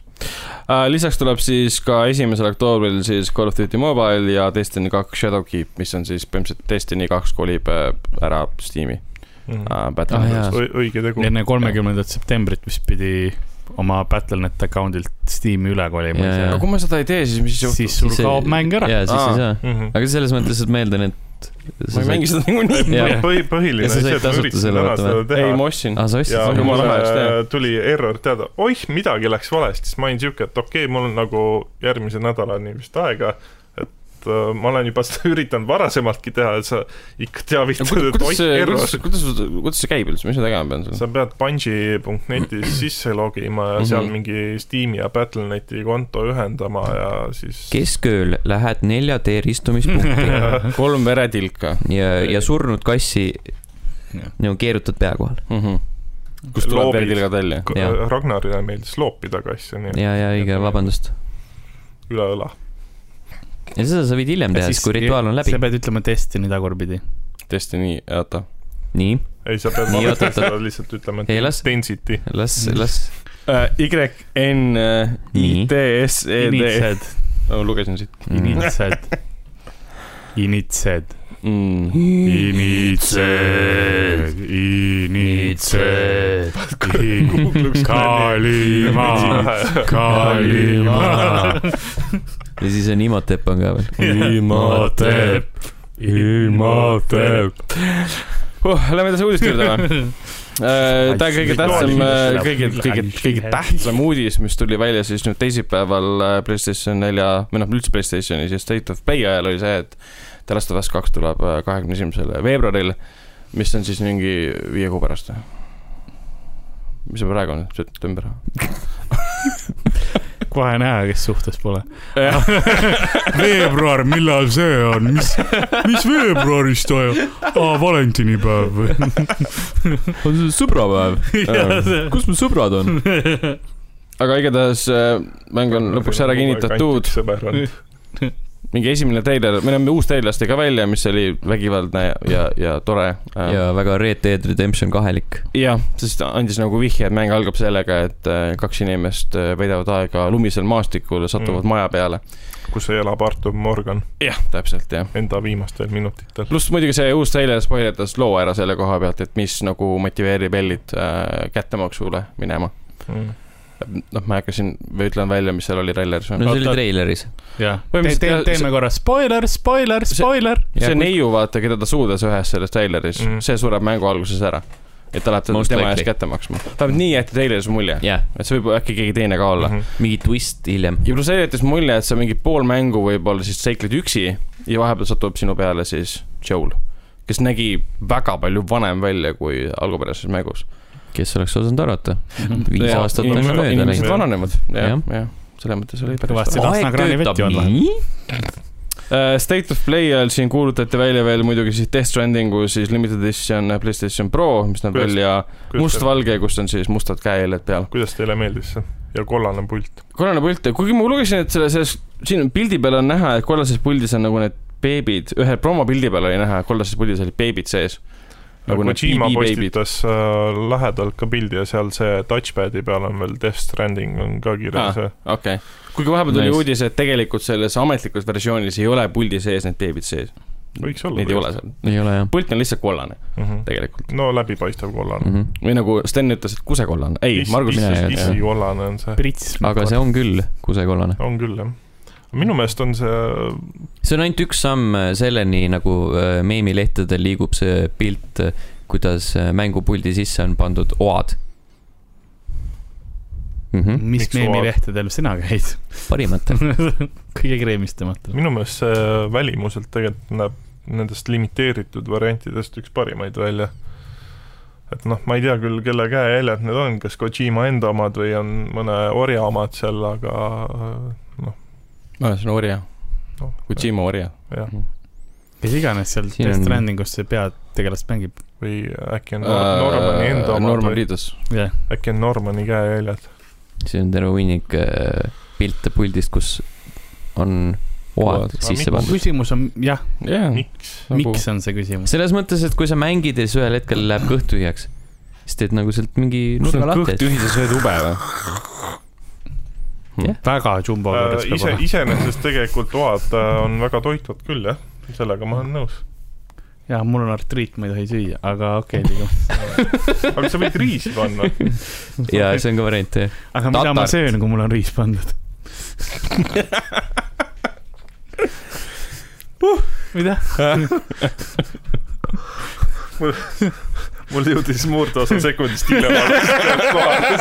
S4: uh, . lisaks tuleb siis ka esimesel oktoobril siis Call of Duty Mobile ja Destiny kaks Shadowkeep , mis on siis põhimõtteliselt Destiny kaks kolib äh, ära Steam'i uh, .
S1: Ah,
S4: Battlefield
S1: jaa.
S4: ah, .
S2: Mm. õige tegu .
S3: enne kolmekümnendat septembrit vist pidi oma Battle.net account'ilt Steam'i üle kolima
S1: Jaa, jaa.
S4: aga . kui ma seda ei tee , siis mis juhtub ?
S3: siis sul
S1: See-
S3: kaob mäng ära .
S1: jaa , siis
S4: Aa.
S1: ei saa .
S2: Mhm.
S1: aga selles mõttes , et ma eeldan , et
S4: ma ei mängi seda niikuinii .
S1: Jah.
S2: põhi , põhiline
S1: Ja sa said
S2: see , et ma
S1: tasuta
S2: üritasin
S1: selle
S2: täna
S1: vaatama.
S2: seda
S4: (laughs) ei ,
S2: teha
S4: ma ostsin .
S1: aa , sa ostsid
S2: ja
S4: on
S1: seda ?
S4: jumala
S2: mulle
S4: hea, eks tea.
S2: tuli error teada , oih , midagi läks valesti , siis ma olin siuke , et okei okay, , mul on nagu järgmise nädalani vist aega , et äh, ma olen juba (laughs) seda üritanud varasemaltki teha , et sa ikka teavitad , et
S4: kuidas
S2: oih ,
S4: see , kuidas
S2: error ,
S4: kuidas , kuidas see käib üldse , mis ma tegema pean seal ?
S2: sa pead
S4: (clears throat)
S2: Bungi.netis sisse logima ja seal
S4: Mhm.
S2: mingi Steam'i ja Battle.neti konto ühendama ja siis
S1: keskööl lähed nelja teer istumispunkti
S2: (laughs)
S4: (laughs) kolm veretilka
S1: ja ,
S3: (laughs)
S1: ja surnud kassi
S3: Jah.
S1: nagu keerutad pea kohal .
S4: mm . -hmm. kust tuleb
S2: Loobid.
S4: veretilgad välja ?
S2: K-
S1: Jah.
S2: Ragnarile meeldis loopida kasse , nii et
S1: ja , ja õige , vabandust .
S2: üle õla .
S1: ja seda sa võid hiljem teha , siis kui rituaal on läbi
S3: sa . pead ütlema Destiny tagurpidi .
S4: Destiny , oota .
S1: nii ,
S2: ei , sa pead
S1: Nii,
S2: vaatama
S1: oot-oot-oot.
S2: seda lihtsalt ütlema ,
S1: Ei,
S2: et
S1: las-
S2: density .
S1: las , las ,
S4: Äh, Y N I
S1: Nii.
S4: T S E D .
S3: Initsed ,
S4: ma lugesin siit
S1: (laughs) Mm.
S3: initsed , initsed ,
S4: mm. .
S3: initsed , initsed ,
S2: (laughs)
S3: Kalima , Kalima ,
S1: ja siis on Imotep
S3: (laughs)
S1: on ka veel .
S3: Imotep , Imotep ,
S4: uh, . Lähme edasi uudiste juurde
S3: (laughs)
S4: või ? Tämä kõige tähtsam , kõige , kõige , kõige tähtsam uudis , mis tuli välja siis nüüd teisipäeval äh, Playstation nelja või noh , üldse Playstationi siis State of Play ajal oli see , et The Last of Us kaks tuleb äh, kahekümne esimesel veebruaril , mis on siis mingi viie kuu pärast . mis see praegu on , september ?
S3: kohe näha , kes suhtes pole . (laughs) veebruar , millal see on , mis , mis veebruaris toimub ? aa , valentinipäev või ?
S1: on see sõbrapäev ? kus mu sõbrad on ?
S4: (laughs) aga igatahes äh, mäng on lõpuks ära kinnitatud ,
S2: sõber on .
S4: mingi esimene treiler , meil on uus treiler lasti ka välja , mis oli vägivaldne ja , ja tore . Äh,
S1: ja väga Red Dead Redemption kahelik .
S4: jah , sest ta andis nagu vihje , et mäng algab sellega , et äh, kaks inimest äh, veedavad aega lumisel maastikul ja satuvad
S2: Mm.
S4: mm. maja peale .
S2: kus elab Artur Morgan
S4: jah , täpselt jah .
S2: enda viimastel minutitel .
S4: pluss muidugi see uus treiler spoilerdas loo ära selle koha pealt , et mis nagu motiveerib Ellit äh, kättemaksule minema .
S2: Mhm.
S4: noh , ma ei hakka siin , või ütlen välja , mis seal oli treileris
S1: no see
S4: või ?
S1: oli
S3: Oota.
S1: treileris .
S3: (laughs) jah ,
S4: Põhimõtteliselt jah,
S3: teeme korra spoiler , spoiler ,
S4: See-
S3: spoiler .
S4: see neiu , vaata , keda ta suudas ühes selles treileris
S2: Mm.
S4: mm. , see sureb mängu alguses ära . et ta läheb teda-
S1: Most
S4: tema
S1: likely.
S4: eest kätte maksma . vähemalt nii jäeti treileris mulje ,
S1: jah ,
S4: et see võib äkki keegi teine ka olla .
S2: Mhm.
S1: mingi twist hiljem .
S4: ja pluss jättis mulje , et sa mingi pool mängu võib-olla siis seikled üksi ja vahepeal satub sinu peale siis Joel , kes nägi väga palju vanem välja kui algupärases mängus .
S1: kes oleks osanud arvata ? viis
S4: Ja,
S1: aastat on
S4: inimesed-
S1: juba mööda
S4: inimesed
S1: läinud .
S2: läinud.
S4: vananevad , jah
S1: Jah. ,
S4: jah , selles mõttes oli päris
S3: kõvasti
S4: tore .
S3: Aeg töötab nii .
S4: Äh, State of Play ajal siin kuulutati välja veel muidugi siis Death Strandingu siis limited edition äh, Playstation Pro , mis näeb
S2: Kuidas-
S4: välja mustvalge , kus on siis mustad käehiljed peal .
S2: kuidas teile meeldis see ja kollane pult ?
S4: kollane pult , kuigi ma lugesin , et selle , selles , siin pildi peal on näha , et kollases puldis on nagu need beebid , ühe promopildi peal oli näha , kollases puldis olid beebid sees . nagu need
S2: Kojima
S4: beebid .
S2: postitas äh, lähedalt ka pildi ja seal see touchpad'i peal on veel Death Stranding on ka kirjas ah. .
S4: okei , kuigi vahepeal tuli
S1: Nice.
S4: uudis , et tegelikult selles ametlikus versioonis ei ole puldi sees need beebid sees .
S2: võiks olla .
S4: Neid ei ole seal ,
S1: ei ole jah
S4: pult on lihtsalt kollane
S2: mm . -hmm.
S4: tegelikult
S2: no läbipaistev kollane .
S1: mm . -hmm.
S4: või nagu Sten ütles , et kusekollane , ei , Margus ,
S1: mis-
S4: mina
S1: mina ei tea.
S2: issi kollane on see ,
S3: prits .
S1: aga see on küll kusekollane .
S2: on küll jah . minu meelest on see ,
S1: see on ainult üks samm äh, selleni , nagu äh, meemilehtedel liigub see pilt , kuidas äh, mängupuldi sisse on pandud oad mm .
S4: Mhm.
S1: -hmm.
S3: mis
S2: Miks
S3: meemilehtedel sina käid ? (laughs)
S1: parimatel .
S3: kõige kreemistamata .
S2: minu meelest see välimuselt tegelikult näeb nendest limiteeritud variantidest üks parimaid välja . et noh , ma ei tea küll , kelle käejäljed need on , kas Kojima enda omad või on mõne orja omad seal , aga noh ,
S4: aa , see on orja ,
S2: noh .
S4: Kojima orja .
S2: jah ,
S3: kes iganes seal
S1: Siin
S3: Death
S1: on-
S3: Strandingus see peategelast mängib .
S2: või äkki on Nor- Äh, Normani enda omad
S4: Äh, Norman
S2: või
S4: Reedus .
S3: jah ,
S2: äkki on Normani käejäljed .
S1: see on terve hunnik äh, pilte puldist , kus on oad
S4: Oad.
S1: sisse
S2: Aga
S3: mu
S1: pandud .
S3: küsimus on jah ,
S4: jah ,
S2: miks ?
S3: miks on see küsimus ?
S1: selles mõttes , et kui sa mängid ja siis ühel hetkel läheb kõht tühjaks , siis teed nagu sealt mingi
S4: sul
S1: nurga
S4: on kõht
S1: lahti .
S4: tühi , sa sööd ube või ?
S3: väga jumbo
S2: Äh,
S3: vedas peab
S2: ise ,
S3: olema .
S2: iseenesest tegelikult oad äh, on väga toitvad küll jah , sellega ma olen nõus .
S3: jaa , mul on artriit , ma ei tohi süüa , aga okei okay, , liigume .
S2: aga sa võid riisi panna .
S1: ja see on ka variant jah .
S3: aga mida ma
S4: Tatart.
S3: söön , kui mul on riis pandud ? mida ?
S2: (laughs) mul jõudis murdosa sekundist (laughs) hiljem alles kohale .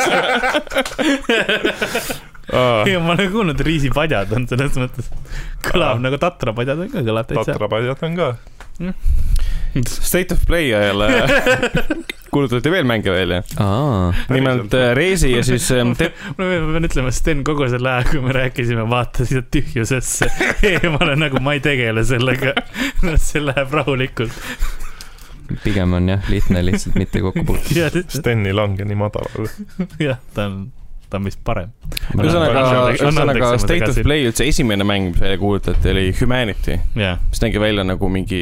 S3: ei , ma olen kuulnud , riisipadjad on selles mõttes , kõlab nagu tatrapadjad on ka , kõlab täitsa .
S2: tatrapadjad on ka .
S3: (laughs)
S4: State of Play ajal äh. (laughs) kuulutati veel mänge välja .
S1: aa ,
S4: nimelt äh, Reisi ja siis
S3: (laughs)
S4: ähm, Death ,
S3: ma pean- ma pean ütlema , Sten kogu selle aja , kui me rääkisime , vaatas lihtsalt tühjusesse (laughs) eemale , nagu ma ei tegele sellega . (laughs) see läheb rahulikult .
S1: pigem on jah , lihtne lihtsalt mitte kokku puutuda .
S2: Steni lange nii madalal .
S3: jah , ta on , ta on vist parem .
S4: ühesõnaga
S3: Anna andeks, ,
S4: ühesõnaga
S3: anna andeks,
S4: State of
S3: andeks.
S4: Play üldse esimene mäng , mis välja kuulutati , oli Humanity ,
S3: jah ,
S4: mis nägi välja nagu mingi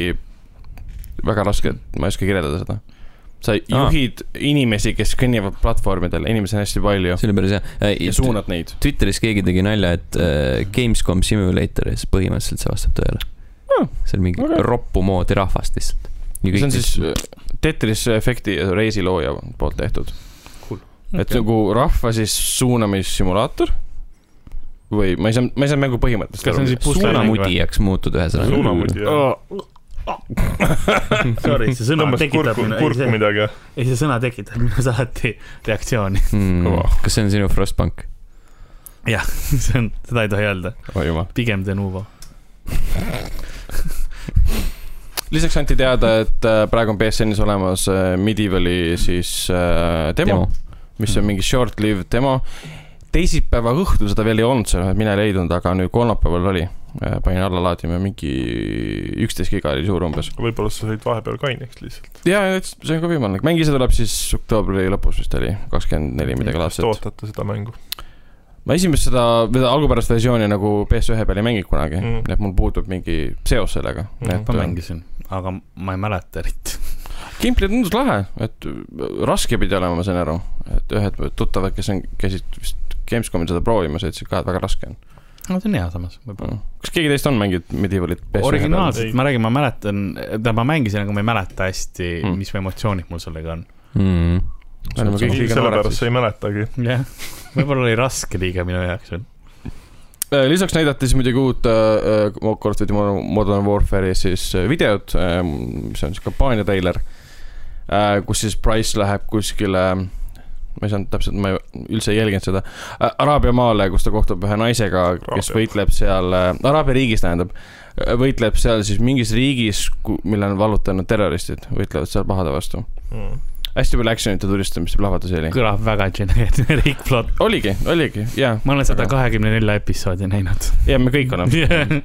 S4: väga raske , ma ei oska kirjeldada seda .
S3: Ah.
S4: sa juhid inimesi , kes kõnnivad platvormidel , inimesi on hästi palju
S1: see oli päris hea Äh,
S4: ja . suunad neid .
S1: Twitteris keegi tegi nalja , et äh, Gamescom Simulatoris põhimõtteliselt see vastab tõele
S4: Aa, .
S1: see on mingi
S4: okei.
S1: roppu moodi rahvast lihtsalt .
S4: see on siis äh, Tetris efekti ja Reisi looja poolt tehtud . et nagu rahva siis suunamissimulaator või ma ei saa , ma ei saa mängu põhimõttest
S3: Kas see on siis
S1: suunamudijaks muutud ühesõnaga .
S2: suunamudija .
S3: Sorry , see sõna
S2: tõmbas
S3: tekitab
S2: kurku , kurku
S3: ei ,
S2: midagi ,
S3: see sõna tekitab (laughs) minus alati reaktsiooni . (laughs)
S1: mm.
S2: Kõva. .
S1: kas see on sinu Frostbank ?
S3: see on , seda ei tohi öelda ,
S4: oi Oh, jumal .
S3: pigem Denuvo .
S4: lisaks anti teada , et äh, praegu on BSN-is olemas äh, Medievali siis äh, demo, Mm. demo. , mis on mingi short-lived demo . teisipäeva õhtul seda veel ei olnud , seda mina ei leidnud , aga nüüd kolmapäeval oli . panin alla laadima mingi üksteist giga oli suur umbes .
S2: võib-olla sa said vahepeal kaineks lihtsalt .
S4: ja , ja see on ka võimalik , mängi see tuleb siis oktoobri lõpus vist oli , kakskümmend neli midagi
S2: kas te
S4: laadset .
S2: ootate seda mängu ?
S4: ma esimest seda , või seda algupärast versiooni nagu PS1 peal ei mänginud kunagi
S2: Mm.
S4: mm. , nii et mul puudub mingi seos sellega
S2: Mhm.
S4: mm. .
S3: ma mängisin , aga ma ei mäleta eriti .
S4: Gimpli tundus lahe , et äh, raske pidi olema , ma sain aru , et ühed tuttavad , kes on , käisid vist Gamescomil seda proovimas , ütlesid ka , et väga raske on .
S3: no see on hea samas , võib-olla .
S4: kas keegi teist on mänginud Medievalit ?
S3: originaalselt
S2: Ei.
S3: ma räägin , ma mäletan , tähendab , ma mängisin , aga ma ei mäleta hästi
S4: Mm.
S3: mm. , mis emotsioonid mul sellega on .
S1: Mm.
S4: Me oleme kõik liiga noored
S2: sellepärast sa
S4: siis .
S2: ei mäletagi .
S3: jah , võib-olla oli raske liiga minu jaoks veel .
S4: Äh, lisaks näidati siis muidugi uut äh, äh, Call of Duty Modern- Modern Warfare'i siis äh, videot , mis on siis kampaania treiler , kus siis Price läheb kuskile , ma ei saanud täpselt , ma ei- üldse ei jälginud seda , Araabia maale , kus ta kohtub ühe naisega , kes
S2: Araabia.
S4: võitleb seal , Araabia riigis tähendab , võitleb seal siis mingis riigis , mille on vallutanud terroristid , võitlevad seal pahade vastu .
S2: Mm.
S4: hästi palju action'it ja tulistamist ja plahvatusi oli .
S3: kõlab väga (laughs) generic plot .
S4: oligi , oligi , jaa ,
S3: ma olen seda
S4: Aga-
S3: kahekümne nelja episoodi näinud .
S4: ja me kõik
S3: (laughs)
S4: oleme .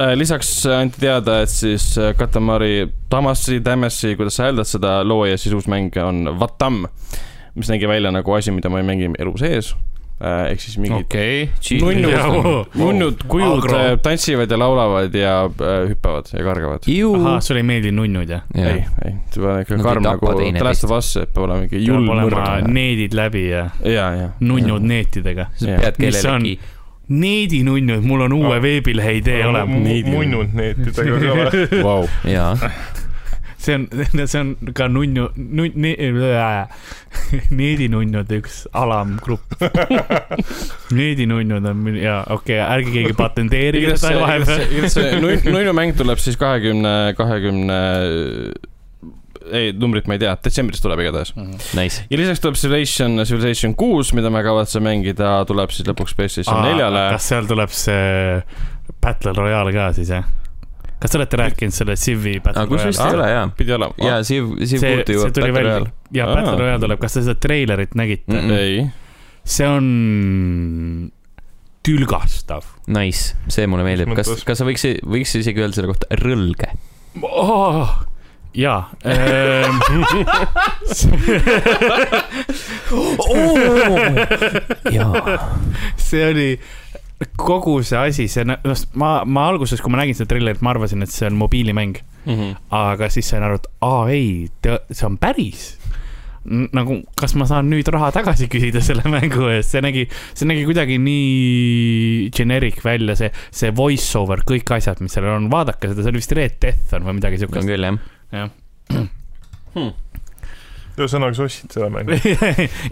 S4: Äh, lisaks äh, anti teada , et siis äh, Katamari Tamasi , Tamasi , kuidas sa hääldad seda looja siis uus mäng on Vatam , mis nägi välja nagu asi , mida ma ei mängi elu sees . ehk siis mingid okay.
S1: okei ,
S4: nunnud ,
S3: Jao.
S4: nunnud kujud
S3: Agro.
S4: äh, tantsivad ja laulavad ja äh, hüppavad ja kargavad .
S1: Juu
S3: ahah , sulle ei meeldi nunnud jah ?
S1: Jaa.
S4: ei , ei , see peab ikka
S1: Nad ei
S4: karm
S1: tapa
S4: nagu
S1: teineteist.
S4: The Last of Us , et peab olema mingi
S3: peab
S4: julm
S3: olema
S4: mõrv .
S3: needid läbi ja
S4: ja , ja .
S3: nunnud . neetidega .
S1: sa
S4: Jah.
S1: pead
S3: Mis on-
S1: kellelegi ,
S3: needi nunnud , mul on uue
S2: Ah.
S3: veebilehe idee olemas .
S4: Needid.
S2: munnud neetidega ka
S1: (laughs)
S2: või ?
S3: (laughs)
S4: Wow.
S1: jaa ,
S3: see on , (laughs) see on ka nunnu , nun- , (laughs) needinunnude üks
S4: (laughs)
S3: alamgrupp . needinunnud on minu- ja okei okay, , ärge keegi patenteerige
S4: igatahes
S3: seda
S4: see ,
S3: vahepeal .
S4: igatahes see nun-
S3: (laughs)
S4: nunnu mäng tuleb siis kahekümne , kahekümne , ei numbrit ma ei tea , detsembris tuleb igatahes .
S1: nice .
S4: ja lisaks tuleb Civilization , Civilization kuus , mida ma kavatsen mängida , tuleb siis lõpuks PlayStation neljale .
S3: kas seal tuleb see Battle Royale ka siis jah ? kas te olete rääkinud selle Civi Battle
S1: aga kus vist ei
S3: Royale ?
S1: ole jaa .
S4: pidi olema
S1: jaa ,. Siv , Siv
S3: see ,
S1: Kuutu
S3: see
S1: jõuab
S3: tuli
S1: Battle
S3: välja
S1: Royale .
S3: ja
S4: Aa.
S3: Battle Royale tuleb , kas te seda treilerit nägite ?
S1: Mm.
S4: ei ,
S3: see on tülgastav
S1: Nice , see mulle meeldib ,
S2: Mis
S1: kas
S2: mõttes? ,
S1: kas sa võiks , võiks isegi öelda selle kohta rõlge ?
S3: oh, .
S4: (laughs)
S3: jaa . ehm, (laughs)
S1: jaa ,
S3: see oli kogu see asi , see , noh , ma , ma alguses , kui ma nägin seda treilerit , ma arvasin , et see on mobiilimäng ,
S1: Mhm.
S3: aga siis sain aru , et aa ei , see on päris . nagu , kas ma saan nüüd raha tagasi küsida selle (laughs) mängu eest , see nägi , see nägi kuidagi nii generic välja , see , see voice over , kõik asjad , mis sellel on , vaadake seda , see oli vist Red Death on või midagi
S1: on
S3: siukest . (laughs)
S1: küll jah .
S2: ühesõnaga , sa ostsid selle mängu .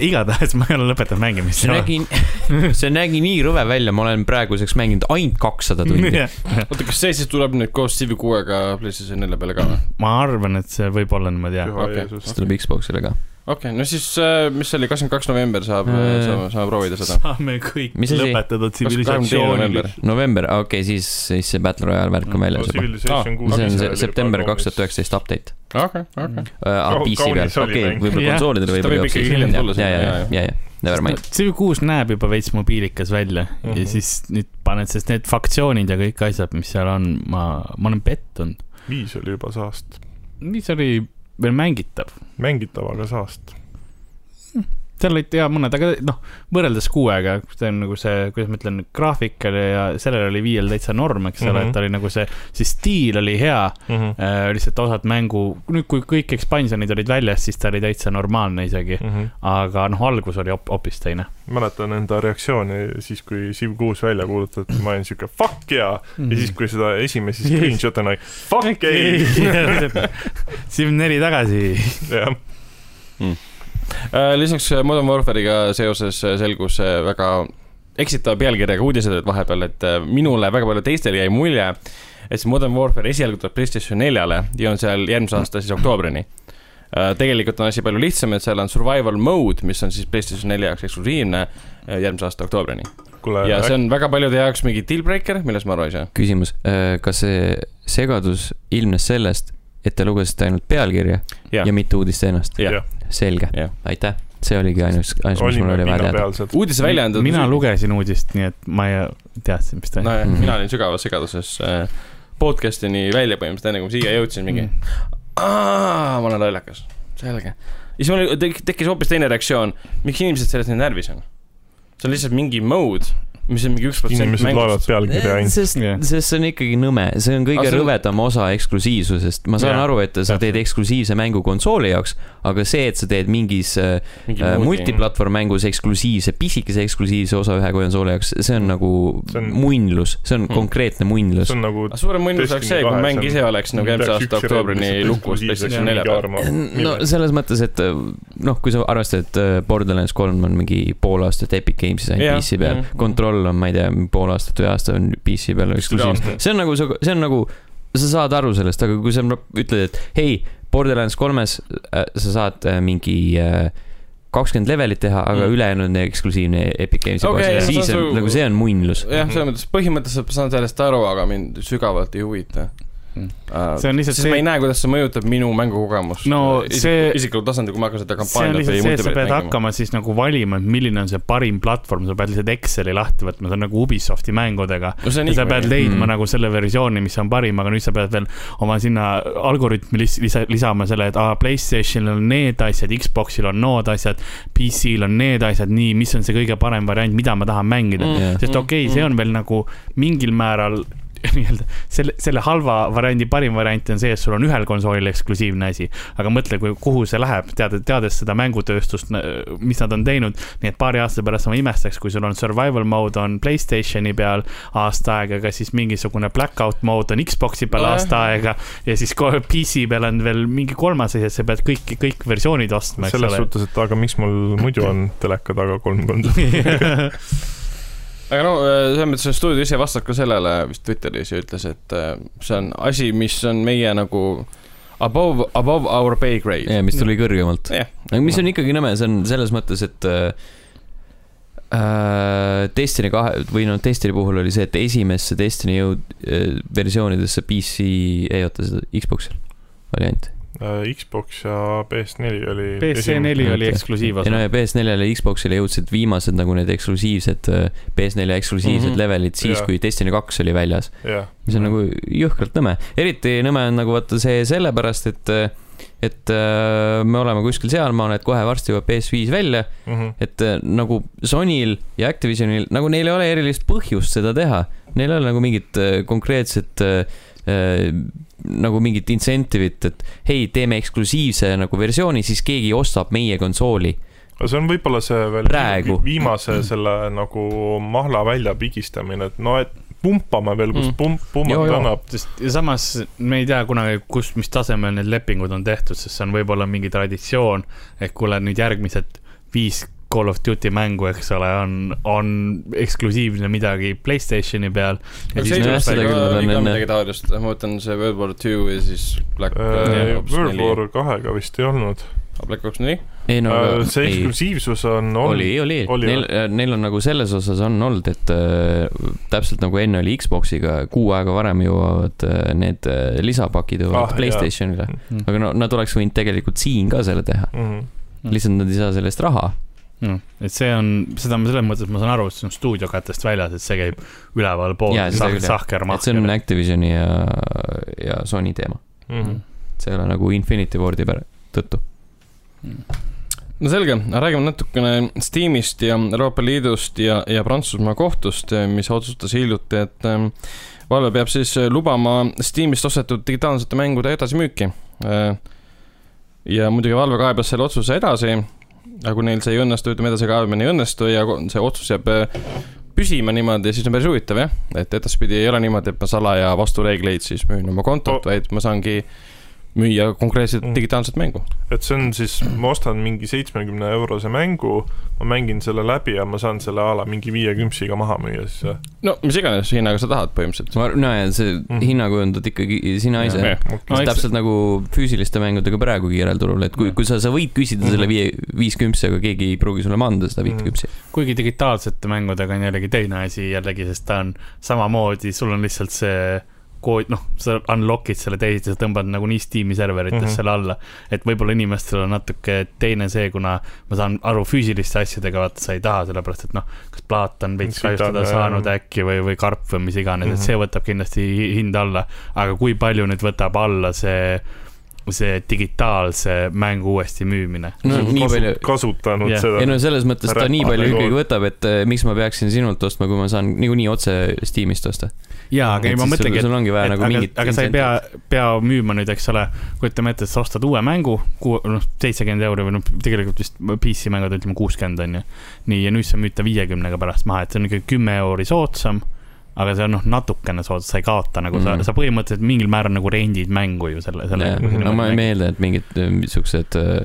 S3: igatahes ma ei ole lõpetanud mängimist .
S1: see
S3: (laughs)
S1: nägi , (laughs) see nägi nii rõve välja , ma olen praeguseks mänginud ainult kakssada tundi . (laughs)
S4: oota , kas see siis tuleb nüüd koos Civi kuuega PlayStation nelja peale ka või ?
S3: ma arvan , et see võib olla niimoodi jah .
S2: püha
S4: okei.
S2: Jeesus
S1: siis . tuleb Xboxile ka .
S4: okei , no siis , mis see oli , kakskümmend kaks november saab ,
S1: Äh.
S4: saame , saame proovida seda .
S3: saame kõik
S1: Mis asi?
S3: lõpetada tsivilisatsiooni .
S4: november ,
S1: november , okei okay, , siis , siis see Battle Royale värk on väljas juba .
S2: Civilization kuus .
S1: see on see september kaks tuhat üheksateist update
S4: okei , okei .
S1: uh, .
S2: Kau-
S1: PC peal ,
S2: kaunis oli
S1: okei ,
S2: mäng.
S1: võib-olla
S3: Jah.
S1: konsoolidel
S4: Sest ta
S1: võib-olla
S4: võib ikkagi hiljem tulla
S1: ja ,
S4: sinna,
S1: ja ,
S4: jaa,
S1: ja , ja , ja , never mind .
S3: Civ kuus näeb juba veits mobiilikas välja mm -hmm.
S2: Mhm.
S3: ja siis nüüd paned , sest need faktsioonid ja kõik asjad , mis seal on , ma , ma olen pettunud .
S2: viis oli juba saast ,
S3: mis oli veel mängitav ,
S2: mängitav , aga saast .
S3: seal olid hea mõned , aga noh , võrreldes kuuega , see on nagu see , kuidas ma ütlen , graafikal ja sellel oli viiel täitsa norm , eks ole mm , -hmm.
S2: Mhm.
S3: et ta oli nagu see , see stiil oli hea äh, , lihtsalt osad mängu , nüüd kui kõik expansion'id olid väljas , siis ta oli täitsa normaalne isegi , aga noh , algus oli hop- hoopis teine
S2: Mhm. mäletan enda reaktsiooni siis , kui Civ kuus välja kuulutati , ma olin siuke fuck jaa yeah. ja siis , kui seda esimesi screenshot'e nägin , fuck
S3: (laughs)
S2: ei ,
S3: Sim neli tagasi .
S2: (laughs) jah .
S4: Äh, lisaks äh, Modern Warfare'iga seoses äh, selgus äh, väga eksitava pealkirjaga uudised olid vahepeal , et äh, minule väga palju teistele jäi mulje , et see Modern Warfare esialgu tuleb PlayStation neljale ja on seal järgmise aasta siis oktoobrini . tegelikult on asi palju lihtsam , et seal on survival mode , mis on siis PlayStation nelja jaoks eksklusiivne äh, järgmise aasta oktoobrini .
S2: kuule ,
S4: ja see on väga paljude jaoks mingi deal breaker , millest ma aru ei saa .
S1: küsimus , kas see segadus ilmnes sellest , et te lugesite ainult pealkirja ja,
S4: Jah.
S1: ja mitte uudist ennast ?
S4: jah.
S2: jah ,
S1: selge
S4: Jah. ,
S1: aitäh , see oligi ainus , ainus , mis mul
S2: olime
S1: oli vaja teada .
S2: pinnapealsed .
S4: uudiseväljaanded .
S3: mina lugesin uudist , nii et ma ei teadsin , mis ta
S4: nojah
S1: Mhm.
S4: mm. , mina olin sügavas segaduses äh, podcast'ini välja põhimõtteliselt , enne kui ma siia jõudsin , mingi aa , ma olen lollakas , selge . ja siis mul tek- tekkis hoopis teine reaktsioon , miks inimesed sellest nii närvis on ? see on lihtsalt mingi mode , mis on mingi üks protsent
S2: inimesed loevad
S4: mängust .
S2: pealkirja ainult .
S1: sest ,
S3: Jah.
S1: sest see on ikkagi nõme , see on kõige
S4: Aga see on-
S1: rõvedam osa eksklusiivsusest , ma saan
S3: Jah,
S1: aru , et sa teed
S3: täpselt.
S1: eksklusiivse mängu konsooli jaoks , aga see , et sa teed mingis äh, äh, multiplatvorm mängus eksklusiivse , pisikese eksklusiivse osa ühe konsooli jaoks , see on nagu
S2: Mm. See on- Mm.
S1: muinlus , see on
S4: Hmm.
S1: konkreetne muinlus
S2: see . on nagu .
S4: suurem mõnus oleks see , kui
S2: Destiny
S4: mäng
S2: kahes
S4: ise oleks nagu eelmise aasta oktoobrini lukus PlayStation nelja peal .
S1: no selles mõttes , et äh, noh , kui sa arvestad , et äh, Borderlands kolm on mingi pool aastat Epic Games'is
S4: Jah.
S1: ainult PC peal
S2: Mm.
S4: Mhm. ,
S1: Control on , ma ei tea , pool aastat või aasta on PC peal eksklusiivne . see on nagu , see on nagu , sa saad aru sellest , aga kui sa ütled , et hei , Borderlands kolmes äh, sa saad äh, mingi kakskümmend levelit teha , aga
S4: Mm.
S1: mm. ülejäänud on Epic Games'i Epic Games'i
S4: Okei,
S1: okay,
S4: jah,
S1: siis
S4: see on
S1: on
S4: su-
S1: nagu see on muinlus .
S4: jah , selles mõttes põhimõtteliselt ma saan sellest aru , aga mind sügavalt ei huvita
S1: Hmm.
S3: Mm.
S4: uh, .
S3: See on lihtsalt
S4: siis
S3: see-
S4: ma ei näe , kuidas see mõjutab minu mängukogemust .
S3: No see-
S4: isiklikul tasandil , kui ma hakkan seda
S3: see on
S4: kampaaniat
S3: lihtsalt see , et sa pead . hakkama siis nagu valima , et milline on see parim platvorm , sa pead lihtsalt Exceli lahti võtma , see on nagu Ubisofti mängudega .
S4: no see on
S3: ja sa pead
S4: nii .
S3: leidma
S1: Mm.
S3: mm. nagu selle versiooni , mis on parim , aga nüüd sa pead veel oma sinna algoritmi lis- lisa , lisama selle , et aa , Playstationil on need asjad , Xboxil on nood asjad , PC-l on need asjad , nii , mis on see kõige parem variant , mida ma tahan mängida mm. .
S1: Jah.
S3: sest okei
S4: Hmm.
S3: okay, , see on veel nagu mingil määral (laughs) nii-öelda selle , selle halva variandi parim variant on see , et sul on ühel konsoolil eksklusiivne asi , aga mõtle , kui , kuhu see läheb , tead , teades seda mängutööstust , mis nad on teinud . nii et paari aasta pärast ma imestaks , kui sul on survival mode on Playstationi peal aasta aega , aga siis mingisugune blackout mode on Xbox'i peal
S4: Nojah.
S3: aasta aega ja siis kohe PC peal on veel mingi kolmas asi , et sa pead kõik , kõik versioonid ostma , eks
S2: selles
S3: ole .
S2: suhtes , et aga miks mul muidu on teleka taga kolm (laughs) konda .
S4: aga no äh, selles mõttes see stuudio ise vastas ka sellele vist Twitteris ja ütles , et äh, see on asi , mis on meie nagu above , above our pay grade .
S1: ja mis tuli kõrgemalt .
S4: Jah.
S1: aga mis on ikkagi nõme , see on selles mõttes , et äh, äh, Destiny kahe või noh , Destiny puhul oli see , et esimesse Destiny jõud- äh, versioonidesse PC , ei oota seda , Xbox'il oli ainult .
S2: Äh, Xbox ja PS4 oli .
S3: PC4 oli eksklusiivosa
S1: ei no . ja PS4-le ja Xbox'ile jõudsid viimased nagu need eksklusiivsed , äh, PS4 eksklusiivsed mm
S4: Mhm.
S1: -hmm. levelid siis
S2: Jaa. , Mhm.
S1: kui Destiny kaks oli väljas .
S2: jah ,
S1: mis on nagu jõhkralt nõme , eriti nõme on nagu vaata see sellepärast , et , et äh, me oleme kuskil sealmaal , et kohe varsti jõuab PS5 välja ,
S2: Mhm.
S1: et äh, nagu Sonyl ja Activisionil , nagu neil ei ole erilist põhjust seda teha . Neil ei ole nagu mingit äh, konkreetset äh, äh, nagu mingit incentive'it , et hei , teeme eksklusiivse nagu versiooni , siis keegi ostab meie konsooli .
S2: aga see on võib-olla see veel
S1: Praegu.
S2: vi- viimase selle nagu mahla välja pigistamine , et no et pumpame veel , kus
S4: Mm.
S2: pump , pumbad
S1: Joo, joo.
S2: annab .
S3: sest ja samas me ei tea kunagi , kus , mis tasemel need lepingud on tehtud , sest see on võib-olla mingi traditsioon , et kuule nüüd järgmised viis Call of Duty mängu , eks ole , on , on eksklusiivne midagi Playstationi peal .
S1: Ja siis nojah, seda küll nad on
S4: on
S1: enne-
S4: midagi taolist , ma mõtlen see World War Two ja siis Black äh, Ops
S2: World
S4: neli ,
S2: War kahega vist ei olnud .
S4: Black Ops neli .
S1: ei no aga
S2: Äh, see
S1: ei ,
S2: eksklusiivsus on olnud
S1: oli , oli,
S2: oli,
S1: oli , neil , neil on nagu selles osas on olnud , et äh, täpselt nagu enne oli Xbox'iga , kuu aega varem jõuavad äh, need äh, lisapakid jõuavad
S2: Ah,
S1: ah, Playstationile .
S3: Mm.
S1: aga no nad oleks võinud tegelikult siin ka selle teha ,
S2: mm . -hmm.
S3: Mm.
S1: lihtsalt nad ei saa selle eest raha .
S3: et see on , seda ma selles mõttes ma saan aru , et see on stuudiokatest väljas , et see käib ülevalpool
S1: Jaa, , seda
S3: sah-
S1: küll, jah. et see
S3: sahkermahker
S1: on . Activisioni ja , ja Sony teema ,
S2: Mm -hmm.
S1: see ei ole nagu Infinity Wardi pär- tõttu .
S4: no selge , räägime natukene Steamist ja Euroopa Liidust ja , ja Prantsusmaa kohtust , mis otsustas hiljuti , et ähm, Valve peab siis äh, lubama Steamist ostetud digitaalsete mängude edasimüüki . ja muidugi Valve kaebas selle otsuse edasi , aga kui neil see ei õnnestu , ütleme edasi kaebamine ei õnnestu ja ko- see otsus jääb äh, püsima niimoodi , siis on päris huvitav jah , et edaspidi ei ole niimoodi , et ma salaja vastureegleid siis müün oma kontot , vaid ma saangi müüa konkreetset
S2: Mm.
S4: mm. digitaalset mängu .
S2: et see on siis , ma ostan mingi seitsmekümne eurose mängu , ma mängin selle läbi ja ma saan selle a la mingi viie kümpsiga maha müüa siis või ?
S4: no mis iganes hinnaga sa tahad põhimõtteliselt .
S1: ma , no ja see
S2: Mhm.
S1: hinna kujundad ikkagi sina ise
S4: Jah. .
S2: okei
S3: No
S1: No,
S3: eks-
S1: täpselt nagu füüsiliste mängudega praegugi järelturul , et kui , kui sa , sa võid küsida selle viie , viis küpsi , aga keegi ei pruugi sulle anda seda viit
S2: Mm.
S1: küpsi .
S3: kuigi digitaalsete mängudega on jällegi teine asi jällegi , sest ta on samamoodi , sul on lihtsalt see kood , noh , sa unlock'id selle teise , sa tõmbad nagunii Steam'i serveritesse mm
S2: Mhm.
S3: -hmm. selle alla . et võib-olla inimestel on natuke teine see , kuna ma saan aru füüsiliste asjadega , vaata sa ei taha , sellepärast et noh , kas plaat on veits
S2: Sita-
S3: kahjustada
S2: jah.
S3: saanud äkki või , või karp või mis iganes mm , -hmm.
S2: Mhm.
S3: et see võtab kindlasti hi- hinda alla . aga kui palju nüüd võtab alla see , see digitaalse mängu uuesti müümine ?
S1: no nii palju ,
S2: Nagu kasutanud
S3: Jah.
S1: ei
S2: seda .
S1: no selles mõttes ta
S2: Räpane
S1: nii palju
S2: kool.
S1: ikkagi võtab , et eh, miks ma peaksin sinult ostma , kui ma saan niikuinii otse Steamist osta .
S3: jaa , aga ei , ma mõtlengi , et
S1: sul ongi vaja
S3: et
S1: nagu
S3: aga,
S1: mingit .
S3: aga sa ei pea , pea müüma nüüd , eks ole , kujutame ette , et sa ostad uue mängu , noh , seitsekümmend euri või noh , tegelikult vist PC mängud ütleme kuuskümmend on ju . nii , ja nüüd sa müüd ta viiekümnega pärast maha , et see on ikka kümme euri soodsam . aga see on noh , natukene soodsam , sa ei kaota nagu mm.
S1: Mhm.
S3: sa , sa põhimõtteliselt mingil määral nagu rendid mängu ju selle , selle .
S2: Mhm.
S1: no ma ei meeldi , et mingid eh, siuksed äh,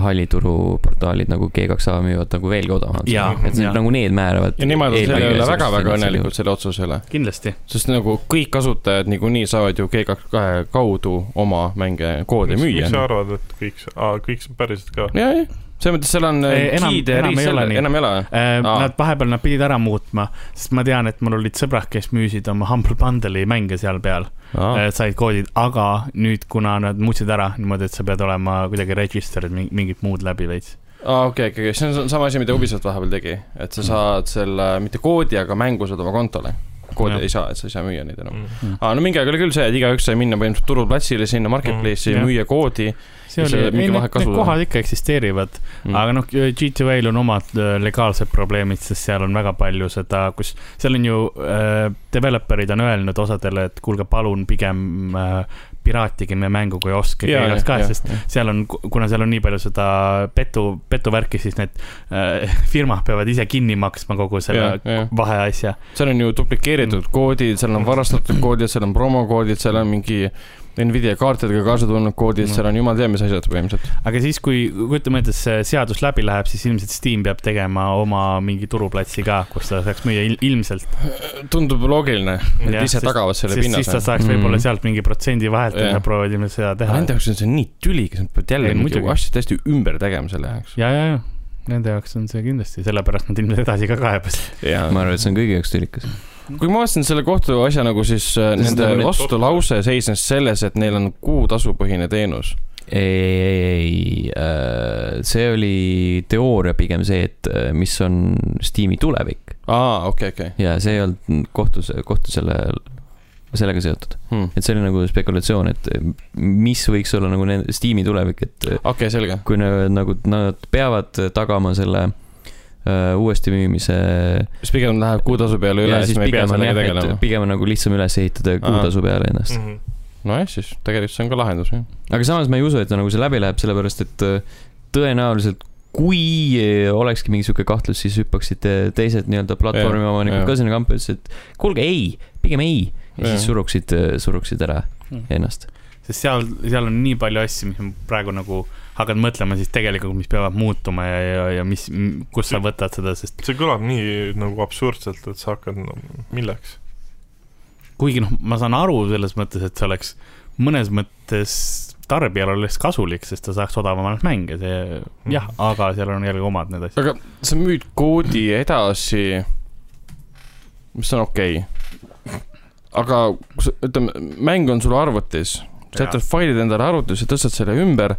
S1: hallituruportaalid nagu G2A müüvad nagu veelgi odavamalt .
S3: Jaa,
S1: et see,
S3: jaa.
S1: nagu need määravad .
S4: ja nemad on selle üle
S1: nagu
S4: väga-väga õnnelikud , selle otsuse üle .
S3: kindlasti ,
S4: sest nagu kõik kasutajad niikuinii saavad ju G2 kaudu oma mänge koodi müüa .
S2: miks sa arvad , et kõik , kõik see päriselt ka ?
S4: jah , jah , selles mõttes seal on
S3: Ei, enam-
S4: giide
S3: enam ei
S4: riis
S3: ole
S4: selle ,
S3: nii.
S4: enam ei ole . Aa.
S3: Äh, Nad vahepeal nad pidid ära muutma , sest ma tean , et mul olid sõbrad , kes müüsid oma Humble Bundle'i mänge seal peal .
S4: Aa.
S3: Ah. said koodid , aga nüüd , kuna nad muutsid ära niimoodi , et sa pead olema kuidagi registered mingi- mingit muud läbi veits .
S4: aa , okei , okei , see on sama asi , mida Ubisoft vahepeal tegi , et
S3: Mm.
S4: sa saad selle , mitte koodi , aga mängu saad oma kontole . koodi
S3: Jah. Mm.
S4: ei saa , et sa ei saa müüa neid enam .
S2: Mhm,
S4: aa , no mingi aeg oli küll see , et igaüks sai minna põhimõtteliselt turuplatsile sinna marketplace'i
S3: Mhm.
S4: ja müüa koodi .
S3: see
S4: Ja
S3: oli
S4: see , mingi
S3: ei need ,
S4: vahe
S3: need
S4: kasu-
S3: kohad ikka eksisteerivad mm. , aga noh , GTA-l on omad äh, legaalsed probleemid , sest seal on väga palju seda , kus seal on ju äh, developer'id on öelnud osadele , et kuulge , palun pigem äh, piraatige meie mängu , kui oskage igast kahest , sest seal on , kuna seal on nii palju seda petu , petuvärki , siis need äh, (laughs) firmad peavad ise kinni maksma kogu selle
S4: seal
S3: vaheasja .
S4: on ju
S3: Mm.
S4: duplikeeritud koodid , seal on varastatud koodid , seal on promokoodid , seal on mingi Nvidia kaartidega kaasa tulnud koodid ,
S3: Mm.
S4: seal on jumal teab mis asjad põhimõtteliselt .
S3: aga siis , kui kujutame ette , et see seadus läbi läheb , siis ilmselt Steam peab tegema oma mingi turuplatsi ka , kus ta saaks müüa il- ilmselt .
S4: tundub loogiline , et
S3: Jah,
S4: ise
S3: sest-
S4: tagavad selle
S3: sest siis ta
S4: pinnase .
S3: saaks võib-olla
S1: Mm.
S3: sealt mingi protsendi vahelt ja
S4: Jah.
S3: nad proovivad ilmselt seda teha .
S4: Nende jaoks on see nii tüli , kas nad peavad jälle
S3: Ei,
S4: mingi
S3: muidugi.
S4: asja täiesti ümber tegema selle jaoks .
S3: ja , ja , ja nende jaoks on see kindlasti , sellepärast nad ilmselt edasi ka kaebasid .
S1: ma arvan , et see on kõigi jaoks tülikas .
S4: kui ma vaatasin selle kohtuasja nagu siis äh, nende
S2: neil oli-
S4: vastulause seisnes selles , et neil on kuutasupõhine teenus .
S1: ei , ei , ei , ei , see oli teooria pigem see , et äh, mis on Steam'i tulevik
S4: aa , okei , okei .
S1: ja see ei olnud kohtus , kohtu selle , sellega seotud .
S4: Hmm.
S1: et see oli nagu spekulatsioon , et äh, mis võiks olla nagu nende Steam'i tulevik , et äh,
S4: okei , selge .
S1: kui nad nagu , nad peavad tagama selle äh, uuesti müümise .
S4: siis pigem läheb kuutasu peale üle , siis me ei pea sellega tegelema . Mm.
S1: pigem on nagu lihtsam üles ehitada kuutasu peale ennast .
S2: mhm.
S4: nojah , siis tegelikult see on ka lahendus , jah .
S1: aga samas ma ei usu , et ta nagu see läbi läheb , sellepärast et äh, tõenäoliselt kui äh, olekski mingi sihuke kahtlus , siis hüppaksid te- teised nii-öelda platvormi omanikud
S4: jah.
S1: ka sinna kampa , ütlesid , et kuulge ei , pigem ei . ja
S4: Jah.
S1: siis suruksid , suruksid ära
S3: Mm.
S1: ennast .
S3: sest seal , seal on nii palju asju , mis ma praegu nagu hakkad mõtlema siis tegelikult , mis peavad muutuma ja , ja , ja mis , kus sa võtad seda , sest
S2: see kõlab nii nagu absurdselt , et sa hakkad , no milleks ?
S3: kuigi noh , ma saan aru selles mõttes , et see oleks mõnes mõttes tarbijal oleks kasulik , sest ta saaks odavamalt mänge , see
S4: Hmm.
S3: jah , aga seal on jällegi omad need asjad .
S4: aga sa müüd koodi edasi , mis on okei okay. . aga kui sa- ütleme , mäng on sul arvutis , sa
S3: Jaa.
S4: jätad failid endale arvutisse , tõstad selle ümber ,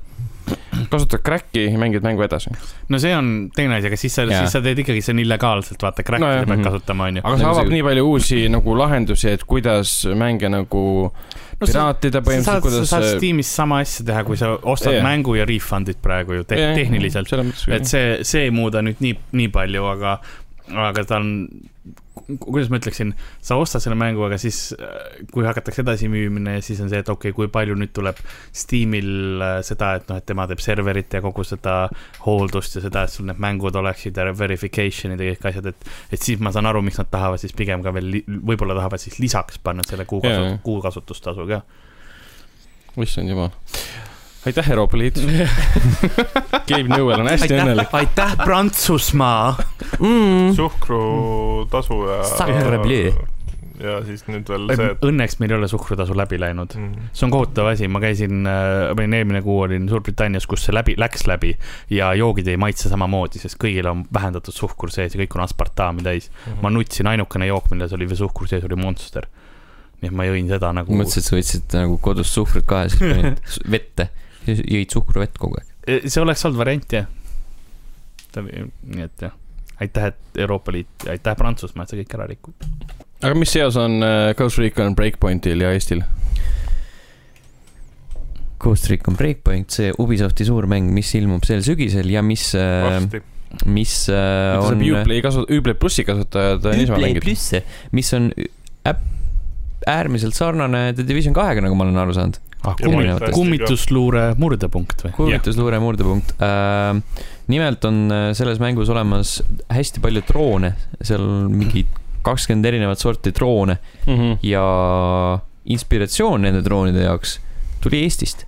S4: kasutad crack'i ja mängid mängu edasi .
S3: no see on teine asi , aga siis sa ,
S4: Jaa.
S3: siis sa teed ikkagi , see on illegaalselt , vaata , crack'i
S4: Nojah.
S3: no, pead
S1: Mhm.
S3: kasutama , onju .
S4: aga see
S1: Nagu
S4: avab
S1: see-
S4: nii palju uusi nagu lahendusi , et kuidas mänge nagu
S3: no, sa-
S4: piraatida
S3: sa saad ,
S4: põhimõtteliselt ,
S3: sa
S4: kuidas . äh,
S3: saad Steamis sama asja teha , kui sa ostad
S4: Jah.
S3: yeah. mängu ja refund'id praegu ju te yeah. tehniliselt .
S4: selles mõttes
S3: et
S4: küll .
S3: see , see ei muuda nüüd nii , nii palju , aga , aga ta on , kuidas ma ütleksin , sa ostad selle mängu , aga siis äh, kui hakatakse edasi müümine , siis on see , et okei okay, , kui palju nüüd tuleb Steamil äh, seda , et noh , et tema teeb serverit ja kogu seda hooldust ja seda , et sul need mängud oleksid ja verification'id ja kõik asjad , et , et siis ma saan aru , miks nad tahavad siis pigem ka veel , võib-olla tahavad siis lisaks panna selle kuukasu
S4: Jaa.
S3: yeah. , kuukasutustasu ka .
S4: issand jumal . aitäh , Euroopa
S3: (laughs)
S4: Liit . Gabe Newell on hästi õnnelik .
S3: aitäh , Prantsusmaa .
S2: suhkrutasu ja .
S1: Mm. Sacre bleu.
S2: ja siis nüüd veel see , et
S3: Õnneks meil ei ole suhkrutasu läbi läinud .
S2: mm,
S3: see on kohutav asi , ma käisin , ma olin eelmine kuu olin Suurbritannias , kus see läbi , läks läbi ja joogid ei maitse samamoodi , sest kõigil on vähendatud suhkur sees ja kõik on aspartami täis .
S2: mhm.
S3: ma nutsin , ainukene jook , milles oli veel suhkur sees , oli Monster . nii et ma jõin seda nagu .
S1: mõtlesin , et sa võtsid nagu kodus suhkrut ka ja siis panid
S4: (laughs)
S1: su- vette , jõid suhkruvett kogu aeg .
S3: E, see oleks olnud variant jah . nii et jah , aitäh , et Euroopa Liit ja aitäh Prantsusmaa , et see kõik ära rikub .
S4: aga mis seos on äh, Ghost Recon Breakpointil ja Eestil ?
S1: Ghost Recon Breakpoint , see Ubisofti suur mäng , mis ilmub sel sügisel ja mis ,
S2: varsti .
S1: Ehm, mis äh,
S4: saab
S1: on .
S4: Uplay kasu- , Uplay plussi kasutajad äh, niisama mängida .
S1: plusse , mis on äpp , äärmiselt sarnane The Division kahega , nagu ma olen aru saanud .
S3: ah ,
S2: Ja
S1: kummi-
S3: kummitus
S2: Minecraftiga. ,
S3: kummitusluure murdepunkt või ?
S1: kurvitusluure murdepunkt äh, . nimelt on äh, selles mängus olemas hästi palju troone , seal on mingi kakskümmend erinevat sorti troone ja inspiratsioon nende troonide jaoks tuli Eestist ,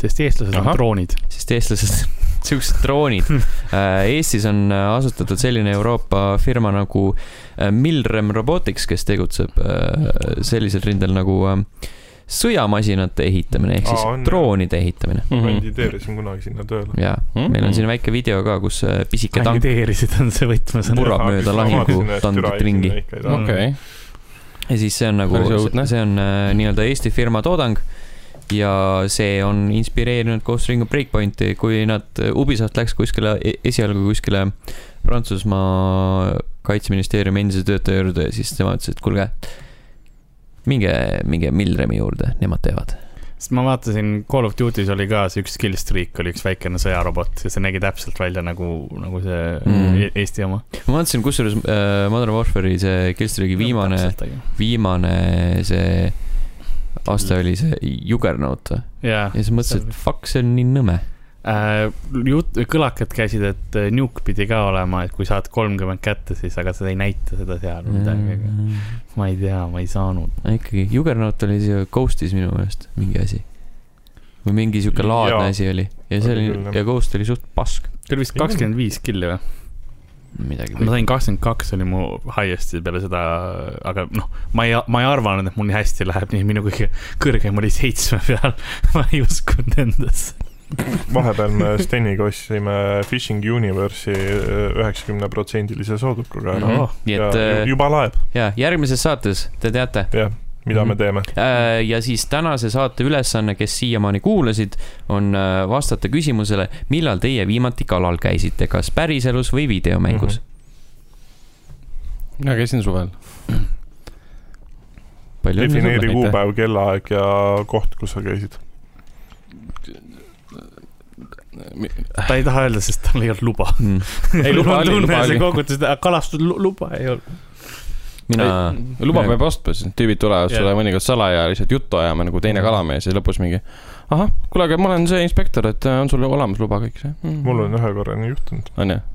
S3: sest eestlased on
S4: Ahah.
S3: droonid .
S1: sest eestlased , (laughs) siuksed troonid äh, . Eestis on äh, asutatud selline Euroopa firma nagu äh, Milrem Robotics , kes tegutseb äh, sellisel rindel nagu äh, sõjamasinate ehitamine ehk siis
S2: Aa,
S1: Aa,
S2: on, jah.
S1: droonide ehitamine
S4: Mhm.
S2: kandideerisin kunagi sinna tööle .
S1: ja meil
S4: Mm.
S1: on siin väike video ka , kus äh, pisike tank
S3: kandideerisid on see võtmesõna .
S1: Murab mööda lahingu tandrit ringi.
S4: okei ,
S1: ja siis see on nagu
S4: Päris , õudne.
S1: see on äh, nii-öelda Eesti firma toodang ja see on inspireerinud Ghost Ringi Breakpointi , kui nad , Ubisoft läks kuskile , esialgu kuskile Prantsusmaa kaitseministeeriumi endise töötaja juurde ja siis tema ütles , et kuulge , minge , minge Milremi juurde , nemad teevad .
S3: sest ma vaatasin , Call of Duty's oli ka see üks killstreak oli üks väikene sõjarobot ja see nägi täpselt välja nagu , nagu see
S1: Mm.
S3: mm. Eesti oma .
S1: ma vaatasin , kusjuures äh, Modern Warfare'i see Killstreaki viimane , viimane see aasta oli see Juggernaut või ?
S3: jaa Äh,
S1: ja . siis mõtlesin , et fuck , see on nii nõme .
S3: jut- , kõlakad käisid , et äh, nuke pidi ka olema , et kui saad kolmkümmend kätte , siis , aga seda ei näita seda seal või
S1: Mm.
S3: midagi , aga
S1: Äh,
S3: ma ei tea , ma ei saanud .
S1: Aga ikkagi , Juggernaut oli see Ghostis minu meelest mingi asi . või mingi sihuke laadne
S2: Jaa.
S1: asi oli ja see
S2: Oli
S1: oli
S2: küll, jah.
S1: ja Ghost oli suht pask .
S3: see oli vist
S2: Ei,
S3: kakskümmend viis killi või ?
S1: midagi
S3: ma . sain kakskümmend kaks oli mu highest'i peale seda , aga noh , ma ei , ma ei arvanud , et mul nii hästi läheb , nii minu kõige kõrgem oli seitsme peal . (laughs) ma ei uskunud endasse .
S2: vahepeal me Steniga ostsime Fishing Universe'i eh, üheksakümneprotsendilise soodukuga ära .
S1: nii
S2: ja
S1: et
S2: ju-
S1: äh,
S2: juba laeb ,
S1: ja järgmises saates te teate
S2: jah , mida me
S1: Mhm.
S2: teeme .
S1: äh, ja siis tänase saate ülesanne , kes siiamaani kuulasid , on äh, vastata küsimusele , millal teie viimati kalal käisite , kas päriselus või videomängus mm .
S4: mina käisin suvel .
S1: -hmm. palju
S2: defineeri
S1: õnne sulle .
S2: kuupäev , kellaaeg ja koht , kus sa käisid .
S3: ta ei taha öelda , sest tal ei olnud luba .
S2: Mhm.
S1: Mhm.
S4: ei
S3: (laughs)
S4: luba oli , luba
S3: see
S4: oli .
S3: kogutas , kalastusluba ei olnud .
S1: mina ,
S4: (laughs) Ei, luba peab ostma , siis tüübid tulevad
S3: Jah.
S4: sulle mõnikord salaja lihtsalt juttu ajama nagu teine kalamees ja lõpus mingi . ahah , kuule , aga ma olen see inspektor , et äh, on sul olemas luba kõik see mm.
S2: mul on ühe korra nii juhtunud . (laughs)
S4: on jah ,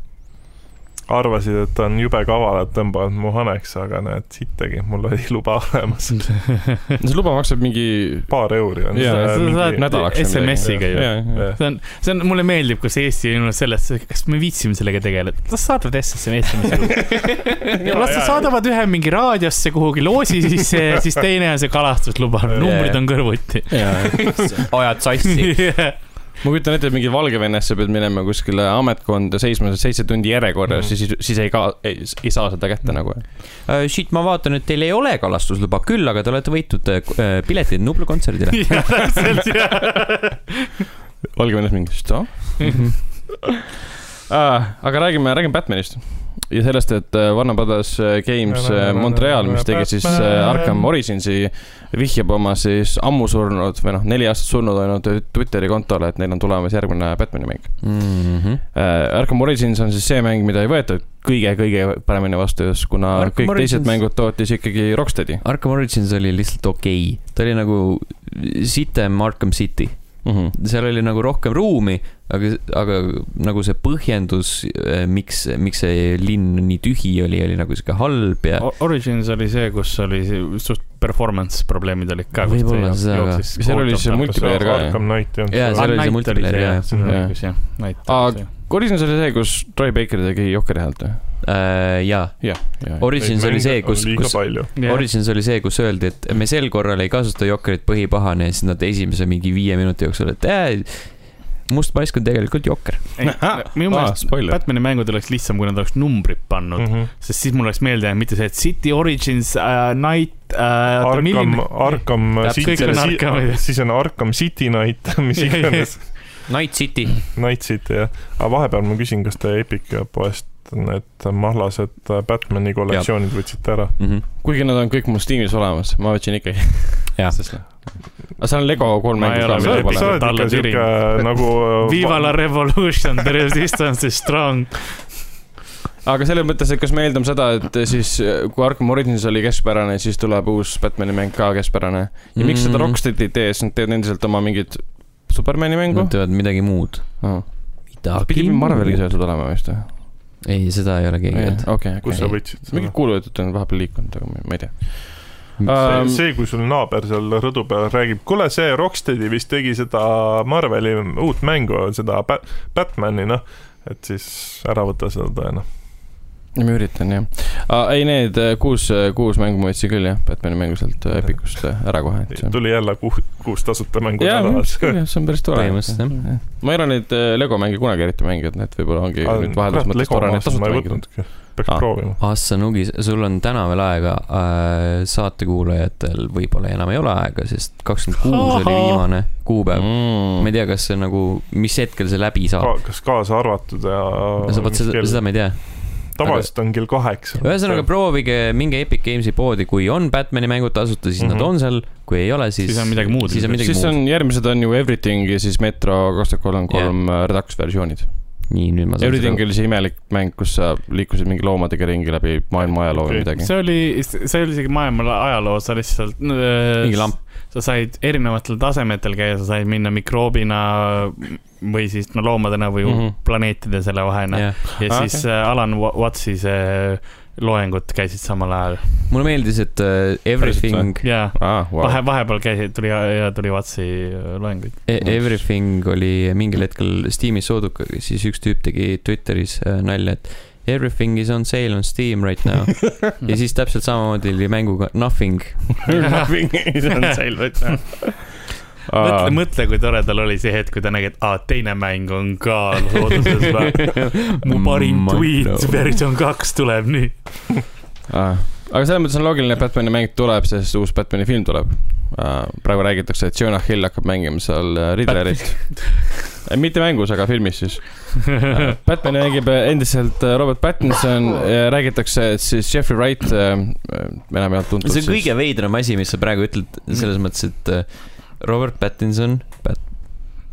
S2: arvasid , et on jube kavalad , tõmbavad mu haneks , aga näed , sittagi , mul oli luba olemas .
S4: see luba maksab mingi
S2: paar euri on
S4: Jaa,
S2: see
S3: sa saad-
S2: mingi-
S4: nädalaks .
S3: SMS-iga ju.
S4: ju .
S2: jah.
S3: see on , see on , mulle meeldib , kus Eesti on sellesse , kas me viitsime sellega tegeleda , las saadavad
S4: (laughs)
S3: SMS-i , mis juhtub . las
S2: jaa,
S3: nad
S2: jaa.
S3: saadavad ühe mingi raadiosse kuhugi loosi sisse ja siis teine on see kalastusluba , numbrid on kõrvuti .
S1: (laughs) ajad sassi .
S3: (laughs) ja
S4: ma kujutan ette , et mingi Valgevenesse pead minema kuskile ametkonda seisma seitse tundi
S1: Mhm.
S4: järjekorras mm. , siis , siis ei ka- , ei saa seda kätte nagu .
S1: Äh, Shit , ma vaatan , et teil ei ole kalastusluba , küll aga te olete võitnud äh, k- äh, piletid Nublu kontserdile .
S3: täpselt ja .
S4: Valgevenes mingi , seda . aga räägime , räägime Batmanist ja sellest , et äh, Warner Brothers äh, Games äh, Montreal , mis tegi siis äh, Arkham Originsi , vihjab oma siis ammu surnud või noh , neli aastat surnud olnud Twitteri kontole , et neil on tulemas järgmine Batmani mäng .
S5: Mhm.
S4: Arkham Origins on siis see mäng , mida ei võetud kõige-kõige paremini vastu , kuna
S1: Arkham
S4: kõik teised
S1: Origins-
S4: mängud tootis ikkagi Rocksteadi
S1: Arkham Origins oli lihtsalt okei okay. , ta oli nagu sitem Arkham City ,
S4: Mhm.
S5: mm . -hmm.
S1: seal oli nagu rohkem ruumi , aga , aga nagu see põhjendus , miks , miks see linn nii tühi oli , oli nagu sihuke halb
S3: Oh.
S1: ja .
S3: Origins oli see , kus oli see suht performance probleemid olid ka .
S1: Võib-olla see, aga-
S4: seal oli see multi- multiplayer ka, jah.
S2: Arkham Knight
S1: Jaa,
S2: jah .
S1: seal oli see multiplayer, jah.
S4: Jah.
S3: jah .
S4: Origins oli see , kus Troy Baker tegi Jokeri häält või ?
S1: äh, . jaa ,
S4: jah , (laughs) jah .
S1: Origins oli see , kus ,
S2: liiga
S1: kus ,
S2: palju .
S1: Origins oli see , kus öeldi , et me sel korral ei kasuta Jokkerit põhipahana ja siis nad esimese mingi viie minuti jooksul , et äh, must mask on tegelikult Jokker .
S4: (laughs)
S3: Ei, minu meelest
S4: Ah, spoiler .
S3: Batman'i mängud oleks lihtsam , kui nad oleks numbrid pannud mm ,
S2: -hmm.
S3: -hmm. sest siis mul oleks meelde jäänud mitte see , et City Origins uh, , Night uh, .
S2: Arkham ,
S3: (laughs)
S2: Arkham
S3: Täpselt,
S2: City
S3: kõik on , Arkhamid.
S2: siis on Arkham City Night , (laughs) mis iganes ,
S5: Night City .
S2: Night City jah . aga vahepeal ma küsin , kas te Epic poest need mahlased Batman'i kollektsioonid võtsite ära ?
S1: Mhm.
S4: kuigi nad on kõik mul Steamis olemas , ma võtsin ikkagi .
S1: Jah.
S4: aga seal on Lego kolm
S3: Ma ei ole
S2: sa
S3: veel
S2: oled ,
S3: Võib-olla
S2: sa
S4: mängu .
S2: oled
S3: alla
S2: ikka
S3: tirin.
S2: siuke nagu .
S3: (laughs) Viva la revolution , the resistance is strong .
S4: aga selles mõttes , et kas me eeldame seda , et siis äh, kui Arkham Origins oli keskpärane , siis tuleb uus Batman'i mäng ka keskpärane . ja
S1: Mhm.
S4: miks
S1: Mm.
S4: seda Rocksteadi ei tee , sest nad teevad endiselt oma mingit Supermani mängu
S1: Nad . teevad midagi muud .
S4: pidi Marveliga . seotud olema vist või ?
S1: ei , seda ei ole keegi öelnud .
S4: okei ,
S2: kus sa
S4: okei .
S2: võtsid
S4: mingid
S2: seda ?
S4: kuulujutud on vahepeal liikunud , aga ma ei- ma ei
S2: see,
S3: Ähm.
S4: tea .
S2: see , kui sul naaber seal rõdu peal räägib , kuule , see Rocksteadi vist tegi seda Marveli uut mängu , seda Bat- Batman'i , noh , et siis ära võta seda noh. tõena .
S4: Ja ma üritan jah ah, . ei , need eh, kuus , kuus mängu ma võtsin küll jah , Batman'i mängu sealt eh, Epicust eh, ära kohe , et see on .
S2: tuli jälle kuh- , kuus tasuta mängu
S4: jaa , minu
S2: nädalas
S4: arust . küll jah , see on päris tore .
S5: Põhimõtteliselt,
S4: jah . ma ei ole neid eh, Lego mänge kunagi eriti mänginud , nii et võib-olla ongi nüüd vaheldus mõttes tore neid tasuta mängida .
S2: peaks
S4: Aa.
S2: proovima .
S1: Assanugi , sul on täna veel aega äh, , saatekuulajatel võib-olla enam ei ole aega , sest kakskümmend kuus oli viimane kuupäev mm. . ma
S4: ma
S1: ei tea , kas see nagu , mis hetkel see läbi saab .
S2: kas kaasa arvatud ja
S1: sa vot seda , seda ma ei tea .
S2: tavaliselt on kell kaheksa .
S1: ühesõnaga , proovige , minge Epic Games'i poodi , kui on Batman'i mängud tasuta , siis mm -hmm.
S2: Mhm.
S1: nad on seal , kui ei ole , siis
S3: Siis on midagi muud
S1: siis on
S3: ilmselt.
S1: midagi
S4: siis
S1: muud on... .
S4: on , järgmised on ju Everything ja siis Metro kaks tuhat kolmkümmend kolm eh, Redux versioonid .
S1: nii , nüüd ma saan
S4: Everything oli see imelik mäng , kus sa liikusid mingi loomadega ringi läbi maailma ajaloo või
S2: Okei.
S4: midagi .
S3: see oli , see oli isegi maailma ajaloo , sa lihtsalt . mingi
S1: mingi . lamp .
S3: sa said erinevatel tasemetel käia , sa said minna mikroobina või siis no loomadena või mm
S4: Mhm.
S3: -hmm. planeetide selle vahena
S1: jah ,
S3: ja
S4: Ah,
S3: siis okay. Alan Wa- Wattsi see loengud käisid samal ajal
S1: mulle meeldis , et äh, Everything ,
S3: ja
S4: aa , Ah, vau .
S3: vahe , vahepeal käisid , tuli ja tuli äh, Wattsi loenguid .
S1: E- Everything oli mingil hetkel Steamis sooduka , siis üks tüüp tegi Twitteris äh, nalja , et Everything is on sale on Steam right now (laughs) ja siis täpselt samamoodi oli mänguga Nothing .
S3: (laughs) mõtle , mõtle , kui tore tal oli see hetk , kui ta nägi , et aa , teine mäng on ka looduses
S4: (laughs)
S3: või . mu parim
S1: Ma-
S3: tweet versioon kaks tuleb nüüd .
S4: Ah, aga selles mõttes on loogiline , et Batman'i mäng tuleb , sest uus Batman'i film tuleb . praegu räägitakse , et Jonah Hill hakkab mängima seal äh, Riddlerit . mitte mängus , aga filmis siis .
S3: (laughs)
S4: Batman'i mängib äh, endiselt äh, Robert Pattinson ja räägitakse , et siis Jeffrey Wright , enam ei olnud tuntud .
S1: see on kõige veidram asi , mis sa praegu ütled , selles mõttes , et äh, Robert Pattinson , Bat- ,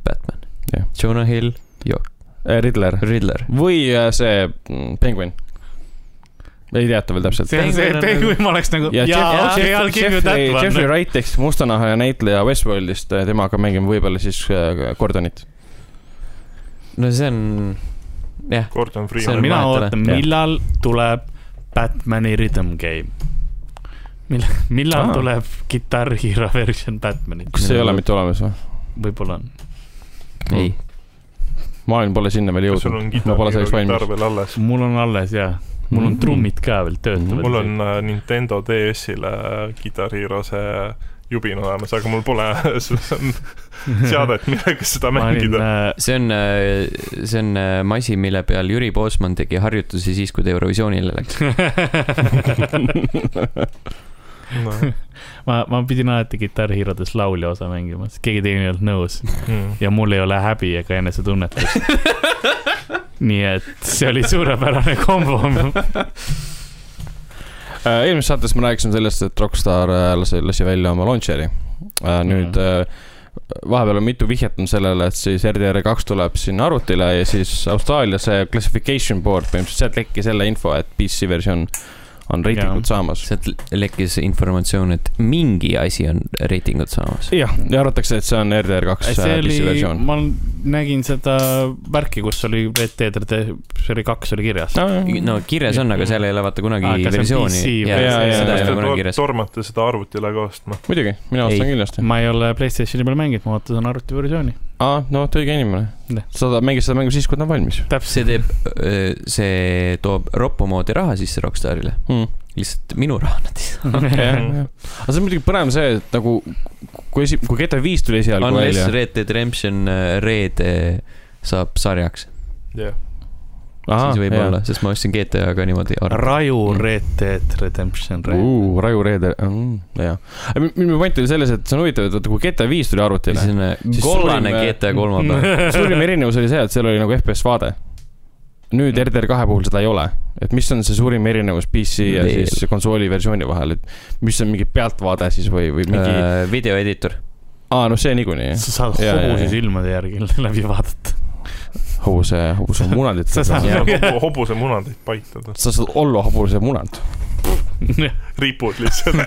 S1: Batman
S4: Jah.
S1: Jonah Hill ,
S4: kõige . äh, Riddler
S1: Riddler .
S4: või äh, see mm, Penguin . ei teata veel täpselt .
S3: see on see , et kui ma oleks nagu
S4: ja
S3: jaa , okei , I
S4: Jeffrey
S3: will give you that
S4: Jeffrey- Jeffrey
S3: one .
S4: Wright ehk siis mustanahaja näitleja Westworldist , tema hakkab mängima võib-olla siis äh, Gordonit .
S1: no see on , jah ,
S2: Gordon
S1: See on
S2: Freeman .
S1: mina
S3: mina
S1: vahet ei ole.
S3: ootan ,
S1: Jah.
S3: millal tuleb Batman'i rhythm game . millal , millal
S4: Aa.
S3: ah. tuleb Guitar Hero version Batman'i ,
S4: kas see ei ole mitte olemas või ?
S3: võib-olla on .
S1: ei ,
S4: maailm pole sinna veel
S2: kas sul on
S4: jõudnud . ma pole selleks valmis
S2: kitarr . veel alles ?
S3: mul on alles ja , mul on trummid ka veel töötavad .
S2: mul on äh, Nintendo DS-ile Guitar Hero see jubin olemas , aga mul pole (laughs)
S3: (laughs)
S2: seadet , millega seda
S3: äh,
S2: mängida .
S1: see on , see on äh, asi , mille peal Jüri Poosman tegi harjutusi siis , kui ta Eurovisioonile läks .
S4: (laughs)
S2: No.
S3: äh, (laughs) ma , ma pidin alati Guitar Herodes laulja osa mängima , sest keegi teine ei olnud nõus (laughs)
S2: Mm.
S3: ja mul ei ole häbi ega enesetunnetust . nii et see oli suurepärane kombo .
S4: Äh, eelmises saates ma rääkisin sellest , et Rockstar äh, lasi , lasi välja oma launcher'i . nüüd
S3: Mhm.
S4: äh, vahepeal on mitu vihjet on sellele , et siis RDR2 tuleb sinna arvutile ja siis Austraalia see classification board põhimõtteliselt sealt lekkis jälle info , et PC versioon on reitingut saamas .
S1: sealt lekkis informatsioon , et mingi asi on reitingut saamas .
S4: jah , ja arvatakse , et see on RDR kaks
S3: Äh,
S4: äh,
S3: see oli
S4: dissiversioon .
S3: ma nägin seda värki , kus oli Red Dead , see oli kaks oli kirjas .
S1: no kirjas on , aga seal ei ole vaata kunagi
S3: Aa,
S1: ah,
S3: kas see on
S1: versiooni
S3: PC . või-
S1: ja, ja,
S4: Jaa,
S1: ja, seda
S4: jaa,
S1: ei ole kunagi kirjas .
S2: tormate seda arvuti üle ka ostma .
S4: muidugi , mina
S1: Ei.
S4: ostan kindlasti .
S3: ma ei ole Playstationi peal mänginud , ma vaatasin arvutiversiooni .
S4: aa , no vot , õige inimene
S3: Jah. .
S4: sa tahad mängida seda mängu siis , kui ta on valmis
S1: see teeb , see toob roppu moodi raha sisse Rockstarile ,
S4: mm. .
S1: lihtsalt minu raha nad ei saa .
S4: aga see on muidugi põnev see , et nagu kui esi- , kui GTA viis tuli esialgu
S1: Unless
S4: välja .
S1: Red Dead Redemption äh, reede saab sarjaks ,
S2: jah ,
S1: siis võib-olla , sest ma ostsin GTA ka niimoodi arvuti .
S3: raju Red Dead Redemption Red .
S4: Uh, Raju Reeder mm, , jah . minu point oli selles , et see on huvitav , et vaata kui GTA viis tuli arvutile ,
S1: selline
S4: Siis
S1: äh, kollane
S4: surime-
S1: GTA kolmapäev .
S4: suurim erinevus oli see , et seal oli nagu FPS vaade . nüüd RDR kahe puhul seda ei ole , et mis on see suurim erinevus PC ja
S1: Veel.
S4: siis konsooli versiooni vahel , et mis on mingi pealtvaade siis või , või (laughs) mingi ,
S1: Äh. videoeditor .
S4: aa noh , see niikuinii
S3: sa saad
S4: Jaa, jaa,
S3: hobuse
S4: jaa.
S3: silmade järgi (laughs) läbi vaadata .
S4: hobuse , hobuse
S1: (laughs)
S4: munandit .
S3: Sa saad-
S4: sa
S2: hobuse munandeid paitada ,
S4: saad olla hobuse munand .
S2: ripud lihtsalt .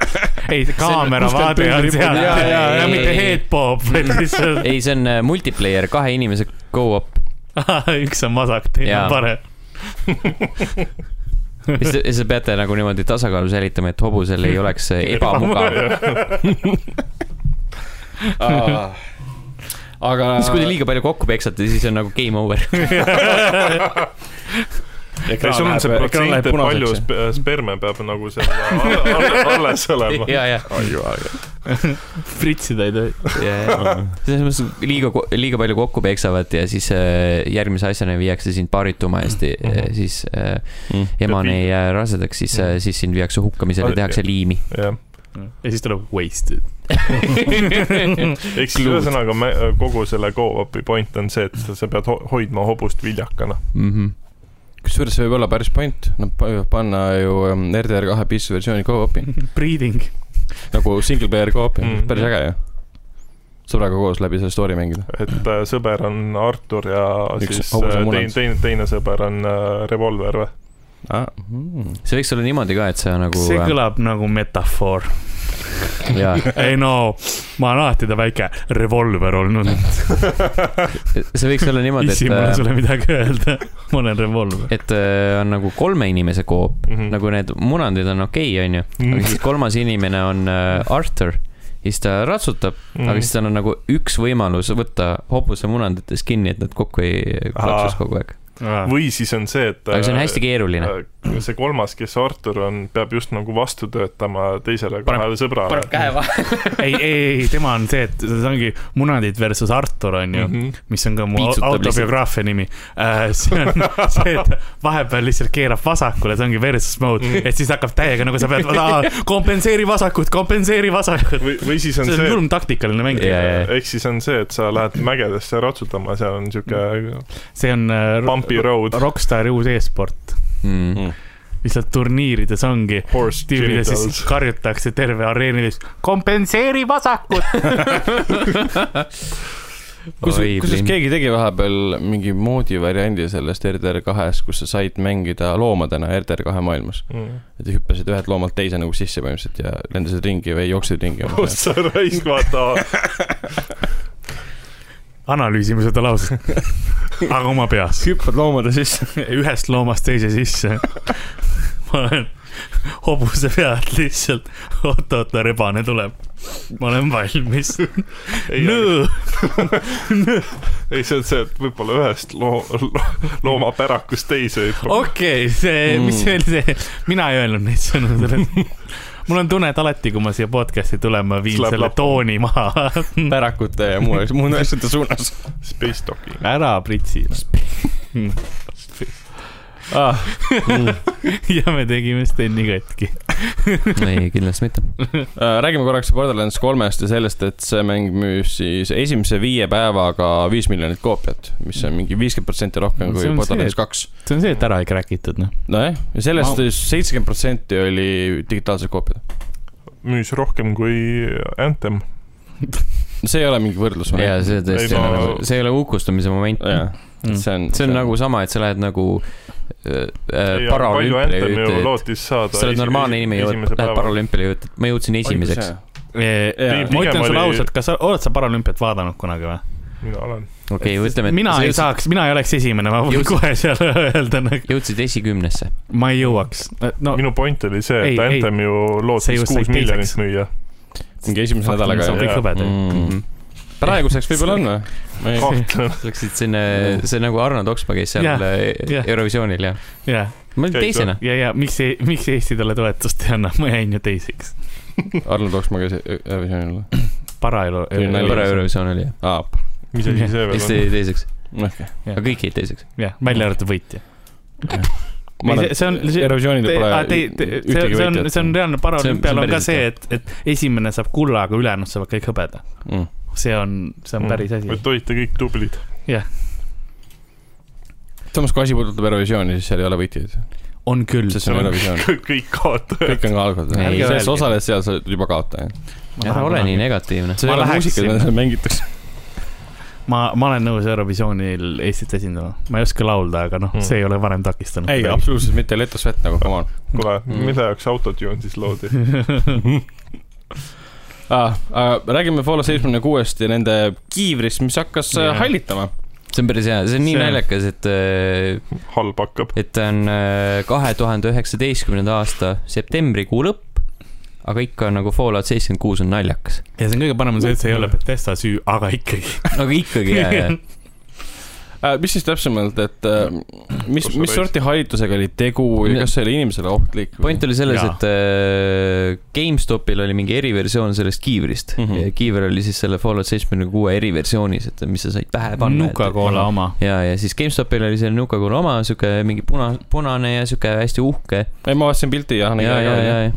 S3: ei , see kaamera
S4: kuskilt
S3: vaade on
S4: tundub-
S3: seal
S1: jaa, jaa,
S3: ja
S1: ei,
S3: mitte
S1: ei, ei.
S3: headpop , (laughs) vaid lihtsalt
S1: ei , see on äh, multiplayer , kahe inimese go-up .
S3: üks on vasak , teine
S1: Jaa.
S3: on parem .
S1: ja siis ja siis te peate nagu niimoodi tasakaalu säilitama , et hobusel ei oleks äh, ebamugav .
S3: (laughs)
S4: aga .
S1: siis , kui te liiga palju kokku peksate , siis on nagu game over .
S2: ei , sul on see protsent , et palju sp- sperme peab nagu (laughs) seal all- all- alles olema .
S1: (laughs) ja , ja ,
S3: pritsida ei tohi .
S1: ja , selles mõttes liiga , liiga palju kokku peksavad ja siis äh, järgmise asjana viiakse sind paarituma ja siis äh, siis äh,
S4: Mm.
S1: emane ei jää rasedaks , siis äh, , siis sind viiakse hukkamisele , tehakse liimi .
S2: jah ,
S3: ja siis tuleb (laughs) wasted .
S2: ehk siis ühesõnaga me- äh, kogu selle go-up'i point on see , et sa sa pead ho- hoidma hobust viljakana .
S1: Mhm.
S4: kusjuures see võib olla päris point , nad võivad panna ju ähm, RDR kahe PC versiooni go-op'i
S3: Breeding .
S4: nagu single player go-op'i mm.
S2: Mm. ,
S4: päris äge ju . sõbraga koos läbi selle story mängida .
S2: et äh, sõber on Artur ja
S4: Üks
S2: siis äh,
S4: hobuse
S2: teine
S4: munand. ,
S2: teine , teine sõber on äh, Revolver või ?
S4: Ah, mm.
S1: see võiks olla niimoodi ka , et sa nagu .
S3: see kõlab nagu metafoor .
S1: jaa ,
S3: ei no , ma olen alati ta väike revolver olnud .
S1: see võiks olla niimoodi ,
S3: issi , mul on
S1: et , äh,
S3: sulle midagi öelda . ma olen revolver .
S1: et äh, on nagu kolme inimese koop ,
S2: Mhm.
S1: nagu need munandid on okei , onju . aga siis kolmas inimene on äh, Arthur ja siis ta ratsutab ,
S2: Mhm.
S1: aga siis tal on nagu üks võimalus võtta hobuse munanditest kinni , et nad kokku ei klapsuks
S2: Aa.
S1: kogu aeg .
S2: Mhm. või siis on see , et
S1: aga see on hästi keeruline .
S2: äh, see kolmas , kes Artur on , peab just nagu vastu töötama teisele kahele sõbrale .
S3: ei , ei , ei , tema on see , et see ongi Munandid versus Artur on ju ,
S2: Mhm.
S3: mis on ka mu au-
S1: Piitsutab
S3: autobiograafia nimi . see on (laughs) see , et vahepeal lihtsalt keerab vasakule , see ongi versus mode , et siis hakkab täiega nagu sa pead , kompenseeri vasakut , kompenseeri vasakut .
S2: või , või siis on
S3: see on
S2: (laughs) see ,
S3: julm taktikaline mäng
S1: Jaa, jaa.
S2: ehk siis on see , et sa lähed mägedesse ratsutama , seal on sihuke
S3: see on äh, ro-
S2: bumpy road ,
S3: Rockstari uus e-sport ,
S1: Mm.
S3: lihtsalt turniirides ongi .
S2: horse
S3: tiimile siis
S2: genitals .
S3: karjutakse terve areenis , kompenseeri vasakut .
S4: kus ,
S1: Oi,
S4: kusjuures
S1: plinn.
S4: keegi tegi vahepeal mingi moodi variandi sellest RDR kahes , kus sa said mängida loomadena RDR kahe maailmas .
S2: Mm.
S4: et hüppasid ühelt loomalt teise nagu sisse põhimõtteliselt ja lendasid ringi või jooksid ringi .
S2: kus sa raisk , vaata ,
S3: (laughs) analüüsime seda lauset , aga oma peas .
S4: hüppad loomade sisse .
S3: ühest loomast teise sisse . ma olen hobuse pealt lihtsalt , oot-oota , rebane tuleb . ma olen valmis .
S2: Ei,
S3: nõ ,
S2: ei see on see , et võib-olla ühest loo- , loomapärakust teise hüppab .
S3: okei , see , mis veel see , mina ei öelnud neid sõnu (laughs) sellest . mul on tunne , et alati , kui ma siia podcast'i tulen , ma viin
S2: Slab
S3: selle
S2: lappu.
S3: tooni maha . (laughs)
S4: pärakute ja muu , muude asjade suunas .
S2: Space Docking .
S3: ära pritsi .
S4: Ah,
S3: ja me tegime Steni katki .
S2: Mhm.
S1: (laughs) ei , kindlasti mitte .
S4: äh, räägime korraks Borderlands kolmest ja sellest , et see mäng müüs siis esimese viie päevaga viis miljonit koopiat , mis on mingi viiskümmend protsenti rohkem
S3: See
S4: kui
S3: on
S4: Borderlands
S3: see,
S4: kaks .
S3: see on see , et ära ei kräkitud , noh .
S4: nojah , ja sellest seitsekümmend protsenti oli digitaalsed koopiad .
S2: müüs rohkem kui Anthem .
S4: see ei ole mingi võrdlus , ma
S1: ja see tõesti
S2: Ei,
S1: ei
S2: ma-
S1: ole , see ei ole ukustamise moment .
S4: jah ,
S3: Mm.
S4: see on .
S1: see on nagu sama , et sa lähed nagu äh, äh,
S2: palju
S1: paraolümpiale ja
S2: Anthem ju
S1: ütled ,
S2: lootis saada .
S1: sa oled normaalne inimene , jõuad , lähed paraolümpiale ja ütled , ma jõudsin esimeseks ..
S3: ma ütlen
S2: pigem
S3: sulle
S2: oli-
S3: ausalt , kas sa oled sa paralümpiat vaadanud kunagi või ?
S2: mina olen .
S1: okei , ütleme , et
S3: mina
S1: sa
S3: ei
S1: jõudsid ,
S3: saaks , mina ei oleks esimene , ma võin
S1: Just-
S3: kohe seal öelda ,
S1: jõudsid esikümnesse .
S3: ma ei jõuaks . no
S2: minu point oli see ,
S3: Ei,
S2: et
S3: ei.
S2: Anthem ju
S3: See
S2: lootis
S3: just sai
S2: kuus miljonit
S3: teiseks.
S2: müüa .
S4: mingi esimese nädalaga
S3: see on
S2: jah.
S3: kõik hõbed .
S1: Mm.
S4: praeguseks võib-olla on või ?
S2: kahtlen .
S1: sa läksid sinna , see nagu Arno Toksma käis seal
S3: Jah,
S1: yeah.
S3: jah.
S1: Eurovisioonil ja
S3: jah ,
S1: ma olin
S2: Käis
S1: teisena .
S3: ja , ja miks , miks Eesti talle toetust ei anna , ma jäin ju teiseks .
S4: Arnold Oksmaa käis Eurovisioonil või ?
S3: paraelu .
S4: Tuli nali.
S1: Pere Eurovisioon oli jah ,
S4: aa ,
S2: (laughs) mis asi see
S1: siis
S2: veel on ?
S1: tegi teiseks ,
S4: okei .
S1: aga kõik jäid teiseks .
S3: jah , välja arvatud võitja .
S4: Ma
S3: Ei,
S4: arvan,
S3: see- see on- see-
S4: Eurovisioonil
S3: Te,
S4: pole
S3: aa, te, te, see,
S4: ühtegi
S3: see on , see on
S4: võitjat .
S3: reaalne
S1: See
S3: paraolümpial
S1: on-
S3: on ka
S1: see on
S3: see , et , et esimene saab kulla , aga ülejäänud saavad kõik hõbeda .
S4: Mm.
S3: see on , see
S1: Mm.
S3: on päris asi .
S2: et olite kõik tublid .
S4: samas kui asi puudutab Eurovisiooni , siis seal ei ole võitjaid ,
S3: on küll .
S4: sest see on Eurovisioon .
S2: (laughs) kõik kaotajad .
S4: kõik on kaotajad
S1: Ei, .
S4: selles
S3: öelge.
S4: osaled seal , sa oled juba kaotaja .
S1: ära ole nii . negatiivne .
S4: see ei ole
S3: läheks
S4: muusika ,
S3: sinna.
S4: mida seal mängitakse .
S3: ma , ma olen nõus Eurovisioonil Eestit esindama . ma ei oska laulda , aga noh ,
S2: Mm.
S3: see ei ole varem takistanud .
S4: ei , absoluutselt mitte , Leto Svet nagu , come on .
S2: kuule ,
S4: Mm.
S2: mille jaoks autotune siis
S3: (laughs)
S2: loodi ?
S4: Ah, räägime Fallout seitsmekümne kuuest ja nende kiivrist , mis hakkas äh,
S3: Jah.
S4: hallitama .
S1: see on päris hea , see on nii
S3: See-
S1: naljakas , et ,
S2: halb hakkab .
S1: et ta on äh, kahe tuhande üheksateistkümnenda aasta septembrikuu lõpp , aga ikka on nagu Fallout seitsekümmend kuus on naljakas .
S3: ja see on kõige parem on see , et see ei ole Bethesda süü , aga ikkagi .
S1: aga ikkagi jaa ,
S3: (laughs)
S1: Äh, jaa .
S4: Äh, mis siis täpsemalt , et äh, mis
S2: Kus , sa
S4: mis
S2: käid?
S4: sorti hallitusega oli tegu ja kas see oli inimesele ohtlik ?
S1: point oli selles ,
S3: Jaa.
S1: et äh, GameStopil oli mingi eriversioon sellest kiivrist mm .
S4: Mhm.
S1: -hmm. kiiver oli siis selle Fallout seitsmekümne kuue eriversioonis , et mis sa said pähe panna .
S3: Nuka-Cola oma .
S1: ja , ja siis GameStopil oli seal Nuka-Cola oma , sihuke mingi puna , punane ja sihuke hästi uhke .
S4: ei , ma vaatasin pilti jah .
S1: ja , ja , ja , ja , ja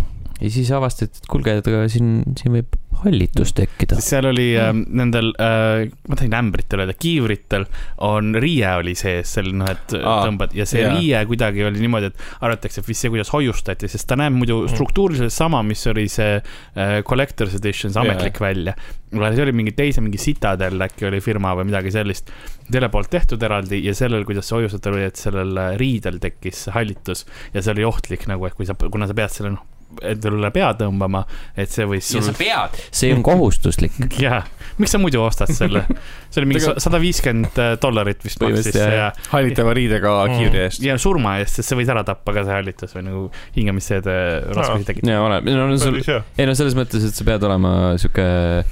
S1: siis avastati , et kuulge , et aga siin , siin võib hallitus tekkida .
S3: seal oli äh, nendel äh, , ma tahtsin ämbritel öelda , kiivritel on riie oli sees , selline , et
S4: Aa,
S3: Aa, tõmbad ja see
S4: jaa.
S3: yeah. riie kuidagi oli niimoodi , et arvatakse , et vist see , kuidas hoiustati , sest ta näeb muidu
S4: Mm.
S3: struktuuriliselt sama , mis oli see äh, collector's edition , see
S4: Jaa.
S3: ametlik yeah. välja . aga see oli mingi teise , mingi Citadel äkki oli firma või midagi sellist , selle poolt tehtud eraldi ja sellel , kuidas see hoiustati , oli , et sellel äh, riidel tekkis hallitus ja see oli ohtlik nagu , et kui sa , kuna sa pead selle noh , endale üle pea tõmbama , et see võis sul
S1: pead . see on
S4: (laughs)
S1: kohustuslik .
S3: jaa , miks sa muidu ostad selle ? see oli mingi
S4: Tegelikult-
S3: sada viiskümmend dollarit vist maksis
S1: Põhimõtteliselt,
S3: see
S1: jah,
S3: ja ,
S4: hallitava riidega
S2: Mm.
S4: kiivri eest .
S3: ja surma eest , sest see võis ära tappa ka see hallitus või nagu hingamisseede raskusi tekitada .
S1: ja ole , no sul ,
S2: päris hea .
S1: ei no selles mõttes , et sa pead olema sihuke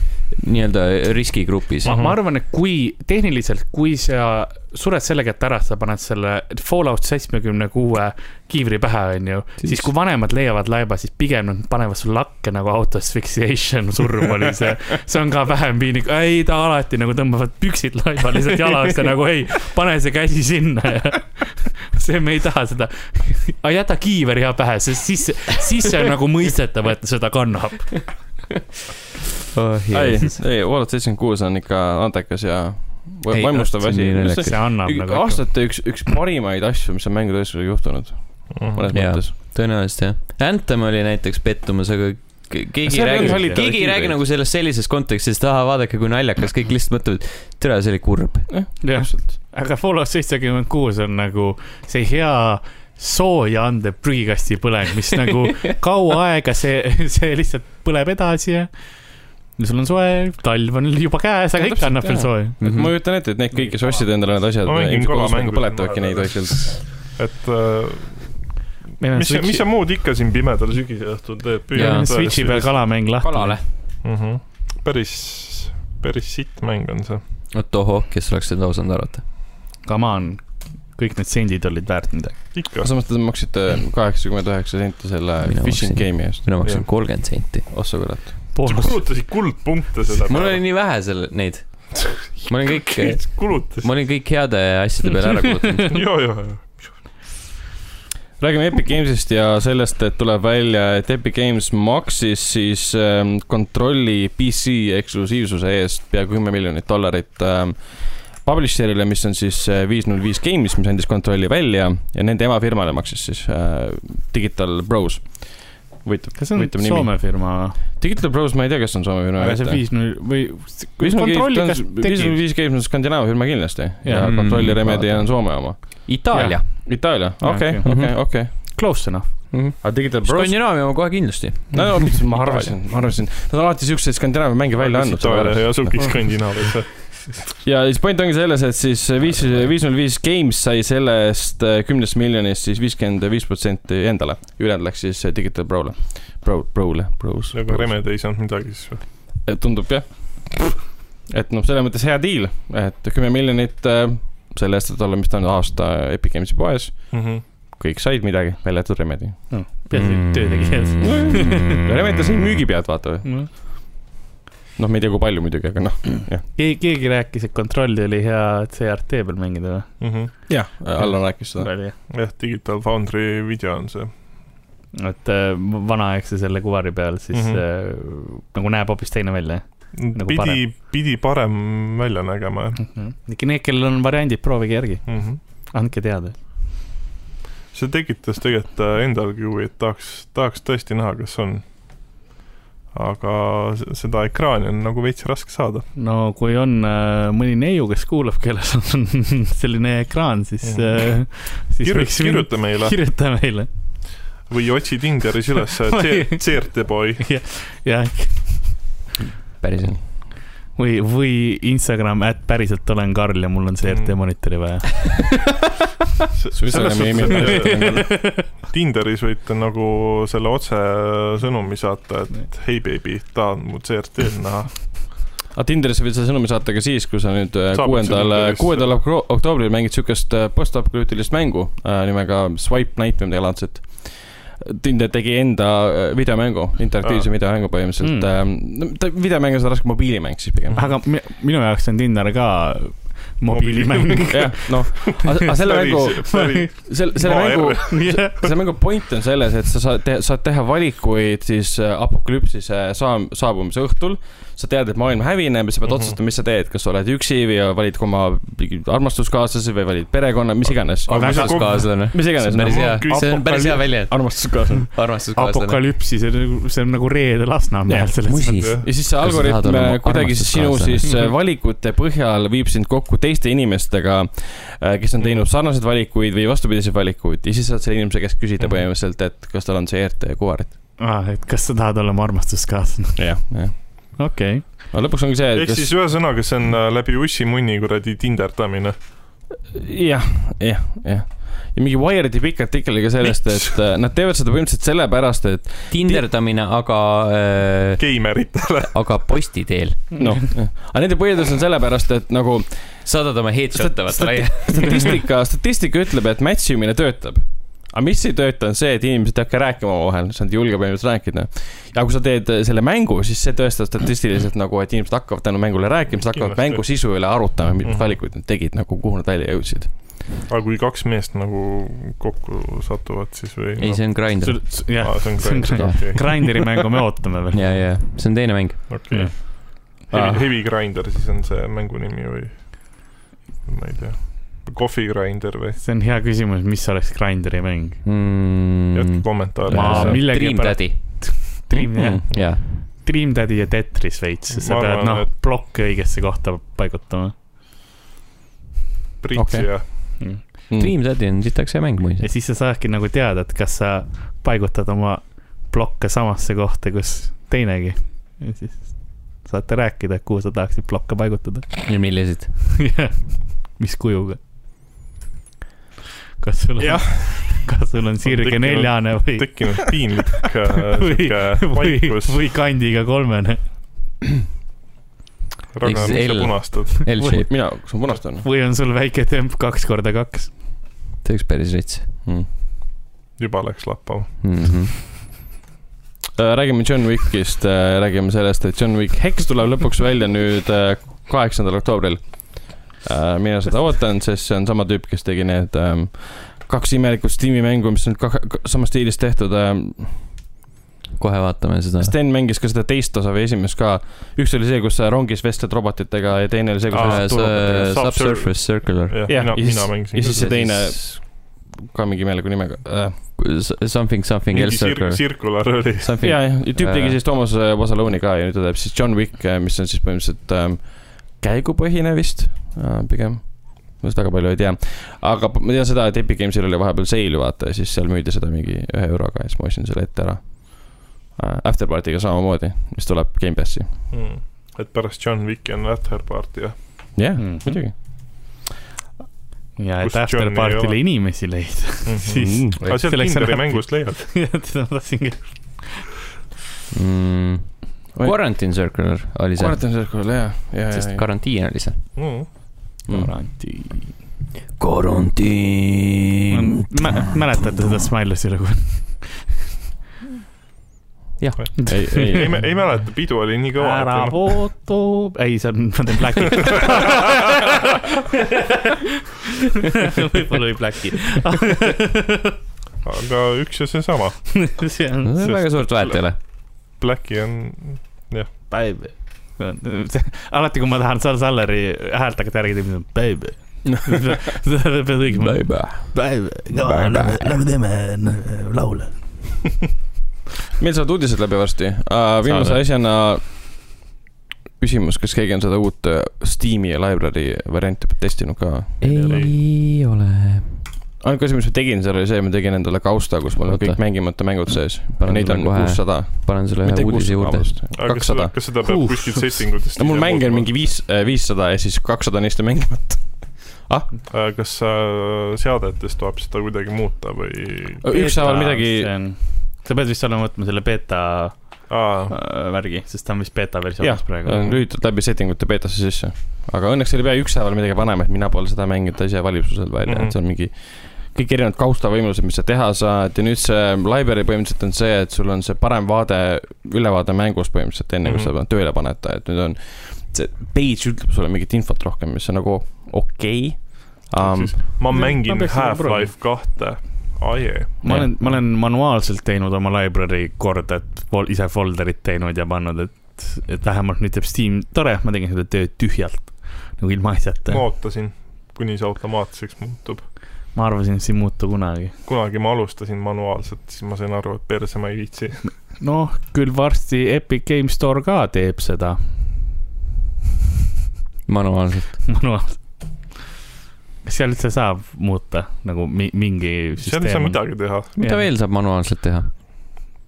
S1: nii-öelda riskigrupis
S3: ma , ma arvan , et kui tehniliselt , kui sa sured selle kätte ära , sa paned selle Fallout seitsmekümne kuue kiivri pähe , onju . siis kui vanemad leiavad laeba , siis pigem nad panevad sulle lakke nagu autosfixiation surm oli see . see on ka vähem piinlik , ei ta alati nagu tõmbavad püksid laiba lihtsalt (laughs) jalast ja nagu ei , pane see käsi sinna (laughs) ja see , me ei taha seda . aga jäta kiiver hea pähe , sest siis , siis see on nagu mõistetav , et ta seda kannab .
S1: oh, .
S4: ei , ei , Fallout seitsekümmend kuus on ikka andekas ja va-
S1: Ei,
S4: vaimustav
S1: see on
S4: asi
S1: nii . naljakas.
S3: see annab nagu .
S4: aastate üks , üks parimaid asju , mis on mängutööstusega juhtunud , mõnes
S1: Jaa.
S4: mõttes .
S1: tõenäoliselt jah . Anthem oli näiteks pettumus , aga ke- keegi
S4: See
S1: ei
S4: oli
S1: räägi ,
S4: hallitava
S1: keegi ei
S4: kiivri
S1: räägi
S4: eest.
S1: nagu sellest sellises kontekstis , et aa , vaadake kui naljakas , kõik lihtsalt mõtlevad , tere , see oli kurb .
S3: jah ,
S4: täpselt .
S3: aga Fallout seitsekümmend kuus on nagu see hea sooja andev prügikasti põleng , mis
S4: (laughs)
S3: nagu kaua aega see , see lihtsalt põleb edasi ja ja sul on soe , talv on juba käes , aga
S4: No
S3: ikka
S4: täpselt,
S3: annab veel
S4: jaa.
S3: sooja .
S4: et
S1: Mhm.
S4: ma kujutan ette , et need kõik , kes ostsid endale need asjad
S2: Ma mängin , kola mängu
S4: põletavadki
S2: siin
S4: neid
S2: vahepeal.
S4: asjad .
S2: et äh, mis , mis sa muud ikka siin pimedal sügise õhtul teed ?
S1: Jaa.
S3: Switchi peal . kalamäng lahti .
S2: Mhm. päris , päris sitt mäng on see .
S1: vot ohoh , kes oleks seda osanud arvata .
S3: Come on , kõik need sendid olid väärt midagi .
S2: ikka .
S4: samas te maksite kaheksakümmend üheksa senti selle
S1: Mina maksin.
S4: fishing game'i eest ,
S1: mina maksin
S2: Jah.
S1: kolmkümmend senti .
S4: ossa kurat .
S2: sa
S3: boonus ,
S2: kulutasid kuldpunkte selle
S1: mul oli . nii vähe selle , neid . ma olin
S4: (laughs)
S1: kõik ,
S2: kulutasid .
S1: ma olin kõik heade asjade peale ära
S3: (laughs)
S1: kulutanud .
S2: ja , ja , ja .
S4: räägime Epic Games'ist ja sellest , et tuleb välja , et Epic Games maksis siis ähm, kontrolli PC eksklusiivsuse eest pea kümme miljonit dollarit ähm, publisherile , mis on siis äh, viis null viis Games , mis andis kontrolli välja ja nende emafirmale maksis siis äh, Digital Bros . võitab ,
S3: kas see on
S4: võitab nimi .
S3: Soome firma või ?
S4: Digital Bros , ma ei tea , kes on Soome firma .
S3: aga see viis null või . kontrolli , kas
S4: viiskümmend
S3: tegi . Mm.
S4: viis Games on Skandinaavia firma kindlasti ja
S3: Jaa.
S4: kontrolli Remedi on Soome oma .
S1: Itaalia .
S4: Itaalia ,
S3: Jaa,
S4: okei ,
S3: okei.
S4: okei , okei .
S3: Close enough .
S4: aga Digital Bros ,
S1: Skandinaavia oma kohe kindlasti .
S4: no no, (laughs) mis- ma arvasin , ma arvasin , nad on alati siukseid Skandinaavia mänge välja andnud .
S2: Itaalia asubki
S3: (laughs)
S2: Skandinaaviasse .
S4: ja siis point ongi selles , et siis viis , viis null viis Games sai sellest äh, kümnest miljonist siis viiskümmend viis protsenti endale , ülejäänud läks siis äh, Digital Brole , Bro , Brole , Bros .
S2: aga Remedi ei saanud midagi siis või ?
S4: tundub jah . et noh , selles mõttes hea deal , et kümme miljonit äh, selle eest , et olla , mis ta on , aasta Epic Games'i poes ,
S2: Mhm,
S4: kõik said midagi , välja arvatud Remedi .
S3: peaasi ,
S4: Mm.
S3: et töö tegi head .
S1: Mm.
S3: (laughs) Mm.
S4: Remedi sai müügipead , vaata või ? noh , me ei tea , kui palju muidugi , aga noh , jah .
S3: keegi , keegi rääkis , et kontrolli oli hea CRT peal mängida
S4: jah , Allan rääkis seda .
S3: või ?
S2: mhm. jah , Digital Foundry video on see .
S3: et äh, vanaaegse selle kuvari peal siis mm
S2: Mhm.
S3: -hmm. äh, nagu näeb hoopis teine välja Nagu
S2: pidi
S3: parem. ,
S2: pidi parem välja nägema jah
S3: mm . -hmm. Need , kellel on variandid , proovige järgi ,
S2: mm . -hmm.
S3: andke teada .
S2: see tekitas tegelikult äh, endalgi huvi , et tahaks , tahaks tõesti näha , kas on . aga s- seda ekraani on nagu veits raske saada .
S3: no kui on äh, mõni neiu , kes kuulab , kellel on (laughs) selline ekraan , siis
S2: Mhm.
S3: äh, , siis
S2: kirjuta , kirjuta meile
S3: kirjuta meile (laughs)
S2: või otsi Tinderis üles äh,
S4: (laughs)
S2: C- CRT boy .
S3: jah ,
S1: päriselt .
S3: või , või Instagram , et päriselt olen Karl ja mul on CRT
S2: Mhm.
S3: monitori vaja .
S4: Suisa meemi (laughs)
S2: Tinderis võite nagu selle otsesõnumi saata , et hei beebi , tahan mu CRT-d näha .
S4: aga Tinderisse Ah, võid selle sõnumi saata ka siis , kui sa nüüd äh,
S2: Saabud
S4: kuuendal
S2: sinna , Tinderisse.
S4: kuuendal ok- oktoobril mängid siukest äh, post-apokalüptilist mängu äh, nimega Swipe Night või midagi laadset . Tinder tegi enda äh, videomängu , interaktiivse
S2: Aa.
S4: videomängu põhimõtteliselt mm. . ta videomäng on seda raskem mobiilimäng siis
S3: (laughs)
S2: Mhm.
S4: pigem .
S3: aga mi- minu jaoks on Tinder ka (laughs) mobiilimäng .
S4: jah , noh , aga selle mängu , selle , (laughs) selle mängu ,
S2: (laughs)
S4: selle mängu point on selles , et sa saad teha , saad teha valikuid siis äh, apokalüpsise saa- , saabumise õhtul . sa tead , et maailm hävineb ja sa pead mm
S2: Mhm.
S4: -hmm. otsustama , mis sa teed , kas sa oled üksi või valid oma mingi armastuskaaslase või valid perekonna , mis iganes .
S2: Aga see kogu-
S1: armastuskaaslane .
S4: mis
S1: see
S4: iganes
S1: on , nagu- päris hea , see on päris hea väljend ,
S4: armastuskaaslane .
S1: armastuskaaslane .
S3: apokalüpsi , see on nagu , see on nagu Reede Lasnamäel
S4: Jah,
S3: selles
S1: musi.
S4: ja siis see
S1: Kas sa tahad
S4: algoritm äh,
S1: olla mu
S4: kuidagi siis sinu
S1: armastuskaaslane?
S4: siis äh, valikute põhjal viib sind kokku teiste inimestega , kes on teinud sarnaseid valikuid või vastupidiseid valikuid ja siis saad selle inimese käest küsida
S2: Mhm.
S4: põhimõtteliselt , et kas tal on CRT kuvarit .
S3: ah, , et kas sa tahad olla mu armastuskaaslane ?
S4: jah , jah .
S3: (laughs) okei okay. ,
S4: aga lõpuks ongi see , et
S2: ehk
S4: kas
S2: siis ühesõnaga , see on äh, läbi ussimunni kuradi tinderdamine .
S4: jah , jah , jah . ja mingi Wired'i pikk artikkel oli ka sellest ,
S2: (laughs)
S4: et äh, nad teevad seda põhimõtteliselt sellepärast , et
S1: tinderdamine , aga äh, ,
S2: geimeritele .
S1: aga posti teel .
S2: (laughs)
S4: noh , aga nende põhjendus on sellepärast , et nagu
S1: saadad oma headshot'e , vaata laia .
S2: (laughs)
S4: statistika , statistika ütleb , et match imine töötab . aga mis ei tööta , on see , et inimesed ei hakka rääkima omavahel , sa ei julge põhimõtteliselt rääkida . ja kui sa teed äh, selle mängu , siis see tõestab statistiliselt nagu , et inimesed hakkavad tänu mängule rääkima , siis hakkavad
S2: Kindlasti.
S4: mängu sisu üle arutama ,
S2: Mhm.
S4: milliseid valikuid nad tegid , nagu kuhu nad välja jõudsid .
S2: aga kui kaks meest nagu kokku satuvad , siis või ?
S1: ei , see on Grindr .
S3: jah ,
S2: see on
S3: see on
S2: grind ,
S3: grind.
S2: okei ,
S3: Grinderi mängu me ootame veel .
S1: ja , ja see on teine mäng .
S2: okei . Heavy , heavy grinder siis on see mängu nimi või ? ma ei tea . Coffee grinder või ?
S3: see on hea küsimus , mis oleks Grinderi mäng ?
S2: jätke
S1: ma
S2: kommentaare .
S3: Ma
S2: ma
S1: Mm.
S3: millegi
S1: Äh, Dream
S3: pärast-
S1: Daddy . Mm,
S3: Dream , jah ,
S1: jah .
S3: Dream Daddy ja Tetris veits , sest sa
S2: Ma
S3: pead
S2: arvan,
S3: noh , plokke õigesse kohta paigutama .
S2: Priit
S4: okei.
S2: ja Mhm.
S1: Dream Daddy on sitaks hea mäng
S3: ja
S1: muidugi .
S3: siis sa saadki nagu teada , et kas sa paigutad oma plokke samasse kohta , kus teinegi . ja siis saate rääkida , kuhu sa tahaksid plokke paigutada .
S1: ja millised ?
S3: Jah. (laughs) mis kujuga ? kas sul on
S2: Jah. ,
S3: kas sul on sirge
S2: tekkinud-
S3: neljane või ,
S2: tekkinud piinlik
S3: (laughs)
S2: äh,
S3: või ,
S2: sihuke
S3: või ,
S2: vaikus .
S3: või kandiga kolmene
S2: Ragnar , miks sa
S1: XL.
S2: punastad ?
S1: L-shape ,
S4: mina , kas ma punast olen ?
S3: või on sul väike temp kaks korda kaks ?
S1: see oleks päris rets
S2: juba läks lappama .
S1: mm . -hmm.
S4: Äh, räägime John Wickist , räägime sellest , et John Wick Hex tuleb lõpuks välja nüüd äh, kaheksandal oktoobril . mina seda ootan , sest see on sama tüüp , kes tegi need ähm, kaks imelikut Steam'i mängu , mis on kah- ka- samas stiilis tehtud .
S1: kohe vaatame seda .
S4: Sten mängis ka seda teist osa või esimest ka . üks oli see , kus sa rongis vestled robotitega ja teine oli see , kus
S2: Aa,
S4: sa vestled turvapatega .
S1: Subsurface Äh, Circular .
S2: jah ,
S4: Jah,
S2: mina ,
S4: ja siis-
S2: mina
S4: ja
S2: mängisin
S4: siis
S2: ka .
S4: see teine ka mingi imeliku nimega . äh,
S1: something something
S2: mingi
S1: else
S2: sir-
S1: circle .
S2: circular oli .
S1: Something
S4: ja , ja tüüp tegi
S1: Äh.
S4: siis Toomas Vasaloni ka ja nüüd ta teeb siis John Wick , mis on siis põhimõtteliselt ähm, käigupõhine vist äh, pigem . ma just väga palju ei tea , aga p- ma tean seda , et Epic Games'il oli vahepeal seil vaata ja siis seal müüdi seda mingi ühe euroga ja siis ma ostsin selle ette ära . Afterparty'ga samamoodi , mis tuleb Gamepassi ,
S2: Mm. et pärast John Wicki on After Party
S3: (laughs)
S2: jah .
S4: jah yeah,
S2: Mm-hmm.
S3: Mhm.
S4: mm. , muidugi .
S3: ja et
S2: Kus Johnny
S3: after
S2: ei
S3: party'le
S2: ole.
S3: inimesi leida .
S2: Mhm.
S3: Siis-
S2: Mm-hmm. aga sealt
S3: Selleks on
S2: Tinderi
S3: äpi. (laughs)
S2: mängust leiad .
S3: seda ma tahtsingi .
S1: mm, .
S4: Oi.
S1: Quarantine circle oli see ,
S4: Quarantine Circle , jah , ja , ja ,
S1: sest
S4: ja .
S1: karantiin oli see .
S4: Mm.
S3: garantii .
S2: Mm.
S1: karantiin .
S3: mäletate seda Smilesi lugu ?
S1: Jah.
S4: ei , ei ,
S2: ei , ei mäleta , pidu oli nii kõva .
S3: ära puutu , ei , see on , ma teen
S2: (laughs)
S3: Blacki . (laughs) võib-olla oli Blacki . (laughs)
S2: aga üks ja seesama .
S3: see on ,
S1: väga suurt vahet ei ole .
S2: Blacki on ,
S3: (laughs) baby . alati , kui ma tahan Sal Salleri häält hakata järgi tegema , baby . sa pead õigema , (laughs) baby , lähme teeme laule .
S4: meil saavad uudised läbi varsti uh, . viimase
S1: Saavad.
S4: asjana küsimus , kas keegi on seda uut äh, Steam'i library varianti testinud ka ?
S1: ei ole .
S4: ainuke asi , mis ma tegin seal oli see , ma tegin endale kausta , kus mul on
S1: Oota.
S4: kõik mängimata mängud sees .
S1: Panen
S4: Neid
S1: sulle
S4: on
S1: kohe-
S4: kuussada .
S1: panen sulle ühe uudise juurde .
S2: aga kas seda
S4: kakssada ,.
S2: kas seda peab
S3: Huh.
S2: kuskil settingutest .
S4: no mul mänge on mingi viis , viissada ja siis kakssada neist on mängimata .
S2: Äh, kas sa seadetes tuleb seda kuidagi muuta või ?
S4: ükshaaval midagi ,
S3: sa pead vist olema võtma selle beeta
S2: aa ,
S3: äh, värgi , sest ta on vist beeta
S4: jah
S3: versioonis , praegu .
S4: lülitad läbi settingute beetasse sisse . aga õnneks seal ei pea ükshaaval midagi panema , et mina pole seda mänginud , ta ise valib su seal välja mm , -hmm.
S2: Mhm.
S4: et see on mingi kõik erinevad kaustavõimalused , mis sa teha saad ja nüüd see library põhimõtteliselt on see , et sul on see parem vaade , ülevaade mängust põhimõtteliselt enne , kui sa
S2: Mhm.
S4: tööle paned ta , et nüüd on see page ütleb sulle mingit infot rohkem , mis on nagu okei okay. um, .
S2: ma mängin
S3: peaks seda
S2: Half-Life kahte . Aie ,
S3: ma olen , ma olen manuaalselt teinud oma library korda , et fol- ise folder'id teinud ja pannud , et , et vähemalt nüüd teeb Steam , tore , ma tegin seda tööd tühjalt nagu ilma asjata
S2: ma
S3: no. .
S2: ootasin , kuni see automaatseks muutub .
S3: ma arvasin , et see ei muutu kunagi .
S2: kunagi ma alustasin manuaalselt , siis ma sain aru , et perse ma ei viitsi .
S3: noh , küll varsti Epic Game Store ka teeb seda (laughs)
S1: manuaalselt .
S3: manuaalselt . kas seal üldse saab muuta nagu mi mingi
S2: seal ei saa
S3: (laughs) süsteem ?
S2: midagi teha ,
S1: mida
S3: Jah.
S1: veel saab manuaalselt teha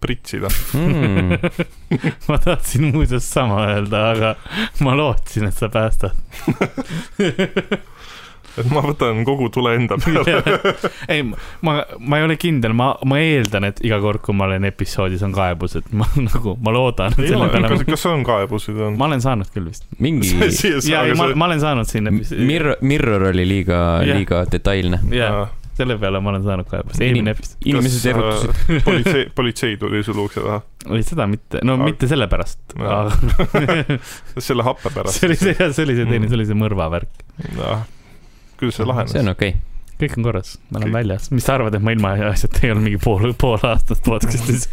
S2: pritsida .
S4: (laughs)
S1: mm. ?
S2: Hmm.
S3: ma tahtsin muuseas sama öelda , aga ma lootsin , et sa päästad .
S2: (laughs) et ma võtan kogu tule enda peale .
S3: ei , ma , ma ei ole kindel , ma , ma eeldan , et iga kord , kui ma olen episoodis , on kaebused , ma (laughs) nagu , ma loodan .
S2: ei ole , kas , kas on kaebusi olnud ?
S3: nagu-
S2: (laughs)
S3: ma olen saanud küll vist .
S1: mingi
S3: ja , ei , ma , ma olen saanud siin episoodi .
S1: mirror , mirror oli liiga
S3: Jah.
S1: liiga detailne .
S3: jaa , selle peale ma olen saanud kaebust , eelmine episood .
S1: inimesed
S4: äh,
S1: erutasid .
S2: äh,
S3: (laughs)
S2: politsei , politsei tuli su ukse taha ,
S3: ei , seda mitte , no
S2: Aga-
S3: mitte sellepärast ,
S2: Jaa.
S3: aga
S2: (laughs)
S3: (laughs)
S2: selle happe pärast
S3: see . oli see , see oli see
S2: Mm.
S3: teine , see oli see mõrvavärk .
S2: kuidas see
S1: see
S3: nagu
S1: on
S2: lahenes ?
S1: okei
S3: kõik on korras , ma olen
S2: Kõik-
S3: väljas . mis sa arvad , et ma ilma asjata ei olnud mingi pool , pool aastat
S2: (laughs)
S3: podcast'is ?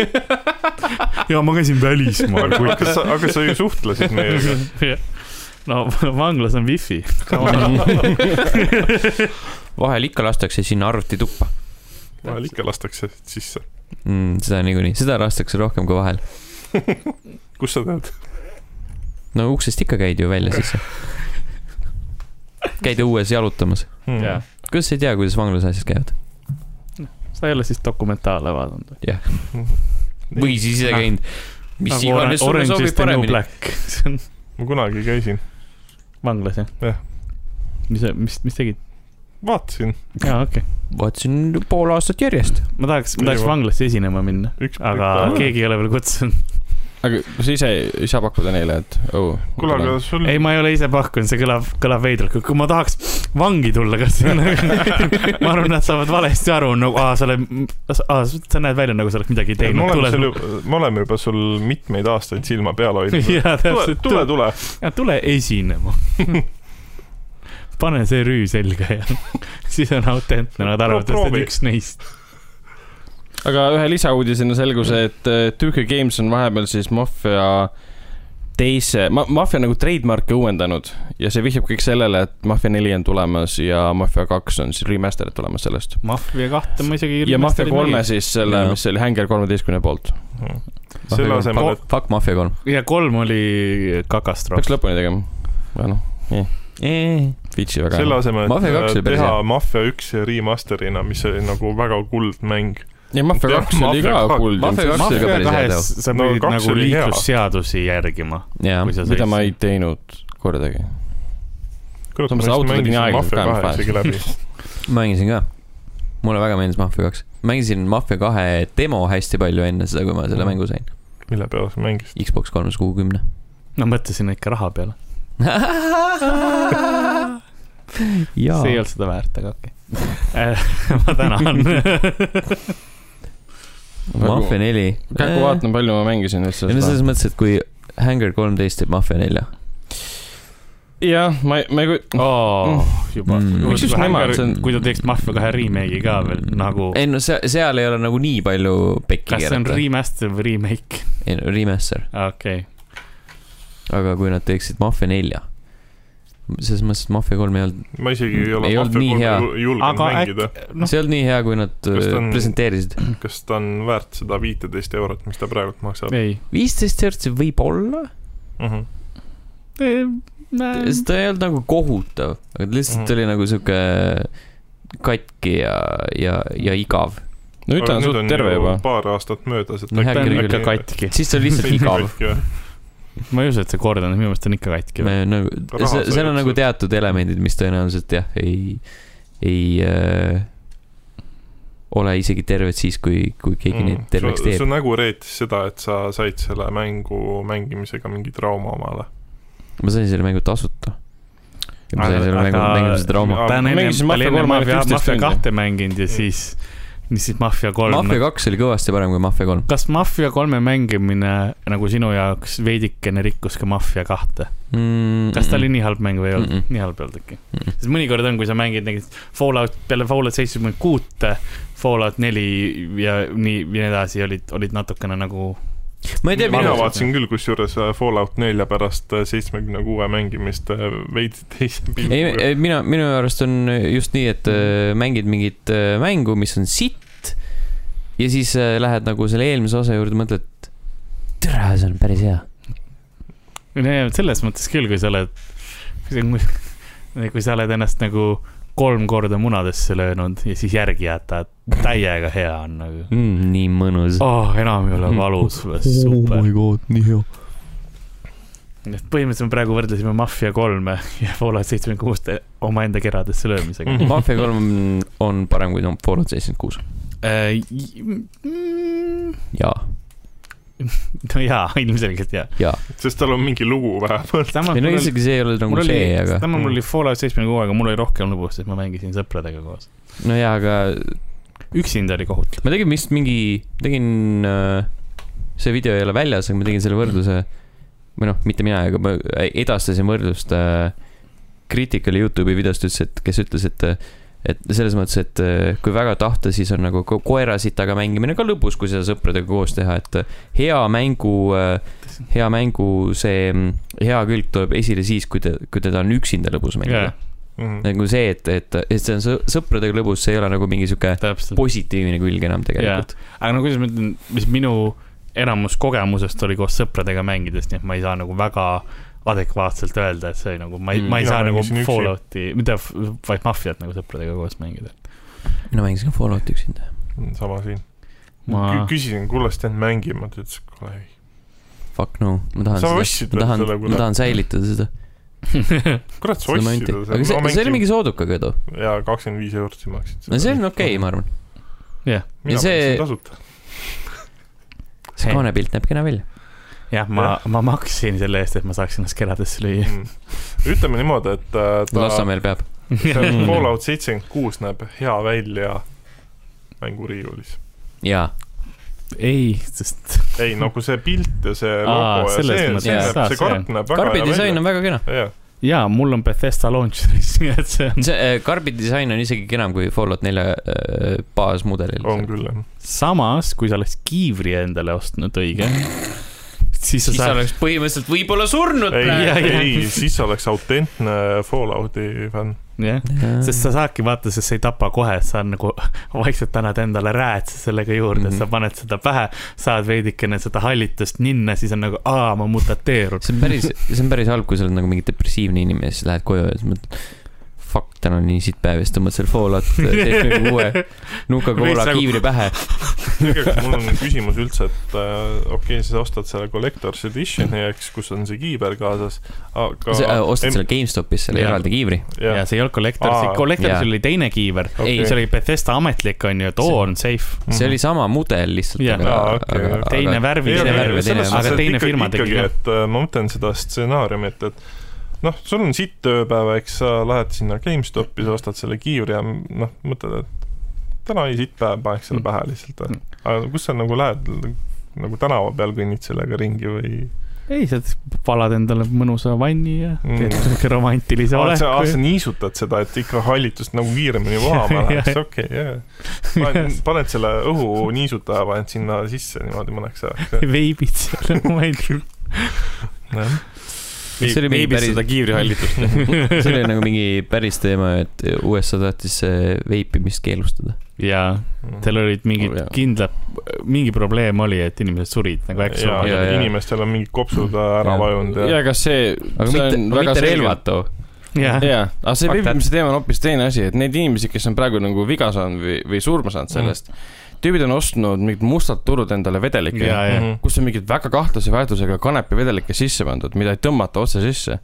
S3: ja ma käisin (laughs) välismaal
S2: aga kas sa , aga sa ju
S3: (laughs)
S2: suhtlesid meiega .
S3: Jah. no (laughs) vanglas on wifi .
S1: vahel ikka lastakse sinna arvutituppa
S2: vahel ikka lastakse sisse .
S1: mm, . seda niikuinii , seda lastakse rohkem kui vahel .
S2: kus sa tead ?
S1: no uksest ikka käid ju välja
S2: (laughs)
S1: sisse . käid õues jalutamas .
S3: (laughs)
S2: Hmm.
S3: jah ,
S1: kuidas sa ei tea , kuidas vanglas asjad käivad ?
S3: sa ei ole siis dokumentaale vaadanud või ?
S1: või siis
S2: Noh.
S1: ise käinud .
S3: Nagu
S1: mis
S2: Nagu
S1: iganes sulle sobib paremini .
S3: (laughs) see on
S2: ma kunagi käisin ,
S3: vanglas jah
S2: Jah. ?
S3: mis , mis , mis tegid ?
S2: vaatasin ,
S3: aa , okei okay. .
S1: vaatasin pool aastat järjest .
S3: ma tahaks , ma tahaks
S2: Ei, ma-
S3: vanglasse esinema minna ,
S2: üks .
S3: aga keegi ei ole veel kutsunud .
S4: aga sa ise ei saa pakkuda neile , et oh .
S2: kuule , aga sul
S3: ei , ma ei ole ise pakkunud , see kõlab , kõlab veidralt , kui ma tahaks vangi tulla , kas see on nagu- (laughs) ma arvan , nad saavad valesti aru , nagu aa , sa oled , aa , sa näed välja nagu sa oled midagi
S2: me
S3: teinud .
S2: oleme
S3: (laughs)
S2: sul , me oleme juba sul mitmeid aastaid silma peal hoidnud .
S3: jaa ,
S2: tule ,
S3: täpselt .
S2: tule , tule .
S3: ja tule esinema . (laughs) pane see rüü selga ja (laughs) siis on autentne , nad arvavad , et sa oled
S2: proovi.
S3: üks neist .
S4: aga ühe lisauudisena selgus , et äh, 2K Games on vahepeal siis Mafia teise , ma , Mafia on nagu trademark'e uuendanud ja see vihjab kõik sellele , et Mafia neli on tulemas ja Mafia kaks on siis remaster'id tulemas sellest .
S3: Mafia kahte ma isegi .
S4: ja Mafia kolme . siis selle ,
S1: Jaa.
S4: mis see oli , Hänger kolmeteistkümne poolt .
S2: selle asemel , et
S1: Fuck- Fuck Mafia kolm .
S3: ja kolm oli kakastroff
S4: peaks . lõpuni tegema . aga noh , Fitchi väga
S2: selle
S4: hea .
S2: asemel ,
S1: Mafia kaks
S2: et
S1: oli
S2: äh,
S1: päris
S2: teha
S1: hea.
S2: Mafia üks remaster'ina , mis oli nagu väga kuldmäng .
S4: ja Mafia
S2: jah,
S4: kaks oli
S2: Mafia
S4: ka
S2: kaks-
S4: cool .
S1: Mafia kaks oli ka
S3: Mafia
S1: päris hea
S3: kahes sa
S2: No
S3: pidid
S2: kaks
S3: nagu
S2: oli hea.
S3: liiklusseadusi järgima .
S1: jah .
S4: mida ma ei teinud kordagi .
S2: kurat ,
S4: Samas
S2: ma just
S4: autod on nii
S2: mängisin
S4: aeglased
S2: Mafia
S4: ka,
S2: kahe
S4: mis
S2: isegi läbi .
S1: mängisin ka . mulle väga meeldis Mafia kaks . mängisin Mafia kahe demo hästi palju enne seda , kui ma selle mängu sain .
S2: mille peale sa mängisid ?
S1: Xbox kolmesaja kuuekümne . (laughs)
S3: no mõtlesin ikka raha peale .
S1: jaa
S3: see ei . olnud seda väärt , aga okei okay. . (laughs) ma
S1: (laughs)
S3: tänan . Nagu
S1: Mafia neli .
S4: kähku vaatan , palju ma mängisin üldse
S1: ei no selles . mõttes , et kui Hanger kolmteist teeb Mafia nelja .
S4: jah , ma ei , ma ei kujuta .
S3: oh, juba
S1: Mm.
S4: Miks just nemad, see on-
S3: kui ta teeks Mafia kahe remake'i ka veel nagu .
S1: ei no seal , seal ei ole nagu nii palju pekki
S3: kas see on
S1: keerata .
S3: remaster või remake ?
S1: ei no remaster ,
S3: okei okay. ,
S1: aga kui nad teeksid Mafia nelja . selles mõttes , et Mafia kolm ei olnud ,
S2: ma isegi ei ole
S1: Ei olnud nii
S2: Mafia
S1: hea.
S2: kolme julgenud
S3: Aga äkki-
S2: mängida .
S3: Noh.
S1: see ei olnud nii hea , kui nad
S2: Kas ta
S1: äh,
S2: on-
S1: presenteerisid .
S2: kas ta on väärt seda viiteist eurot , mis ta praegult maksab ? Mhm.
S3: ei .
S1: viisteist hertsi võib-olla ,
S3: Äh.
S1: sest ta ei olnud nagu kohutav , aga ta lihtsalt
S2: Mhm.
S1: oli nagu sihuke katki ja , ja , ja igav .
S4: no nüüd ta on suht terve juba .
S2: paar aastat möödas , et
S1: No
S3: ta on
S1: Äkki-
S3: ikka . katki .
S1: siis ta oli lihtsalt
S3: (laughs)
S1: igav .
S3: ma ei usu , et see korda , minu meelest on ikka katki .
S1: nagu ,
S2: Raha sai
S1: seal on nagu
S2: lihtsalt.
S1: teatud elemendid , mis tõenäoliselt jah , ei , ei äh, ole isegi terved siis , kui , kui keegi mm, neid terveks
S2: Mhm. su
S1: teeb .
S2: nägu reetis seda , et sa said selle mängu mängimisega mingi trauma omale .
S1: ma sain selle mängu tasuta . ja ma
S3: Aga-
S1: sain selle mängu
S3: aga-
S1: mängimise trauma .
S3: ta on
S2: Ma
S3: enne ,
S4: mängisin
S3: ta
S4: Mafia
S3: oli enne
S4: kolme
S3: Mafia ,
S4: 11
S3: Mafia
S4: tundi.
S3: kahte mänginud ja siis , mis siis Mafia kolm .
S1: Mafia kaks oli kõvasti parem kui Mafia kolm
S3: kas Mafia kolme mängimine nagu sinu jaoks veidikene rikkus ka Mafia kahte ?
S1: mm, .
S3: kas ta oli nii halb mäng või ei olnud mm ?
S1: Mm-mm.
S3: -mm. nii halb ei olnud äkki mm .
S1: Mm-mm.
S3: -mm. sest mõnikord on , kui sa mängid näiteks Fallout , peale Fallout seitsekümmend kuute , Fallout neli ja nii ja nii edasi olid , olid natukene nagu .
S1: ma ei tea ,
S3: Mina
S1: minu
S2: mina
S3: arvasin-
S2: vaatasin küll , kusjuures äh, Fallout nelja pärast äh, seitsmekümne kuue mängimist äh, veidi teise
S1: ei
S2: pilguga .,
S1: mina , minu arust on just nii , et äh, mängid mingit äh, mängu , mis on sitt ja siis äh, lähed nagu selle eelmise osa juurde , mõtled , tere , see on päris hea .
S3: selles mõttes küll , kui sa oled , kui sa (laughs) oled ennast nagu kolm korda munadesse löönud ja siis järgi jätad , täiega hea on nagu .
S1: mm, . nii mõnus oh, .
S3: oh, . enam ei ole
S1: (laughs)
S3: valus , super . oh my god , nii hea . et põhimõtteliselt me praegu võrdlesime Mafia kolme ja Fallout seitsekümmend kuust omaenda keradesse löömisega mm .
S1: Mafia kolm on- on parem kui Fallout seitsekümmend kuus .
S3: Äh, -hmm.
S1: jaa ,
S3: no jaa , ilmselgelt jaa .
S2: sest tal on mingi lugu vähemalt .
S1: ei no isegi see ei ole nagu
S3: mul oli
S1: see ,, aga
S3: tema mul oli Fallout seitsmekümne kuuega , mul oli rohkem lugu , sest ma mängisin sõpradega koos .
S1: no jaa , aga
S3: üksinda oli kohutav .
S1: ma tegin vist mingi , tegin , see video ei ole väljas , aga ma tegin selle võrdluse või noh , mitte mina , aga ma edastasin võrdlust äh, kriitikale Youtube'i videost ütles , et kes ütles , et et selles mõttes , et äh, kui väga tahta , siis on nagu ko- koerasitaga mängimine ka lõbus , kui seda sõpradega koos teha , et äh, hea mängu , hea mängu see mm, hea külg tuleb esile siis , kui te , kui teda on üksinda lõbus mängida
S3: jaa
S1: yeah. .,
S2: Mm,
S1: nagu see , et , et , et see on sõ- sõpradega lõbus , see ei ole nagu mingi sihuke
S3: täpselt .
S1: positiivne külg enam tegelikult .
S3: aga no kuidas ma ütlen , mis minu enamus kogemusest oli koos sõpradega mängides , nii et ma ei saa nagu väga adekvaatselt öelda , et see oli nagu , ma ei ,
S1: Mm.
S3: ma ei
S2: Mina
S3: saa nagu
S2: mängisin üksi.
S3: Fallouti , mitte f- vaid Mafiat nagu sõpradega koos mängida .
S1: mina mängisin ka Fallout üksinda .
S2: sama siin . Mm,
S3: ma ,
S2: küsisin , kuule , Sten , mängima , ta ütles , kuule ei .
S1: Fuck no , ma tahan
S2: Sa
S1: seda ,
S2: ostsid
S1: ma tahan
S2: selle , kurat.
S1: ma tahan säilitada seda ,
S2: kurat , sa
S1: seda
S2: ostsid
S1: momenti . aga see , see oli mingi soodukaga too .
S2: jaa , kakskümmend viis eurot sa maksid Noh,
S1: no see on okei okay, , ma arvan .
S2: mina
S1: ja see-
S2: maksin tasuta .
S1: see kaanepilt näeb kena välja .
S3: jah , ma , ma maksin selle eest , et ma saaksin ennast keradesse (laughs) lüüa .
S2: Mm. ütleme niimoodi , et äh,
S1: (laughs)
S2: ta ,
S1: Lasnamäel peab .
S2: see
S1: (laughs)
S2: Fallout seitsekümmend kuus näeb hea välja mänguriiulis .
S1: jaa ,
S3: ei , sest
S2: ei , nagu see pilt ja see
S3: Aa,
S2: logo ja
S3: selles
S2: see ,
S3: mõttes,
S2: see
S1: jaa.
S2: näeb , see
S3: See-
S2: karp näeb väga
S1: karbi
S2: hea
S1: disain
S2: välja .
S1: on väga kena .
S2: jaa ,
S3: jaa , mul on Bethesda launcheris , nii et see on
S1: see äh, karbi disain on isegi kenam kui Fallout nelja äh, baasmudelil .
S2: on küll jah .
S3: samas , kui sa oleks kiivri endale ostnud , õige , siis sa
S1: siis sa
S3: saad ,
S1: oleks põhimõtteliselt võib-olla surnud
S2: ei ,
S1: praegu .
S2: ei , siis sa oleks autentne Fallouti fänn .
S3: jah , sest sa saadki vaata , sest sa ei tapa kohe , sa nagu (laughs) vaikselt annad endale räätsa sellega juurde mm ,
S1: Mhm.
S3: -hmm. sa paned seda pähe , saad veidikene seda hallitust ninna , siis on nagu , aa , ma mutateerun .
S1: see on päris , see on päris halb , kui sa oled nagu mingi depressiivne inimene ja siis lähed koju ja siis mõtled , fuck , täna on nii sitt päev ja siis tõmbad selle Fallout , teed mingi
S3: (laughs)
S1: uue
S3: Veits
S1: Nuka-Cola
S3: nagu-
S1: kiivri pähe .
S2: mul on küsimus üldse , et äh, okei okay, , sa ostad selle Collector's Editioni , eks , kus on see kiiber kaasas , aga
S1: äh, ostad selle
S2: Em-
S1: GameStopis selle
S3: Jah.
S1: eraldi kiivri .
S3: ja
S2: jah ,
S3: see ei olnud Collector ,
S2: Aa.
S3: see Collector ,
S1: Jaa.
S3: seal oli teine kiiver
S2: Okei.
S3: okay. , see oli Bethesda ametlik , on ju , et oo , on safe .
S1: see
S2: Mhm.
S1: oli sama mudel lihtsalt ,
S3: Mhm. Jah.
S1: aga
S2: Aa, , okei,
S1: aga
S2: okei. ,
S3: teine
S1: aga
S3: värvi ,
S1: Ei,
S3: teine
S1: ei,
S3: värv ,
S1: selles
S3: teine ,
S1: suhtes,
S3: aga teine firma tegi
S2: ka .
S3: ka .
S2: et äh, ma mõtlen seda stsenaariumit , et noh , sul on sitt ööpäeva , eks sa lähed sinna GameStopi , sa ostad selle kiivri ja noh , mõtled , et täna oli sitt päev , paneks selle
S3: Mm.
S2: pähe lihtsalt
S3: Mm. .
S2: aga kus sa nagu lähed , nagu tänava peal kõnnid sellega ringi või ?
S3: ei , sa valad endale mõnusa vanni ja
S2: Mm.
S3: teed siuke romantilise
S2: oled Ah, sa , sa
S3: oleku .
S2: niisutad seda , et ikka hallitust nagu kiiremini
S3: (laughs)
S2: vohama läheks , okei , jah . paned selle õhuniisutaja , paned sinna sisse niimoodi mõneks ajaks .
S3: veibid seal (laughs) romantil- . (laughs)
S1: see oli mingi
S4: veebis
S1: päris
S4: seda , kiivrihallitust .
S1: (laughs) see oli nagu mingi päris teema , et USA tahtis eh, veipimist keelustada .
S3: jaa ,
S2: Mm.
S3: seal olid mingid
S1: Oh, jaa.
S3: kindlad , mingi probleem oli , et inimesed surid nagu , eks
S2: ja ,
S3: ole .
S1: Jaa,
S2: ja
S1: jaa.
S2: inimestel on mingid kopsud ära
S1: Jaa.
S2: vajunud ja
S4: ja kas see ,
S1: aga mitte ,
S4: see on väga
S1: mitte
S4: selge-
S1: relvad too .
S3: jah ,
S4: jaa , aga see
S1: Fuck
S4: veebimise teema on hoopis teine asi , et neid inimesi , kes on praegu nagu viga saanud või , või surma saanud sellest mm. , tüübid on ostnud mingid mustad turud endale vedelikke
S3: ja , ja
S2: Mhm.
S4: kus on mingeid väga kahtlase väärtusega kanepivedelikke sisse pandud , mida ei tõmmata otse sisse .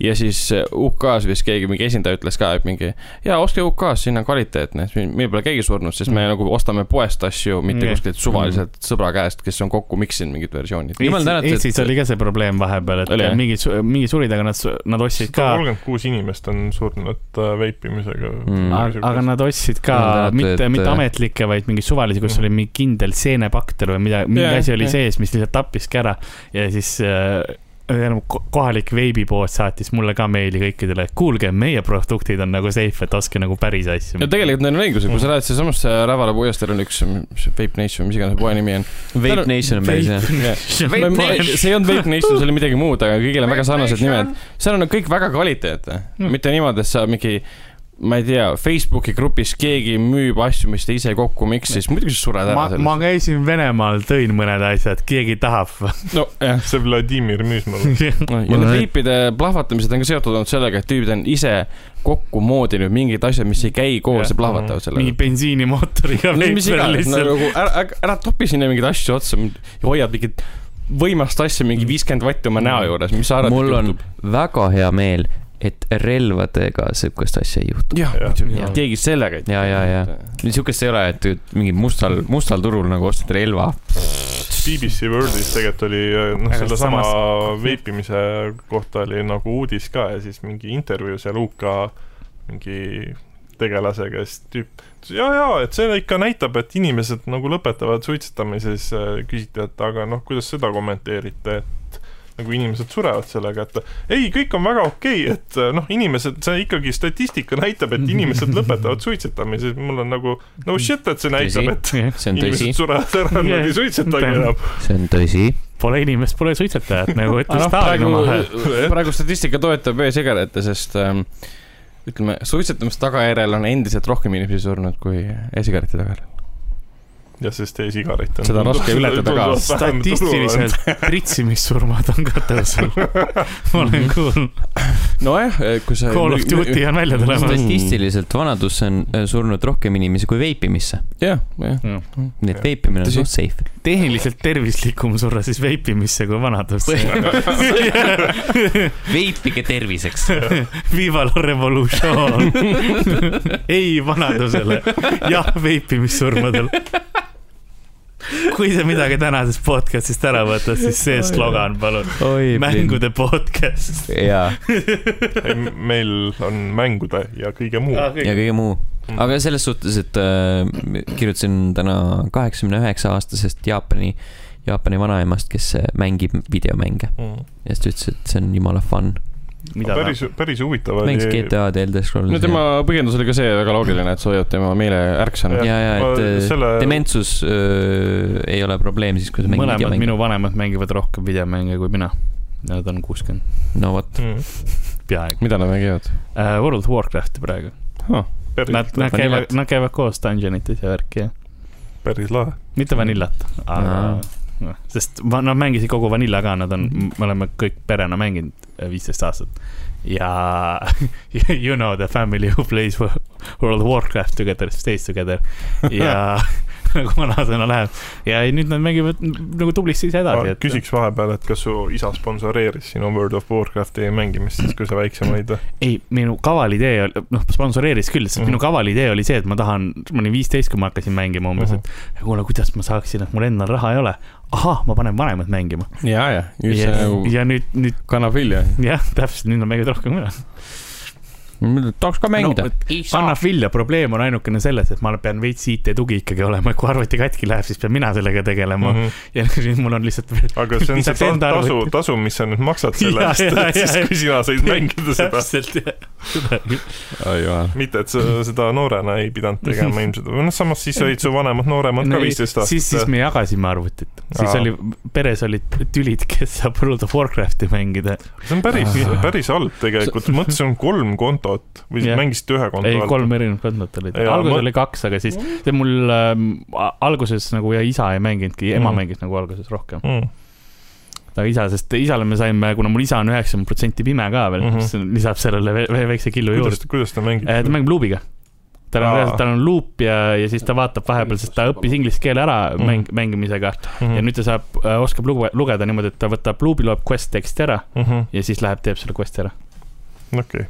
S4: ja siis eh, UK-s vist keegi , mingi esindaja ütles ka , et mingi , jaa , ostke UK-s , siin on kvaliteetne , meil pole keegi surnud , sest
S1: Mm.
S4: me nagu ostame poest asju , mitte
S3: Jah.
S4: kuskilt suvaliselt sõbra käest , kes on kokku miksinud mingid versioonid .
S1: Jumal tänatud, et-
S3: Eestis, Eestis oli ka see probleem vahepeal , et
S4: Oli, jah?
S3: mingi , mingi surid , aga nad , nad ostsid ka ,
S2: kolmkümmend kuus inimest on surnud äh, veipimisega
S1: Mm.
S3: aga aga nad ostsid ka
S1: Jumal tänatud,
S3: mitte ,
S1: et- äh,
S3: mitte ametlikke , vaid mingi suvalisi , kus
S2: Mhm.
S3: oli mingi kindel seenebakter või mida , mingi
S4: Jah,
S3: asi oli
S4: Mm. jah.
S3: sees , mis lihtsalt tappiski ära ja siis äh, tähendab, ko- kohalik veebipood saatis mulle ka meili kõikidele , et kuulge , meie produktid on nagu safe , et ostke nagu päris asju
S4: ja .
S3: (laughs)
S4: tegelikult neil on õigus , kui sa lähed seesamasse Rävala puiesteel on üks , mis see Vape Nation , mis iganes see poe nimi on .
S1: Vape Nation on päris hea .
S4: Ma- ma- see ei olnud Vape Nation , see oli midagi muud , aga kõigil on väga sarnased nimed . seal on nad kõik väga kvaliteetne
S3: Mm.
S4: mm. , mitte niimoodi , et sa mingi , ma ei tea , Facebooki grupis keegi müüb asju , mis ta ise kokku miksis , muidugi sa sured ära
S3: ma , ma
S4: sellest .
S3: käisin Venemaal , tõin mõned asjad , keegi tahab . (laughs)
S4: nojah ,
S2: see Vladimir müüs mulle .
S4: ja need veipide plahvatamised on ka seotud olnud sellega , et tüübid on ise kokku moodinud mingid asjad , mis ei käi koos ja plahvatavad
S3: Mhm. mingi
S4: sellega .
S3: bensiinimootoriga .
S4: no mis iganes , nagu ära , ära, ära topi sinna mingeid asju otsa , hoiad mingit võimast asja mingi viiskümmend vatti oma näo juures , mis sa arvad ,
S1: mul on väga hea meel , et relvadega sihukest asja ei juhtu .
S4: jah ,
S2: Jah.
S4: muidugi
S1: Jah. ,
S4: keegi sellega ei
S1: Ja, ja, ja. sihukest ei ole , et mingi mustal , mustal turul nagu ostad relva .
S2: BBC Worldis tegelikult oli äh, noh ,
S3: Aga
S2: sellesama
S3: samas-
S2: veipimise kohta oli nagu uudis ka ja siis mingi intervjuu seal UK mingi tegelasega ja siis tüüp ütles ja , ja , et see ikka näitab , et inimesed nagu lõpetavad suitsetamise , siis äh, küsiti , et aga noh , kuidas seda kommenteerite , et nagu inimesed surevad sellega , et ei , kõik on väga okei okay, , et äh, noh , inimesed , see ikkagi statistika näitab , et inimesed lõpetavad suitsetamise , mul on nagu no shit , et see näitab , et
S1: see on tõsi
S2: inimesed , surevad ära , nad ei suitsetagi
S3: Tähendab,
S2: enam .
S1: see on tõsi .
S3: Pole inimest , pole suitsetajat , nagu ütles Stalin
S4: noh, praegu
S3: oma ,
S4: praegu statistika toetab e-sigarette , sest ähm, ütleme , suitsetamise tagajärjel on endiselt rohkem inimesi surnud kui e-sigareti tagajärjel .
S2: ja sest e-sigaret on .
S4: Seda on raske ületada ka.
S3: statistiliselt pritsimissurmad on ka
S4: (laughs)
S3: tõusnud . ma olen kuulnud ,
S4: nojah , kui sa .
S3: Call of Duty on välja tulemas .
S1: statistiliselt vanadusse on äh, surnud rohkem inimesi kui veipimisse ,
S4: jah , jah .
S1: nii et
S2: Jah.
S1: veipimine on
S4: Tõsi.
S1: suht safe .
S3: tehniliselt tervislikum surra siis veipimisse kui vanadusse . (laughs)
S1: (laughs) veipige terviseks .
S3: (laughs) Viva la (laughs) revolutsioon . ei vanadusele , jah veipimissurmadel . kui sa midagi tänasest podcast'ist ära võtad , siis see slogan , palun .
S1: oi ,
S3: mängude podcast .
S1: jaa ,
S2: meil on mängude ja kõige muu .
S3: Ah,
S2: Mm.
S1: ja kõige muu . aga selles suhtes , et äh, kirjutasin täna kaheksakümne üheksa aastasest Jaapani , Jaapani vanaemast , kes mängib videomänge
S2: Mm.
S1: ja siis ta ütles , et see on jumala fun .
S3: mida ta
S2: päris , päris huvitav oli .
S1: mängiks GTA-d ja Elder Scrolls .
S4: no tema põhjendus oli ka see väga loogiline , et see hoiab tema meeleärks on .
S1: ja , ja , et äh,
S2: selle ,
S1: dementsus öö, ei ole probleem siis , kui sa mängid
S3: mõlemad
S1: videomänge .
S3: minu vanemad mängivad rohkem videomänge kui mina . Nad on kuuskümmend ,
S1: no vot ,
S2: Mm.
S3: peaaegu
S4: mida nad mängivad ?
S3: uh, . World of Warcrafti praegu . Nad , nad käivad , nad käivad koos dungeonites ja värki ja ,
S2: päris lahe .
S3: mitte Vanillat , aga
S1: Aa.
S3: no. , sest va- nad mängisid kogu Vanilla ka , nad on , me oleme kõik perena mänginud äh, viisteist aastat . ja (laughs) you know the family who plays wo- World of Warcraft together stays together ja (laughs) nagu vanasõna läheb ja ei, nüüd nad mängivad nagu tublisti ise edasi , et
S2: küsiks vahepeal , et kas su isa sponsoreeris sinu World of Warcrafti mängimist siis , kui sa väiksem
S3: (laughs)
S2: olid ?
S3: ei , minu kaval idee oli , noh , sponsoreeris küll , sest mm
S2: Mhm.
S3: -hmm. minu kaval idee oli see , et ma tahan , ma olin viisteist , kui ma hakkasin mängima umbes
S2: Mhm.
S3: mm , -hmm. et kuule , kuidas ma saaksin , et mul endal raha ei ole . ahah , ma panen vanemad mängima .
S4: ja , ja , nüüd see
S3: ja,
S4: nagu
S3: ja nüüd , nüüd
S4: kannab vilja .
S3: jah , täpselt , nüüd nad mängivad rohkem üle .
S1: tahaks ka mängida no, .
S3: annab vilja , probleem on ainukene selles , et ma pean veits IT-tugi ikkagi olema , et kui arvuti katki läheb , siis pean mina sellega tegelema mm .
S2: Mhm.
S3: -hmm. ja nüüd mul on lihtsalt
S2: (laughs)
S3: veel
S2: aga
S3: (laughs)
S2: see on see
S3: Lisaks
S2: ta-
S3: enda
S2: tasu
S3: arvuti- ,
S2: tasu , mis sa nüüd maksad selle
S3: (laughs) Jaa,
S2: eest ,
S3: jaa,
S2: et siis
S3: jaa,
S2: kui sina said mängida seda .
S3: täpselt jah. seda
S4: oi jumal .
S2: mitte , et sa seda noorena ei pidanud tegema ilmselt , või noh , samas siis olid su vanemad nooremad ka
S3: Ei,
S2: viisteist
S3: siis , siis
S2: aastat .
S3: me jagasime arvutit , siis
S2: Aa.
S3: oli , peres olid tülid , kes saab World of Warcrafti mängida .
S2: see on päris
S3: Ah. ,
S2: päris halb tegelikult , mõtlesin , on kolm kontot või
S3: Jah.
S2: siis mängisite ühe konto
S3: ei ,
S2: all .
S3: kolm erinevat kontot olid ,
S2: Jaa,
S3: alguses
S2: ma-
S3: oli kaks , aga siis see mul ähm, a- alguses nagu ja isa ei mänginudki , ema
S2: Mhm.
S3: mängis nagu alguses rohkem .
S2: Mm.
S3: aga isa , sest isale me saime , kuna mul isa on üheksakümmend protsenti pime ka veel mm ,
S2: Mhm.
S3: -hmm. siis lisab sellele veel- veel väikse killu juurde Eh,
S2: kuidas ,, kuidas ta mängib ?
S3: ta mängib luubiga . tal on
S2: Aa.
S3: reaalselt , tal on luup ja , ja siis ta vaatab vahepeal , sest ta õppis inglise keele ära
S2: Mhm.
S3: mäng , mängimisega ja nüüd ta saab , oskab lugu- lugeda niimoodi , et ta võtab luubi , loeb quest teksti ära
S2: Mhm.
S3: ja siis läheb , teeb selle quest'i ära .
S2: okei .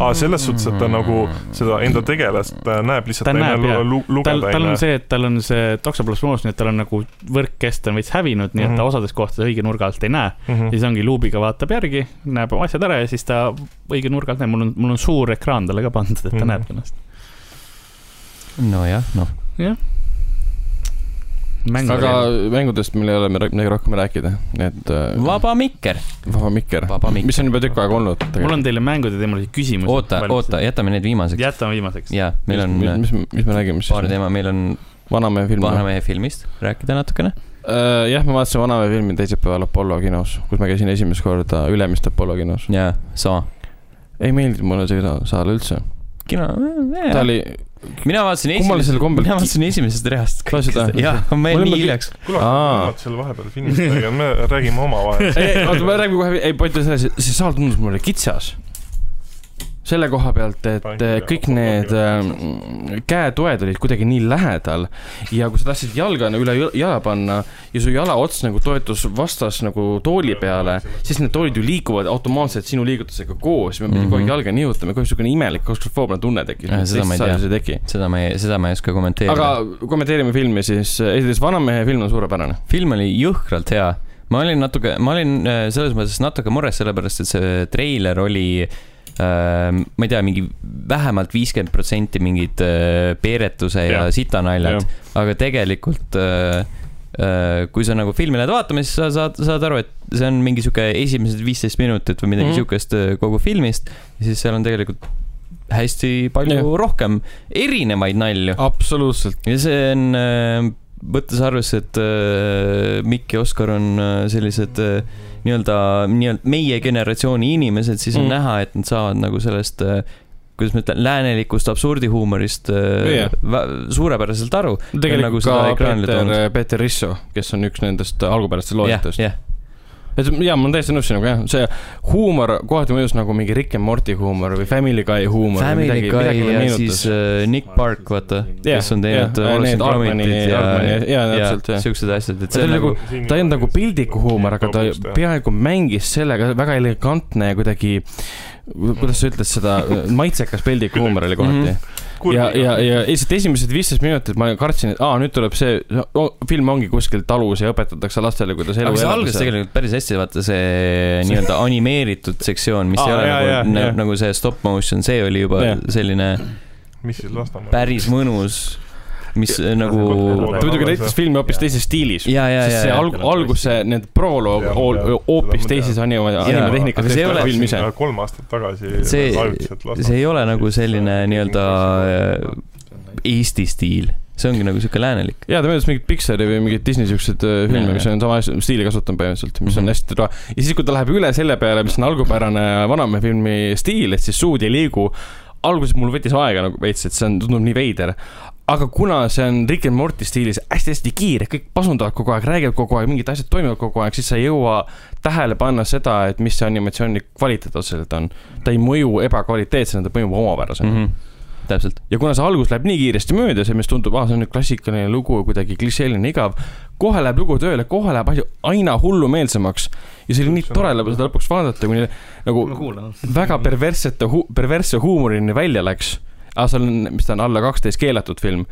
S2: aa , selles suhtes , et ta
S1: Mm.
S2: nagu seda enda tegelast äh, näeb
S3: Ta
S2: lihtsalt , ta ei
S3: näeb, jah.
S2: näe lu- ,
S3: tal ,
S2: lugeda ei
S3: tal on
S2: näe .
S3: see , et tal on see toksoplasmoos , nii et tal on nagu võrkkest on veits hävinud , nii et ta
S2: Mhm.
S3: osades kohtades õige nurga alt ei näe . ja
S1: Mhm.
S3: siis ongi luubiga vaatab järgi , näeb oma asjad ära ja siis ta õige nurga alt näeb , mul on , mul on suur ekraan talle ka pandud , et ta
S2: Mhm.
S3: näeb ennast .
S1: nojah , noh .
S4: aga mängudest meil ei ole midagi midagi rohkem rääkida , et äh,
S1: vaba mikker ,
S4: vaba mikker ,
S1: vaba mikker .
S4: mis on juba tükk aega olnud .
S3: mul on teile mängude teemal küsimus .
S1: oota , oota ,. jätame need viimaseks .
S3: jätame viimaseks .
S1: jaa , meil on äh,
S4: mis , mis me räägime
S1: paar
S4: siis ?
S1: teema , meil on
S4: vanamehe film .
S1: Vanamehe filmist rääkida natukene .
S4: jah , ma vaatasin Vanamehe filmi teisipäeval Apollo kinos , kus ma käisin esimest korda Ülemiste Apollo kinos .
S1: jaa , sama .
S4: ei meeldinud mulle see kino- saal üldse .
S1: kino ,
S4: ta oli ,
S1: mina vaatasin
S4: kummalisel
S1: esimesest ,
S4: kombel-
S1: mina vaatasin esimesest reast .
S4: Kas seda?
S1: jah , ma
S4: Mul
S1: jäin
S4: on
S1: nii
S4: mingi-
S1: hiljaks .
S2: kuule ,
S4: Aa.
S2: vaata selle vahepeal filmist , aga me räägime
S4: (laughs)
S2: omavahel .
S4: ei , oota , me räägime kohe , ei , point on selles , see saal tundus mulle kitsas . selle koha pealt , et eh, kõik need eh, käetoed olid kuidagi nii lähedal ja kui sa tahtsid jalga nagu üle jõ- jala panna ja su jala ots nagu toetus vastas nagu tooli peale , siis need toolid ju liiguvad automaatselt sinu liigutusega koos ja me pidime
S1: Mhm.
S4: kogu aeg jalga nihutama , kohe niisugune imelik klaustrofoobne tunne tekkis
S1: Äh, . seda ma ei tea.
S4: ei teki .
S1: seda ma ei , seda ma ei oska kommenteerida
S4: aga . kommenteerime filmi siis , esiteks Vanamehe film on suurepärane .
S1: film oli jõhkralt hea . ma olin natuke , ma olin äh, selles mõttes natuke mures , sellepärast et see treiler oli äh, ma ei tea , mingi vähemalt viiskümmend protsenti mingid äh, peeretuse ja,
S2: Jah.
S1: ja sitanaljad , aga tegelikult äh, äh, kui sa nagu filmi lähed vaatama , siis sa saad , saad aru , et see on mingi sihuke esimesed viisteist minutit või midagi mm
S4: Mhm.
S1: -hmm. siukest äh, kogu filmist , siis seal on tegelikult hästi palju
S4: Jah.
S1: ja. rohkem erinevaid nalju .
S4: absoluutselt .
S1: ja see on , äh, võttes arvesse , et äh, Mikk ja Oskar on äh, sellised äh, nii-öelda , nii-öelda meie generatsiooni inimesed , siis on
S4: Mm.
S1: mm. näha , et nad saavad nagu sellest , kuidas ma ütlen , läänelikust absurdihuumorist
S4: Jah.
S1: yeah. suurepäraselt aru .
S4: tegelikult
S1: seda
S4: nagu ka
S1: ekraanile
S4: Peeter
S1: toonud. ,
S4: Peeter Risso , kes on üks nendest algupärastest
S1: jah ,
S4: loojatest .
S1: jah ,
S4: et jaa , ma olen täiesti nõus sinuga jah , see huumor kohati mõjus nagu mingi Rick and Morty huumor või Family Guy huumor .
S1: Family Guy ja siis äh, Nick Park , vaata .
S4: Jah,
S1: kes on teinud äh,
S4: jah, need
S1: Wallace and
S4: Altmani-
S1: Gromitit ja
S4: Altmani- jaa, , täpselt, jah.
S1: siuksed asjad , et
S4: See
S1: see
S4: oli
S1: on nagu ,
S4: ta ei olnud nagu pildiku huumor , aga ta peaaegu mängis sellega väga elegantne ja kuidagi , kuidas sa ütled seda , maitsekas pildiku huumor oli
S1: Mhm.
S4: kohati . ja , ja , ja lihtsalt esimesed viisteist minutit ma kartsin , et aa , nüüd tuleb see , film ongi kuskil talus ja õpetatakse lastele , kuidas elu
S1: aga see algas tegelikult päris hästi , vaata see nii-öelda animeeritud sektsioon , mis
S4: Aa,
S1: ei ole
S4: jaa, jaa,
S1: nagu
S4: jaa. ,
S1: nagu see stop motion , see oli juba
S4: Jah.
S1: selline
S2: mis siis Lasnamäel ?
S1: päris mõnus mis äh, nagu
S2: Kontrolli.
S4: ta muidugi näitas filmi hoopis
S3: Jaa.
S4: teises stiilis .
S1: ja , ja ,
S4: sest see
S1: ja ,
S4: alg- , alguse , need proloog
S2: Jaa,
S4: hool-
S2: jaa.
S4: hoopis
S2: Seda ma
S4: teises anima , animatehnikas
S1: aga see ei ole-
S4: film ise .
S2: kolm aastat tagasi
S1: See- see ei ole nagu selline nii-öelda äh, Eesti stiil , see ongi nagu sihuke läänelik .
S4: ja ta möödas mingit Pixari või mingit Disney siukseid äh, filme ,
S1: Jaa,
S4: mis on sama asja- stiili kasutanud põhimõtteliselt , mis on
S1: Mhm.
S4: hästi tore . ja siis , kui ta läheb üle selle peale , mis on algupärane vanamehe filmi stiil , et siis suud ei liigu . alguses mul võttis aega nagu veits , et see on , tundub nii veider . aga kuna see on Rick and Morty stiilis hästi-hästi kiire , kõik pasundavad kogu aeg , räägivad kogu aeg , mingid asjad toimuvad kogu aeg , siis sa ei jõua tähele panna seda , et mis see animatsiooni kvaliteet otseselt on . ta ei mõju ebakvaliteetsena , ta mõjub omapärasena
S1: Mhm.
S4: mm . -hmm
S1: täpselt ,
S4: ja kuna see algus läheb nii kiiresti mööda , see , mis tundub , aa , see on nüüd klassikaline lugu , kuidagi klišeeline , igav , kohe läheb lugu tööle , kohe läheb asi aina hullumeelsemaks ja see oli nii tore lõpp- seda lõpuks vaadata , kuni nagu
S3: ma kuulan .
S4: väga perverssete , perversse huumorini välja läks . aga seal on , mis ta on , alla kaksteist keelatud film .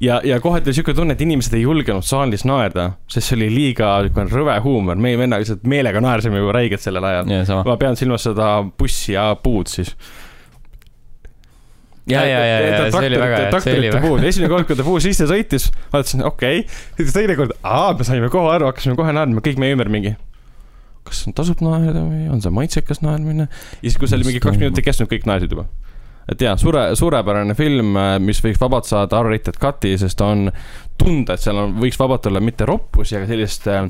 S4: ja , ja kohati oli siuke tunne , et inimesed ei julgenud saalis naerda , sest see oli liiga siukene rõve huumor , meie vennad lihtsalt meelega naersime juba räigelt sellel ajal .
S1: ja sama .
S4: ma pean silmas seda bussi ja puud siis . Äh,
S1: ja , ja , ja , ja see oli väga hea , see oli
S4: traktorite
S1: väga
S4: puhul , esimene kord , kui ta puu sisse sõitis , vaatasin , okei okay. . siis teine kord , aa , me saime kohe aru , hakkasime kohe naerma , kõik meie ümber mingi . kas tasub naerda või on see maitsekas naermine ? ja siis , kui see oli mingi kaks minutit kestnud , kõik naersid juba . et jaa , sure , suurepärane film , mis võiks vabalt saada R-rated cut'i , sest ta on tunda , et seal on , võiks vabalt olla mitte roppusi , aga sellist äh,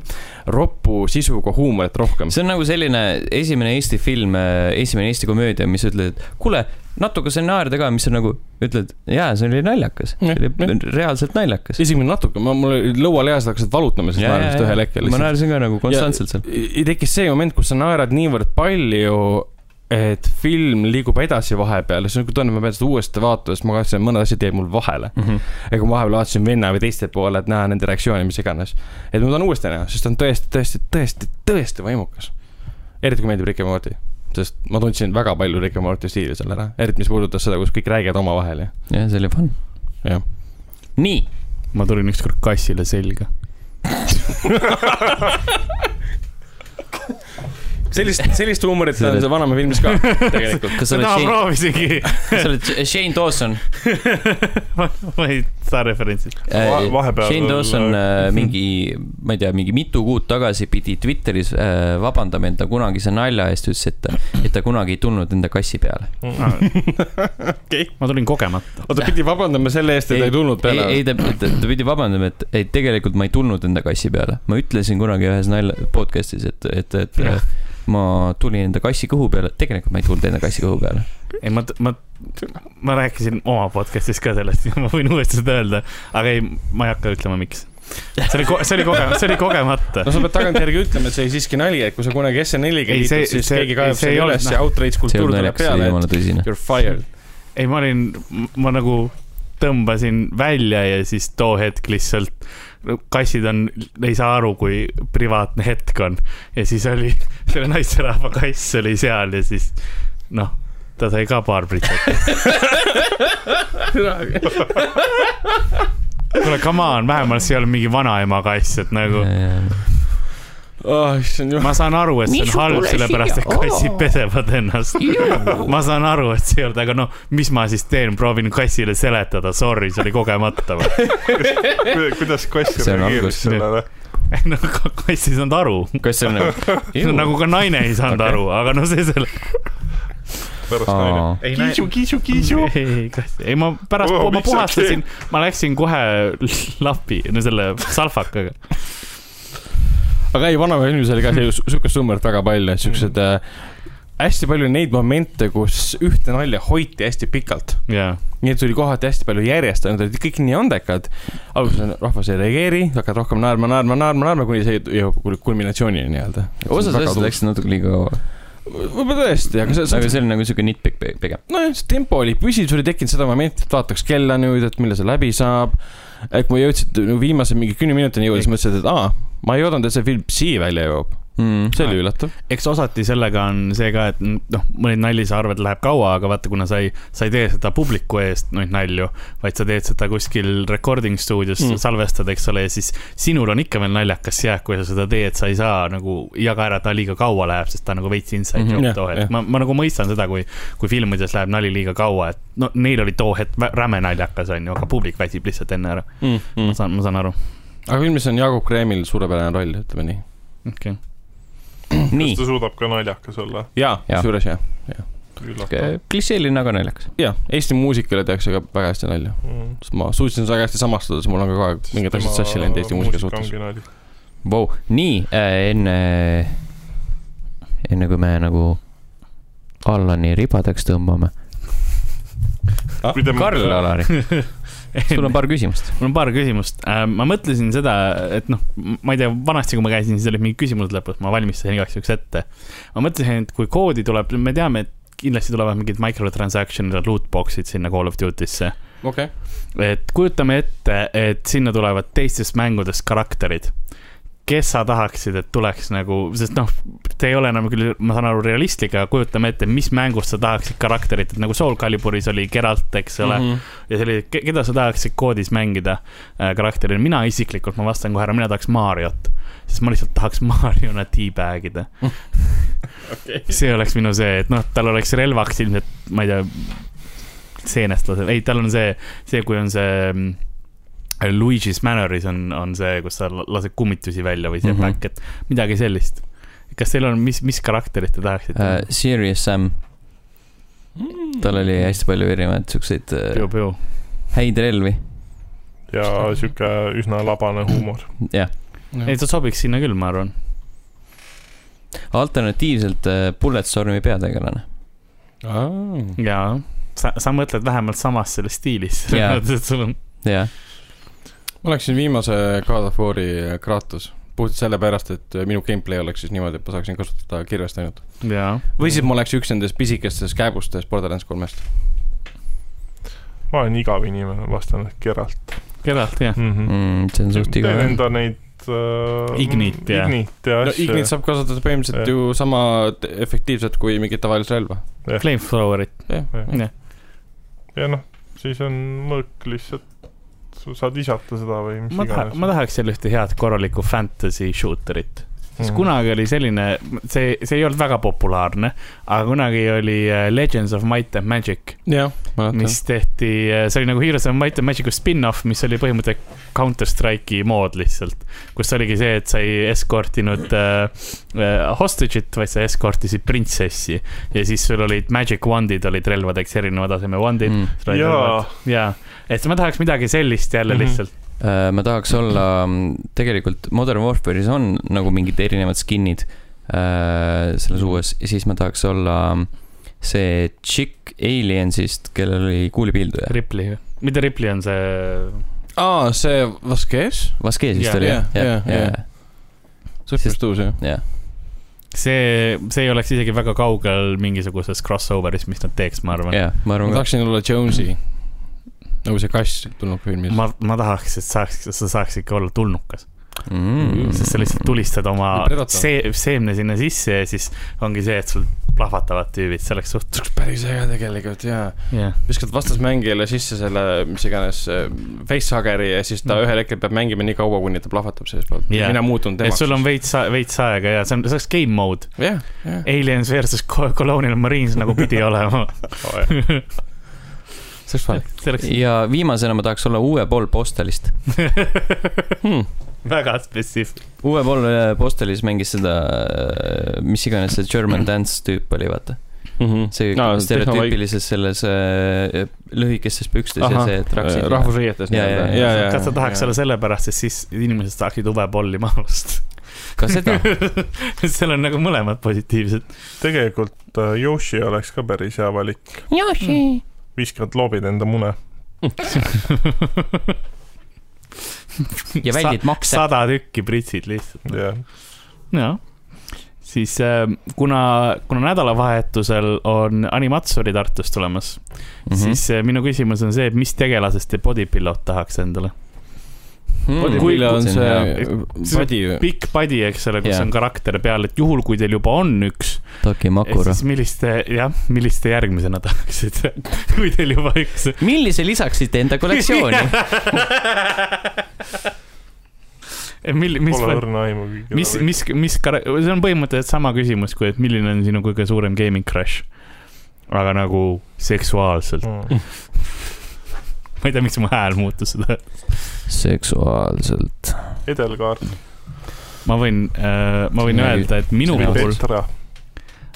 S4: roppu sisuga huumorit rohkem .
S1: see on nagu selline esimene Eesti film , esimene Eesti komöödia , mis ütled , et kuule , natuke sai naerda ka , mis on nagu , ütled , jaa , see oli naljakas , see
S4: Jah,
S1: oli
S4: jah.
S1: reaalselt naljakas .
S4: isegi natuke , ma , mul lõualihased hakkasid valutama sellest naermist ühel hetkel .
S1: ma naersin ka nagu konstantselt seal .
S4: ja tekkis see moment , kus sa naerad niivõrd palju , et film liigub edasi vahepeal , see on nagu tunne , ma pean seda uuesti vaatama , sest ma kahtlen , mõned asjad jäid mul vahele . ja kui ma vahepeal vaatasin venna või teiste poole , et näha nende reaktsiooni , mis iganes . et ma tahan uuesti näha , sest ta on tõesti , tõesti , tõesti , tõesti võimukas . eriti kui meeldib Rick ja Morty , sest ma tundsin väga palju Rick ja Morty stiili seal ära , eriti mis puudutas seda , kus kõik räägivad omavahel ja ,
S1: jah , see oli fun .
S4: jah .
S1: nii ,
S3: ma tulin ükskord kassile selga .
S4: sellist , sellist huumorit on seal vanamehe filmis ka (laughs) tegelikult .
S1: kas sa oled
S3: seda ma
S1: Shane ,
S3: proovisingi . (laughs)
S1: kas sa oled Shane Dawson ?
S3: ma ei saa referentsi .
S2: Va- vahepeal-
S1: Äh, Shane Dawson äh, mingi , ma ei tea , mingi mitu kuud tagasi pidi Twitteris äh, vabandama enda kunagise nalja eest , ütles , et , et ta kunagi ei tulnud enda kassi peale .
S3: Ah.
S4: Okei.
S3: ma tulin kogemata .
S4: oota , pidi vabandama selle eest , et ta ei
S1: ei ,
S4: tulnud peale .
S1: ei ta , ta ta pidi vabandama , et , et tegelikult ma ei tulnud enda kassi peale . ma ütlesin kunagi ühes nalja , podcast'is , et , et , et äh, ma tulin enda kassi kõhu peale , tegelikult ma ei tulnud enda kassi kõhu peale .
S3: ei , ma , ma , ma rääkisin oma podcast'is ka sellest , ma võin uuesti seda öelda , aga ei , ma ei hakka ütlema , miks . see oli , see oli kogemata , see oli kogemata
S4: no . sa pead tagantjärgi ütlema , et see oli siiski nali , et kui sa kunagi SNL-iga
S3: Ei, see-
S4: liitud , siis
S3: see-
S4: keegi
S3: ei,
S4: kaevab
S3: see ei
S4: selle
S3: ole-
S4: üles ja outrage
S1: see ei
S4: kultuur
S1: olnud
S4: tuleb
S1: naljakas , see oli
S4: peale ,
S1: jumala tõsine
S4: et . you are fired .
S3: ei , ma olin , ma nagu tõmbasin välja ja siis too hetk lihtsalt , kassid on , ei saa aru , kui privaatne hetk on . ja siis oli (laughs) selle naisterahva kass oli seal ja siis noh , ta sai ka paar pritset . kuule , come on , vähemalt see ei ole mingi vanaema kass , et nagu
S4: oh , issand jumal .
S3: ma saan aru , et see on halb , sellepärast et kassid pesevad ennast . ma saan aru , et see ei olnud , aga noh , mis ma siis teen , proovin kassile seletada , sorry , see oli kogemata või ? (laughs)
S2: kuidas kass
S1: See on
S2: reageeris
S1: algus.
S2: sellele ?
S3: no ka- kass ei saanud aru ,
S1: kas see on nagu
S3: nagu ka naine ei saanud
S1: Okei.
S3: okay. aru , aga no see selle .
S2: pärast naine .
S1: Aa,
S3: ei ,
S2: kiisu , kiisu , kiisu .
S3: (laughs) ei , kass , ei ma pärast
S2: Wow, ,
S3: ma
S2: miks sa
S3: puhastasin , ma läksin kohe (laughs) lapi , no selle salfakaga .
S4: aga ei , vanamehe filmis oli ka see ju- siukest numbrit väga palju , siuksed äh, hästi palju neid momente , kus ühte nalja hoiti hästi pikalt .
S3: jaa ,
S4: Neid tuli kohati hästi palju järjest , nad olid kõik nii andekad . alguses rahvas ei reageeri , hakkad rohkem naerma , naerma , naerma , naerma , kuni see jõuab kul- kulminatsioonini nii-öelda .
S1: osad asjad . läksid natuke liiga kaua ,
S4: võib-olla tõesti , aga see , see
S1: aga see oli nagu siuke nitpikk pe- pigem .
S4: nojah , see tempo oli püsiv , sul ei tekkinud seda momenti , et vaataks kella nüüd , et millal see läbi saab . et kui ma jõudsin nagu viimase mingi kümne minutini jõuda , siis mõtlesin , et aa , ma ei oodanud , et see film siia välja jõuab .
S1: Mm.
S4: see oli üllatav .
S3: eks osati sellega on see ka , et n- noh , mõned naljasaarved läheb kaua , aga vaata , kuna sa ei , sa ei tee seda publiku eest neid nalju , vaid sa teed seda kuskil recording stuudios mm. , salvestad , eks ole , ja siis sinul on ikka veel naljakas jääk , kui sa seda teed , sa ei saa nagu jaga ära , et ta liiga kaua läheb , sest ta on nagu veits inside
S4: Mhm.
S3: joke
S4: Jah,
S3: too
S4: jah.
S3: hetk . ma , ma nagu mõistan seda , kui , kui filmides läheb nali liiga kaua , et no neil oli too hetk vä- räme naljakas , onju , aga publik väsib lihtsalt enne ära .
S4: Mm, Mhm.
S3: ma saan , ma saan aru ,
S4: aga filmis on Jaagup Kreemil suurepärane roll , ütleme nii .
S3: okei okay. .
S2: kas
S6: nii ,
S2: ta suudab ka naljakas olla ?
S4: jaa , kusjuures jah .
S2: üllatav .
S1: klišeeline , aga nagu naljakas .
S4: jaa , Eesti muusikale tehakse ka väga hästi nalja .
S2: Mm.
S4: ma suutsin seda väga hästi samastuda , siis mul on ka kogu aeg mingid asjad sassi läinud Eesti muusika suhtes .
S6: vau , nii äh, enne , enne kui me nagu Allani ribadeks tõmbame .
S4: Ah,
S3: Ah,
S2: Kui te-
S6: Karl Alari ,
S1: (laughs)
S6: sul on paar küsimust .
S3: mul on paar küsimust . ma mõtlesin seda , et noh , ma ei tea , vanasti , kui ma käisin , siis olid mingid küsimused lõpus , ma valmistasin igaks juhuks ette . ma mõtlesin , et kui koodi tuleb , me teame , et kindlasti tulevad mingid microtransaction'id ja lootbox'id sinna Call of Duty'sse .
S4: okei .
S3: et kujutame ette , et sinna tulevad teistest mängudest karakterid . kes sa tahaksid , et tuleks nagu , sest noh , te ei ole enam küll , ma saan aru , realistlik , aga kujutame ette , mis mängust sa tahaksid karakterit , et nagu Soul Caliburis oli Geralt , eks ole mm . -hmm. ja selline , keda sa tahaksid koodis mängida äh, karakterina , mina isiklikult , ma vastan kohe ära , mina tahaks Mariot . sest ma lihtsalt tahaks (laughs) Mariona teabag ida okay. . see oleks minu see , et noh , tal oleks relvaks ilmselt , ma ei tea , seenest laseb , ei , tal on see see , kui on see mm, Luigi's Manoris on , on see , kus sa la- lased kummitusi välja või see mm
S6: Mhm.
S3: -hmm. back , et midagi sellist . kas teil on , mis , mis karakterit te tahaksite
S1: uh,
S3: uh, ?
S1: Serious Sam mm. . tal oli hästi palju erinevaid siukseid uh,
S3: Piu-piu .
S1: häid relvi .
S2: ja sihuke üsna labane huumor .
S1: jah ,
S4: Mhm. äh.
S3: ei , ta sobiks sinna küll , ma arvan .
S1: alternatiivselt uh, Bulletstormi peategelane .
S3: jaa , sa , sa mõtled vähemalt samas selles stiilis . (laughs)
S1: Jaa.
S3: sul on ,
S1: jah ,
S4: ma läksin viimase God of War'i äh, Kratos puhtalt sellepärast , et äh, minu gameplay oleks siis niimoodi , et ma saaksin kasutada kirvest ainult .
S3: jaa .
S4: või siis ma oleks üks nendest pisikestest kääbustest Borderlands kolmest .
S2: ma olen igav inimene , vastan Geralt
S3: Geralt , jah .
S2: mm . -hmm.
S1: mm, see on suht
S2: teen
S1: igav jah .
S2: enda neid uh,
S3: Ignit ja-
S2: Ignit ja
S4: no
S2: asju
S4: Ignit
S2: no, .
S4: saab kasutada põhimõtteliselt
S2: äh, Jah.
S4: ju sama t- efektiivselt kui mingit tavalist relva .
S3: Flamethrowerit ,
S2: ja noh , siis on mõõk lihtsalt , sa saad visata seda või mis
S3: ma taha , ma tahaks sellist head korralikku fantasy shooterit . siis
S2: Mhm.
S3: mm. . kunagi oli selline , see , see ei olnud väga populaarne , aga kunagi oli äh, Legends of Might and Magic ,
S4: jah , mäletan .
S3: mis tehti , see oli nagu Heroes of Might and Magic'u spin-off , mis oli põhimõtteliselt Counter Strike'i mood lihtsalt . kus oligi see , et sa ei eskortinud äh, äh, hostage'it , vaid sa eskortisid printsessi ja siis sul olid magic wand'id olid relvadeks , erineva taseme wand'id
S1: Mm.
S3: mm. .
S2: jaa ,
S3: ja , et ma tahaks midagi sellist jälle
S2: Mhm.
S3: mm -hmm. lihtsalt .
S1: Äh, ma tahaks olla , tegelikult Modern Warfare'is on nagu mingid erinevad skin'id äh, selles uues , siis ma tahaks olla mm, see chick aliens'ist , kellel oli kuulipilduja .
S3: Ripley , mitte Ripley on see
S4: aa , see Vasquez ?
S1: Vaskeesist
S3: Jah,
S1: oli jah ,
S4: jah,
S1: jah ,
S4: jah,
S1: jah ,
S4: Super Stu's jah ?
S1: jah .
S3: see , see ei oleks isegi väga kaugel mingisuguses crossover'is , mis nad teeks , ma arvan .
S1: jah , ma
S4: ma
S1: arvan ka .
S4: tahaksin olla Jones'i . nagu see kass tulnud filmis .
S3: ma , ma tahaks , et saaks , sa saaks ikka olla tulnukas mm. , sest sa lihtsalt tulistad oma
S4: Ja Predator.
S3: see, seemne sinna sisse ja siis ongi see , et sul plahvatavad tüübid , see oleks suht ,
S4: see oleks päris äge tegelikult jaa .
S3: jah .
S4: viskad vastasmängijale sisse selle , mis iganes , facehuggeri ja siis ta
S3: Mm.
S4: mm. ühel hetkel peab mängima nii kaua , kuni ta plahvatab seestpoolt
S3: Jaa.
S4: yeah. . mina muutun
S3: et
S4: temaks .
S3: sul on veits , veits aega ja see on , see oleks game mode .
S4: jah , jah .
S3: Aliens versus Co- Colonial Marines nagu pidi olema .
S4: see oleks fun .
S3: see oleks
S1: ja viimasena ma tahaks olla uue pool postelist .
S4: Hmm.
S3: (laughs) väga spetsiifiline .
S1: uue pool äh, postelis mängis seda , mis iganes see German dance tüüp oli , vaata .
S4: Mhm.
S1: see nagu no,
S4: nagu
S1: stereotüüpilises selles äh, lühikestes pükstes Aha, ja see
S4: Äh,
S1: traksid .
S4: rahvusriietes
S1: Jaa,
S4: nii-öelda.
S1: jaa, jaa.
S4: Jaa, jaa,
S3: kas sa
S4: jaa,
S3: tahaks
S4: jaa.
S3: olla sellepärast , et siis inimesed saaksid ubepolli maalust ?
S1: ka
S4: (laughs)
S1: seda ,
S3: (laughs) seal on nagu mõlemad positiivsed .
S2: tegelikult äh, Yoshi oleks ka päris hea valik .
S7: Yoshi.
S2: viskad loobid enda mune .
S1: ja väldid makse .
S3: sada tükki pritsid lihtsalt .
S2: jah ,
S3: jah . siis äh, kuna , kuna nädalavahetusel on Animatsuri Tartus tulemas
S1: Mhm.
S3: mm , -hmm. siis äh, minu küsimus on see , et mis tegelasest te Bodypillot tahaks endale ?
S1: Mhm.
S3: Kui-
S4: Bodybuilder on see
S3: see-
S4: padi ju .
S3: Big Buddy , eks ole , kus
S1: Jah.
S3: on karakter peal , et juhul , kui teil juba on üks ,
S1: Taki Makura .
S3: siis milliste , jah , milliste järgmisena tahaksite , (laughs) kui teil juba üks .
S1: millise lisaksite enda kollektsiooni ?
S3: (laughs) mil- , mis ,
S2: Pole õrna aimugi .
S3: mis , mis , mis kar- , see on põhimõtteliselt sama küsimus , kui , et milline on sinu kõige suurem gaming crush . aga nagu seksuaalselt ,
S2: Mm.
S1: Mm.
S3: ma ei tea , miks mu hääl muutus seda ,
S1: seksuaalselt .
S2: edelkaart
S3: ma võin äh, , ma võin
S1: Midagi-
S3: öelda , et minu
S2: või
S1: midagi-
S3: puhul
S2: Petra .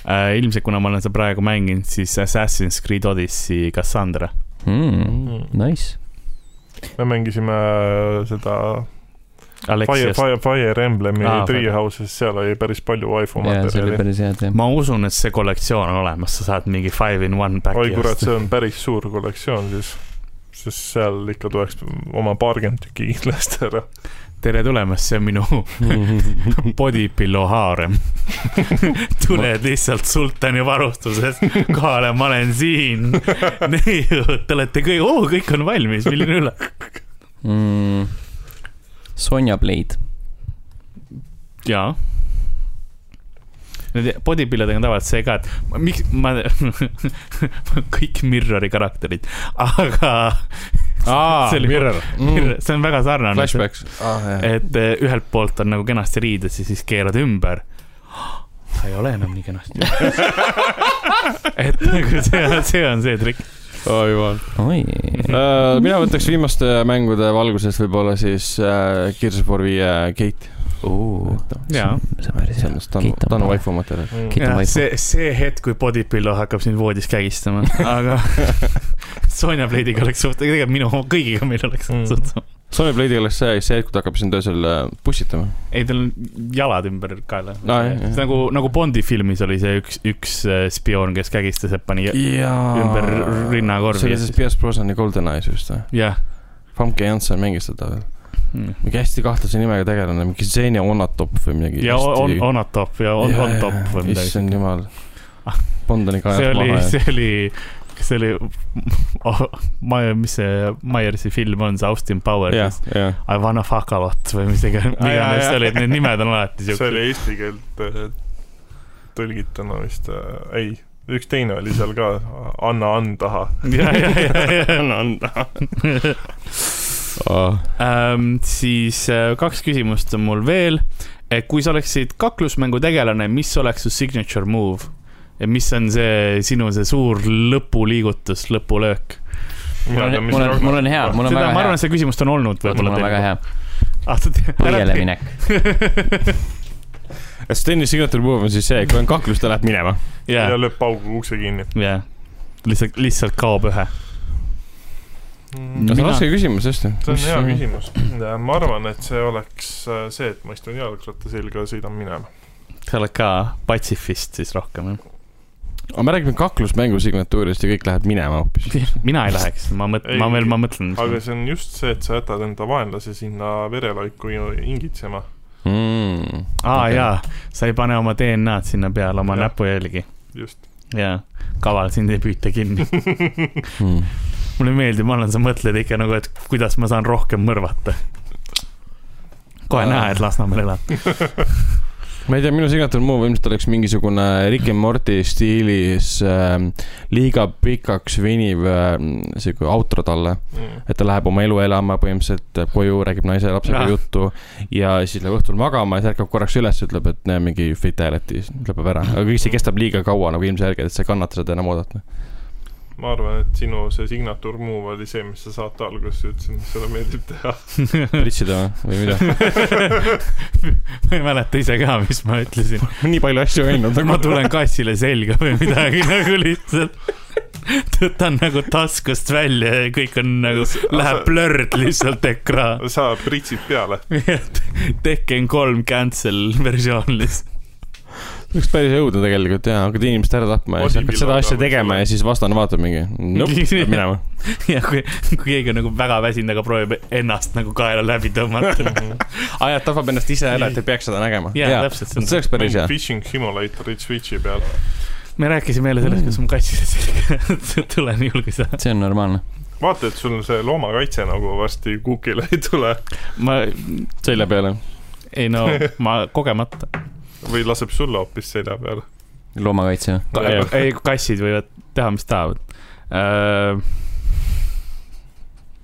S3: äh, ilmselt , kuna ma olen seda praegu mänginud , siis Assassin's Creed Odyssey Cassandra .
S1: Mm. Nice .
S2: Mm. me mängisime äh, seda Fire ,
S3: Alexiast ,
S2: Fire , Fire Emblemi
S3: Aa,
S2: ah,
S3: Fire-
S2: Treehouse'is , seal oli päris palju waifu
S1: jaa , see oli
S2: materjali .
S1: päris hea teema .
S3: ma usun , et see kollektsioon on olemas , sa saad mingi five in one
S2: oi
S3: back'i
S2: kurat ,
S3: osta .
S2: see on päris suur kollektsioon siis , sest seal ikka tuleks oma paarkümmend tükki kindlasti ära .
S3: tere tulemast , see on minu body pillow (laughs) haarem . tuled lihtsalt sultani varustuses kohale , ma olen siin . neiu , te olete kõik , oo , kõik on valmis , milline üllatus .
S1: Mm. Sonja Blade .
S3: jaa . Need body pillodega on tavaliselt see ka , et miks ma (laughs) kõik Mirrori karakterid , aga
S4: aa
S3: see oli-
S4: Mirror .
S3: see on väga sarnane .
S4: Flashbacks .
S1: Ah,
S3: et eh, ühelt poolt on nagu kenasti riides ja siis keerad (laughs) ümber . sa ei ole enam nii kenasti . et nagu see on , see on see trikk .
S4: oi jumal .
S1: oi .
S4: mina võtaks viimaste mängude valguses võib-olla siis äh, Gears of War viie Gate .
S3: jaa ,
S1: see on päris
S4: see
S1: hea
S4: on .
S1: Gate ,
S4: Tanu
S1: on
S4: Tanu
S1: parem.
S4: Vaifu materjal .
S2: Mm.
S1: Kiidan vaipu.
S3: see , see hetk , kui body pillow hakkab sind voodis
S4: (laughs)
S3: kägistama , aga (laughs) Sonja Blade'iga oleks suht , tegelikult minu , kõigiga meil oleks
S2: Mm.
S3: suht sama .
S4: Sony Blade'il oleks see , see hetk , kui ta hakkab sind öösel äh, pussitama .
S3: ei , tal on jalad ümber kaela
S4: Aa, jah, jah.
S3: nagu , nagu Bondi filmis oli see üks , üks eh, spioon , kes kägistas , et pani
S4: jaa .
S3: ümber rinnakorvi
S4: see oli
S3: ja
S4: siis
S3: siis-
S4: Pierce Brosnani Golden Eyes just või ?
S3: jah
S4: Famke Janssen mängis seda veel .
S3: mm. .
S4: mingi hästi kahtlase nimega tegelane , mingi Xenia Onatop või midagi .
S3: ja on , on top ja on , on top või midagi .
S4: issand jumal
S3: Ah. .
S4: Bond oli ka
S3: see
S4: ajast
S3: oli ,
S4: maha ja
S3: see oli , kas see oli oh, , ma , mis see Myersi film on , see Austin Powers
S4: jah
S3: yeah. ,, (laughs)
S4: jah .
S3: I wanna fuck a lot või mis iga-
S4: Ah, jaa,
S3: iganes
S4: jaa.
S3: see oli , et need nimed on
S4: (laughs)
S3: alati
S2: see
S3: siuksed .
S2: oli eesti keelt eh, tõlgituna vist , ei , üks teine oli seal ka , Anna Ann taha .
S3: ja , ja , ja ,
S4: (laughs)
S3: (laughs) ja ,
S4: anna , anna . Oh.
S3: Ähm, siis äh, kaks küsimust on mul veel . kui sa oleksid kaklusmängu tegelane , mis oleks su signature move ? ja mis on see sinu see suur lõpuliigutus , lõpulöök ?
S1: mul on , mul on , mul on hea , mul on
S3: seda ,
S1: väga
S3: ma
S1: hea
S3: arvan ,. see küsimust on olnud
S1: mul
S3: võib-olla
S1: on väga hea .
S3: ah, .
S1: põiele . minek .
S4: Steni signature move on siis see , kui on kaklus , ta läheb minema .
S3: jaa ,
S2: ja lööb paugu ukse kinni .
S3: jah , lihtsalt , lihtsalt kaob ühe .
S4: see on
S3: Mina-
S4: raske küsimus , tõesti .
S2: Mm. see on hea . küsimus . (clears throat) ma arvan , et see oleks äh, see , et ma istun jalgratta selga ja sõidan minema .
S3: sa oled ka patsifist siis rohkem jah ?
S4: aga me räägime kaklusmängu signatuurist ja kõik läheb minema hoopis .
S3: (laughs) mina ei läheks , ma mõtlen ,
S2: Ei.
S3: ma veel , ma mõtlen .
S2: aga see on just see , et sa jätad enda vaenlase sinna verelaiku ju ingitsema .
S4: Hmm.
S3: aa okay. jaa , sa ei pane oma DNA-d sinna peale , oma
S2: Jah.
S3: näpujälgi .
S2: just .
S3: jaa , kaval sind ei püüta kinni .
S4: Hmm.
S3: mulle meeldib , ma arvan , sa mõtled ikka nagu , et kuidas ma saan rohkem mõrvata . kohe
S4: Aa.
S3: näha , et Lasnamäel (laughs) elab .
S4: ma ei tea , minu signature move ilmselt oleks mingisugune Rick and Morty stiilis äh, liiga pikaks veniv äh, sihuke outro talle . et ta läheb oma elu elama põhimõtteliselt , läheb koju , räägib naise ja lapsega
S3: Ah.
S4: ah. juttu ja siis läheb õhtul magama ja siis ärkab korraks üles , ütleb , et näe mingi fatality , siis lõpeb ära . aga kõik see kestab liiga kaua nagu ilmselgelt , et sa ei kannata seda enam noh. oodata .
S2: ma arvan , et sinu see signature move oli see , mis sa saate alguses ütlesid , mis sulle meeldib teha .
S4: pritsida või või
S3: (laughs)
S4: mida ?
S3: ma ei mäleta ise ka , mis ma ütlesin .
S4: nii palju asju öelnud ,
S3: nagu
S4: (laughs)
S3: ma tulen kassile selga või midagi (laughs) nagu lihtsalt . võtan nagu taskust välja ja kõik on nagu , läheb blurred lihtsalt ekraan .
S2: sa pritsid peale .
S3: Tekken kolm cancel versioon lihtsalt .
S4: oleks päris õudne tegelikult jaa , hakkad inimest ära tapma ja siis hakkad seda asja tegema ja siis vastane vaatab mingi , nop , läheb minema .
S3: ja kui , kui keegi on nagu väga väsinud , aga proovib ennast nagu kaela läbi (laughs) tõmmata .
S4: aa jah , tapab ennast ise ära , et ei peaks seda nägema .
S3: jaa ja. , täpselt , see on
S4: see
S3: see .
S4: oleks päris hea .
S2: Fishing simulatorid Switchi peal .
S3: me rääkisime jälle sellest , kuidas ma kassile selga tulen julge sa .
S1: see on normaalne .
S2: vaata , et sul see loomakaitse nagu varsti kukile (laughs) ei tule
S3: ma ,
S4: selja peale .
S3: ei no ma kogemata .
S2: või laseb sulle hoopis selja peale .
S1: loomakaitse .
S2: (laughs) Jah.
S3: ei , kassid võivad teha , mis tahavad uh... .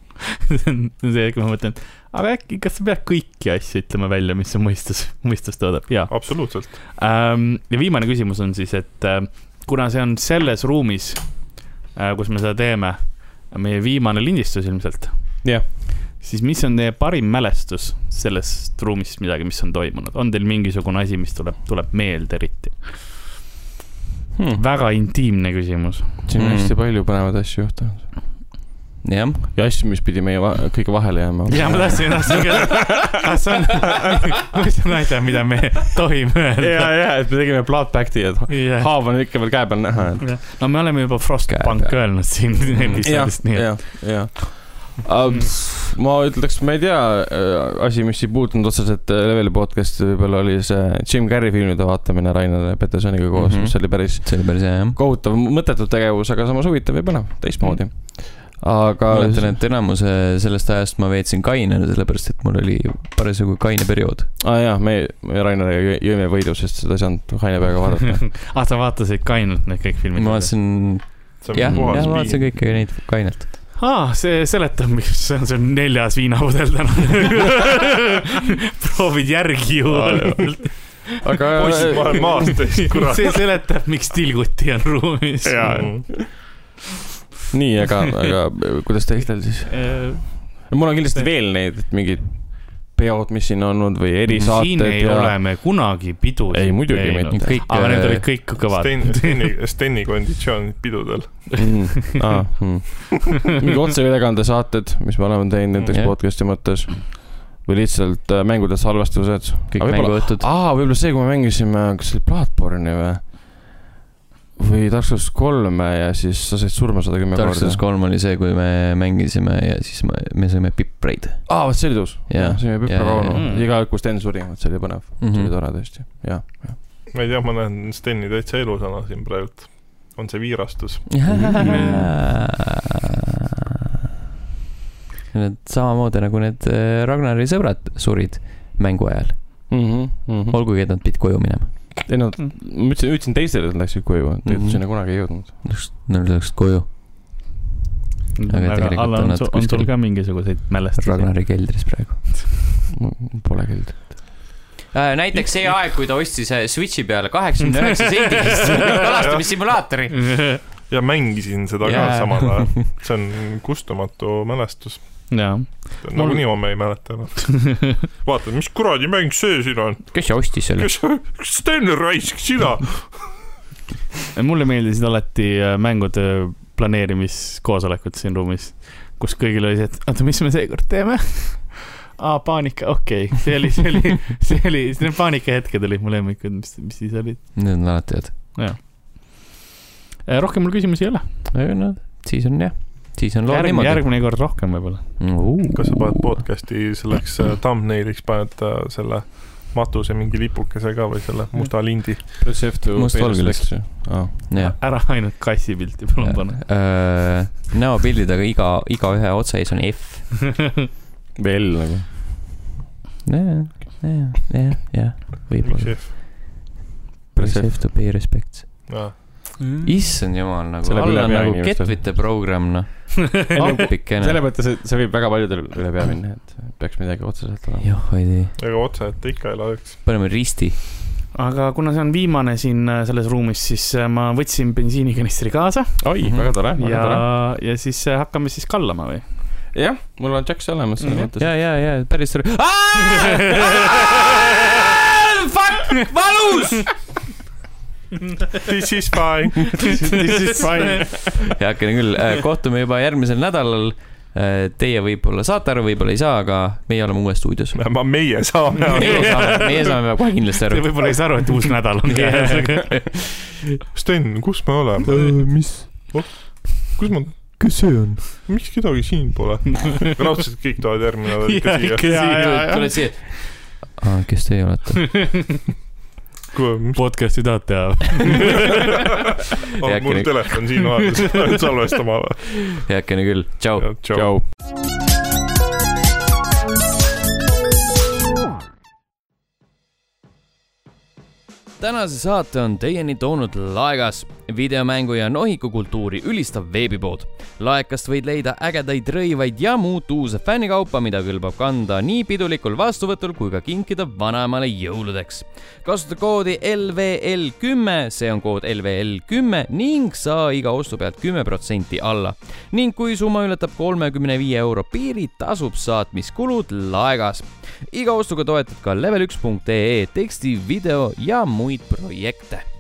S3: (laughs) see , kui ma mõtlen , aga äkki , kas sa pead kõiki asju ütlema välja , mis su mõistus , mõistus toodab , jaa .
S2: absoluutselt .
S3: Ähm, ja viimane küsimus on siis , et äh, kuna see on selles ruumis , kus me seda teeme , meie viimane lindistus ilmselt .
S4: Jah.
S3: siis mis on teie parim mälestus sellest ruumist midagi , mis on toimunud , on teil mingisugune asi , mis tuleb , tuleb meelde eriti ?
S1: Hmm.
S3: väga intiimne küsimus .
S4: siin on
S1: Mm.
S4: hästi palju põnevaid asju juhtunud .
S1: jah ,
S4: ja asju , mis pidi meie va- kõik vahele jääma .
S3: ja ma tahtsin , tahtsin (laughs) ka , kas on , kas on asjad , mida me tohime öelda
S4: ja ,? ja , et me tegime plaatpakti , et
S3: jah ,
S4: haav on ikka veel käe peal näha , et .
S3: no me oleme juba Frostpunk
S4: Käe
S3: öelnud siin episoodis , nii et
S4: jah , jah . Um, ma ütleks , ma ei tea , asi , mis ei puutunud otseselt äh, Leveli podcast'i võib-olla oli see Jim Carrey filmide vaatamine Rainer Petersoniga koos mm ,
S1: Mhm.
S4: -hmm. mis oli päris
S1: see oli päris hea jah .
S4: kohutav , mõttetu tegevus , aga samas huvitav ja põnev ,
S3: Mm.
S4: teistmoodi . aga
S1: ma . mäletan , et enamuse sellest ajast ma veetsin kainena , sellepärast et mul oli parasjagu kaine periood .
S4: aa Ah, jaa , me , me Raineriga jõ- jõime võidu , sest seda ei saanud Raine peaga (laughs) vaadata .
S3: (laughs) ah , sa vaatasid kainelt need kõik filmid ?
S1: ma vaatasin ,
S2: see on
S1: jah , jah ,
S2: puhas
S1: ma
S2: piin
S1: vaatasin . kõike neid kainelt .
S3: aa , Ah, see seletab , miks see on see neljas viinapudel täna . proovid järgi juua .
S4: aga (laughs)
S2: poisid , ma olen maas teist , kurat .
S3: see seletab , miks tilguti on ruumis .
S4: nii , aga , aga kuidas teistel siis ?
S3: Äh,
S4: mul on kindlasti veel neid , et mingid peod , mis siin on olnud või
S3: siin
S4: erisaated
S3: ei ja... ole me kunagi pidu .
S4: Ei, muidugi mitte.
S1: kõik .
S3: aga need olid kõik kõvad .
S2: Sten , Steni , Steni konditsioonid pidudel .
S4: (laughs) mm, . Ah, mm. mingi otseülekande saated , mis me oleme teinud näiteks
S1: Jah.
S4: yeah. podcast'i mõttes või lihtsalt äh, mängude salvestused .
S1: kõik mänguõhtud .
S4: aa , võib-olla see , kui me mängisime , kas see oli Bloodborne'i või ? või Dark Souls kolme ja siis sa said surma sada kümme
S1: Dark
S4: korda
S1: Souls . kolm oli see , kui me mängisime ja siis ma, me sõime pipreid
S4: aa , vot see oli tõus .
S1: Jah.
S4: see oli
S1: Jah,
S4: Pippa-Rauno
S3: jah, jah. ,
S4: iga kord , kui Sten suri , vot see oli põnev ,
S1: mm .
S4: see oli
S1: -hmm.
S4: tore tõesti , jah .
S2: ma ei tea , ma näen Steni täitsa elusana siin praegult . on see viirastus ?
S1: Need samamoodi nagu need äh, Ragnari sõbrad surid mängu ajal , Mhm, olgugi et nad pidid koju minema .
S4: ei no , ma ütlesin , ütlesin teistele , et nad läksid koju ,
S1: Mhm.
S4: tegelikult sinna kunagi ei jõudnud .
S1: Nad läksid koju Aga tegelikult
S3: Mm, Allan,
S1: on nad
S3: su- on sul
S1: kuskil-
S3: ka mingisuguseid mälestusi ?
S1: Ragnari keldris praegu .
S4: Pole küll .
S1: Äh, näiteks see aeg , kui ta ostis äh, Switchi peale kaheksakümne (laughs) üheksa sendi
S3: (laughs)
S1: eest kalastamissimulaatori .
S2: ja mängisin seda ka
S1: Jaa.
S2: samal ajal . see on kustumatu mälestus .
S3: jah .
S2: nagunii homme ei mäleta enam . vaatad , mis kuradi mäng see siin on ?
S1: kes see ostis selle ?
S2: kes , (laughs) Sten Raisk , sina ?
S3: mulle meeldisid alati äh, mängude planeerimiskoosolekud siin ruumis , kus kõigil oli see , et oota , mis me seekord teeme ? (laughs) aa , paanika , okei okay. , see oli , see oli , see oli , need paanikahetked olid mu lemmikud , mis , mis siis olid .
S1: Need on alati head .
S3: Äh, rohkem mul küsimusi ei ole .
S1: aga noh , siis on jah , siis on lood
S3: järgmine ,
S1: niimoodi .
S3: järgmine kord rohkem võib-olla .
S2: kas sa paned podcast'i selleks äh, thumbnailiks , paned äh, selle matuse mingi lipukese ka või selle musta lindi ?
S4: Press F to
S1: Mustvalge lihtsalt. .
S4: aa ,
S1: jah .
S3: ära ainult kassipilti palun (laughs) pane .
S1: Öö, näopildid , aga iga , igaühe otsaees on F .
S4: või L (laughs) nagu .
S1: jah , jah , jah , jah , võib-olla .
S4: Press F .
S1: Safe to pay respects . issand jumal , nagu
S4: Mm. Selle peale
S1: Allan
S4: pea
S1: nagu
S4: inimestel.
S1: ketvite programm , noh .
S4: selle
S1: appikene .
S4: mõttes , et see võib väga paljudel üle pea minna , et peaks midagi otseselt olema .
S1: joh , ei tea ,
S2: ega otse , et ikka ei läheks .
S1: paneme risti .
S3: aga kuna see on viimane siin äh, selles ruumis , siis äh, ma võtsin bensiinikanistri kaasa
S4: oi
S1: Mhm.
S4: väga tore , väga
S3: ja
S4: tore .,
S3: ja siis äh, hakkame siis kallama (laughs) või ?
S4: jah , mul on Jacks olemas selles mõttes .
S1: ja , ja , ja päris tore . Fuck , valus .
S2: This is fine .
S3: This is fine .
S1: heakene küll , kohtume juba järgmisel nädalal . Teie võib-olla saate aru , võib-olla ei saa , aga meie oleme uues stuudios .
S2: ma , meie saame
S1: meie
S2: aru .
S1: saame , meie saame kohe kindlasti
S3: Te
S1: aru .
S3: võib-olla ei saa aru , et uus nädal (laughs) on käes , aga
S2: Sten , kus me oleme ?
S7: Äh, mis ,
S2: kus ma ,
S7: kes see on ?
S2: miks kedagi siin pole ?
S3: (laughs)
S2: raudselt kõik tulevad järgmine (laughs) nädal ikka siia .
S3: Jaa, jaa, jaa.
S1: tuled siia . kes teie olete ?
S3: podcast'i tahad teha ?
S2: on mul
S8: Heakene-
S2: telefon siin vaates , (laughs) pean salvestama .
S8: heakene küll , tšau .
S2: tšau .
S1: tänase saate on teieni toonud Laegas , videomängu ja nohikukultuuri ülistav veebipood . laekast võid leida ägedaid rõivaid ja muud uuse fännikaupa , mida kõlbab kanda nii pidulikul vastuvõtul kui ka kinkida vanaemale jõuludeks . kasuta koodi LVL kümme , see on kood LVL kümme ning saa iga ostu pealt kümme protsenti alla . ning kui summa ületab kolmekümne viie euro piiri , tasub saatmiskulud Laegas iga ostuga toetad ka level1.ee teksti , video ja muid projekte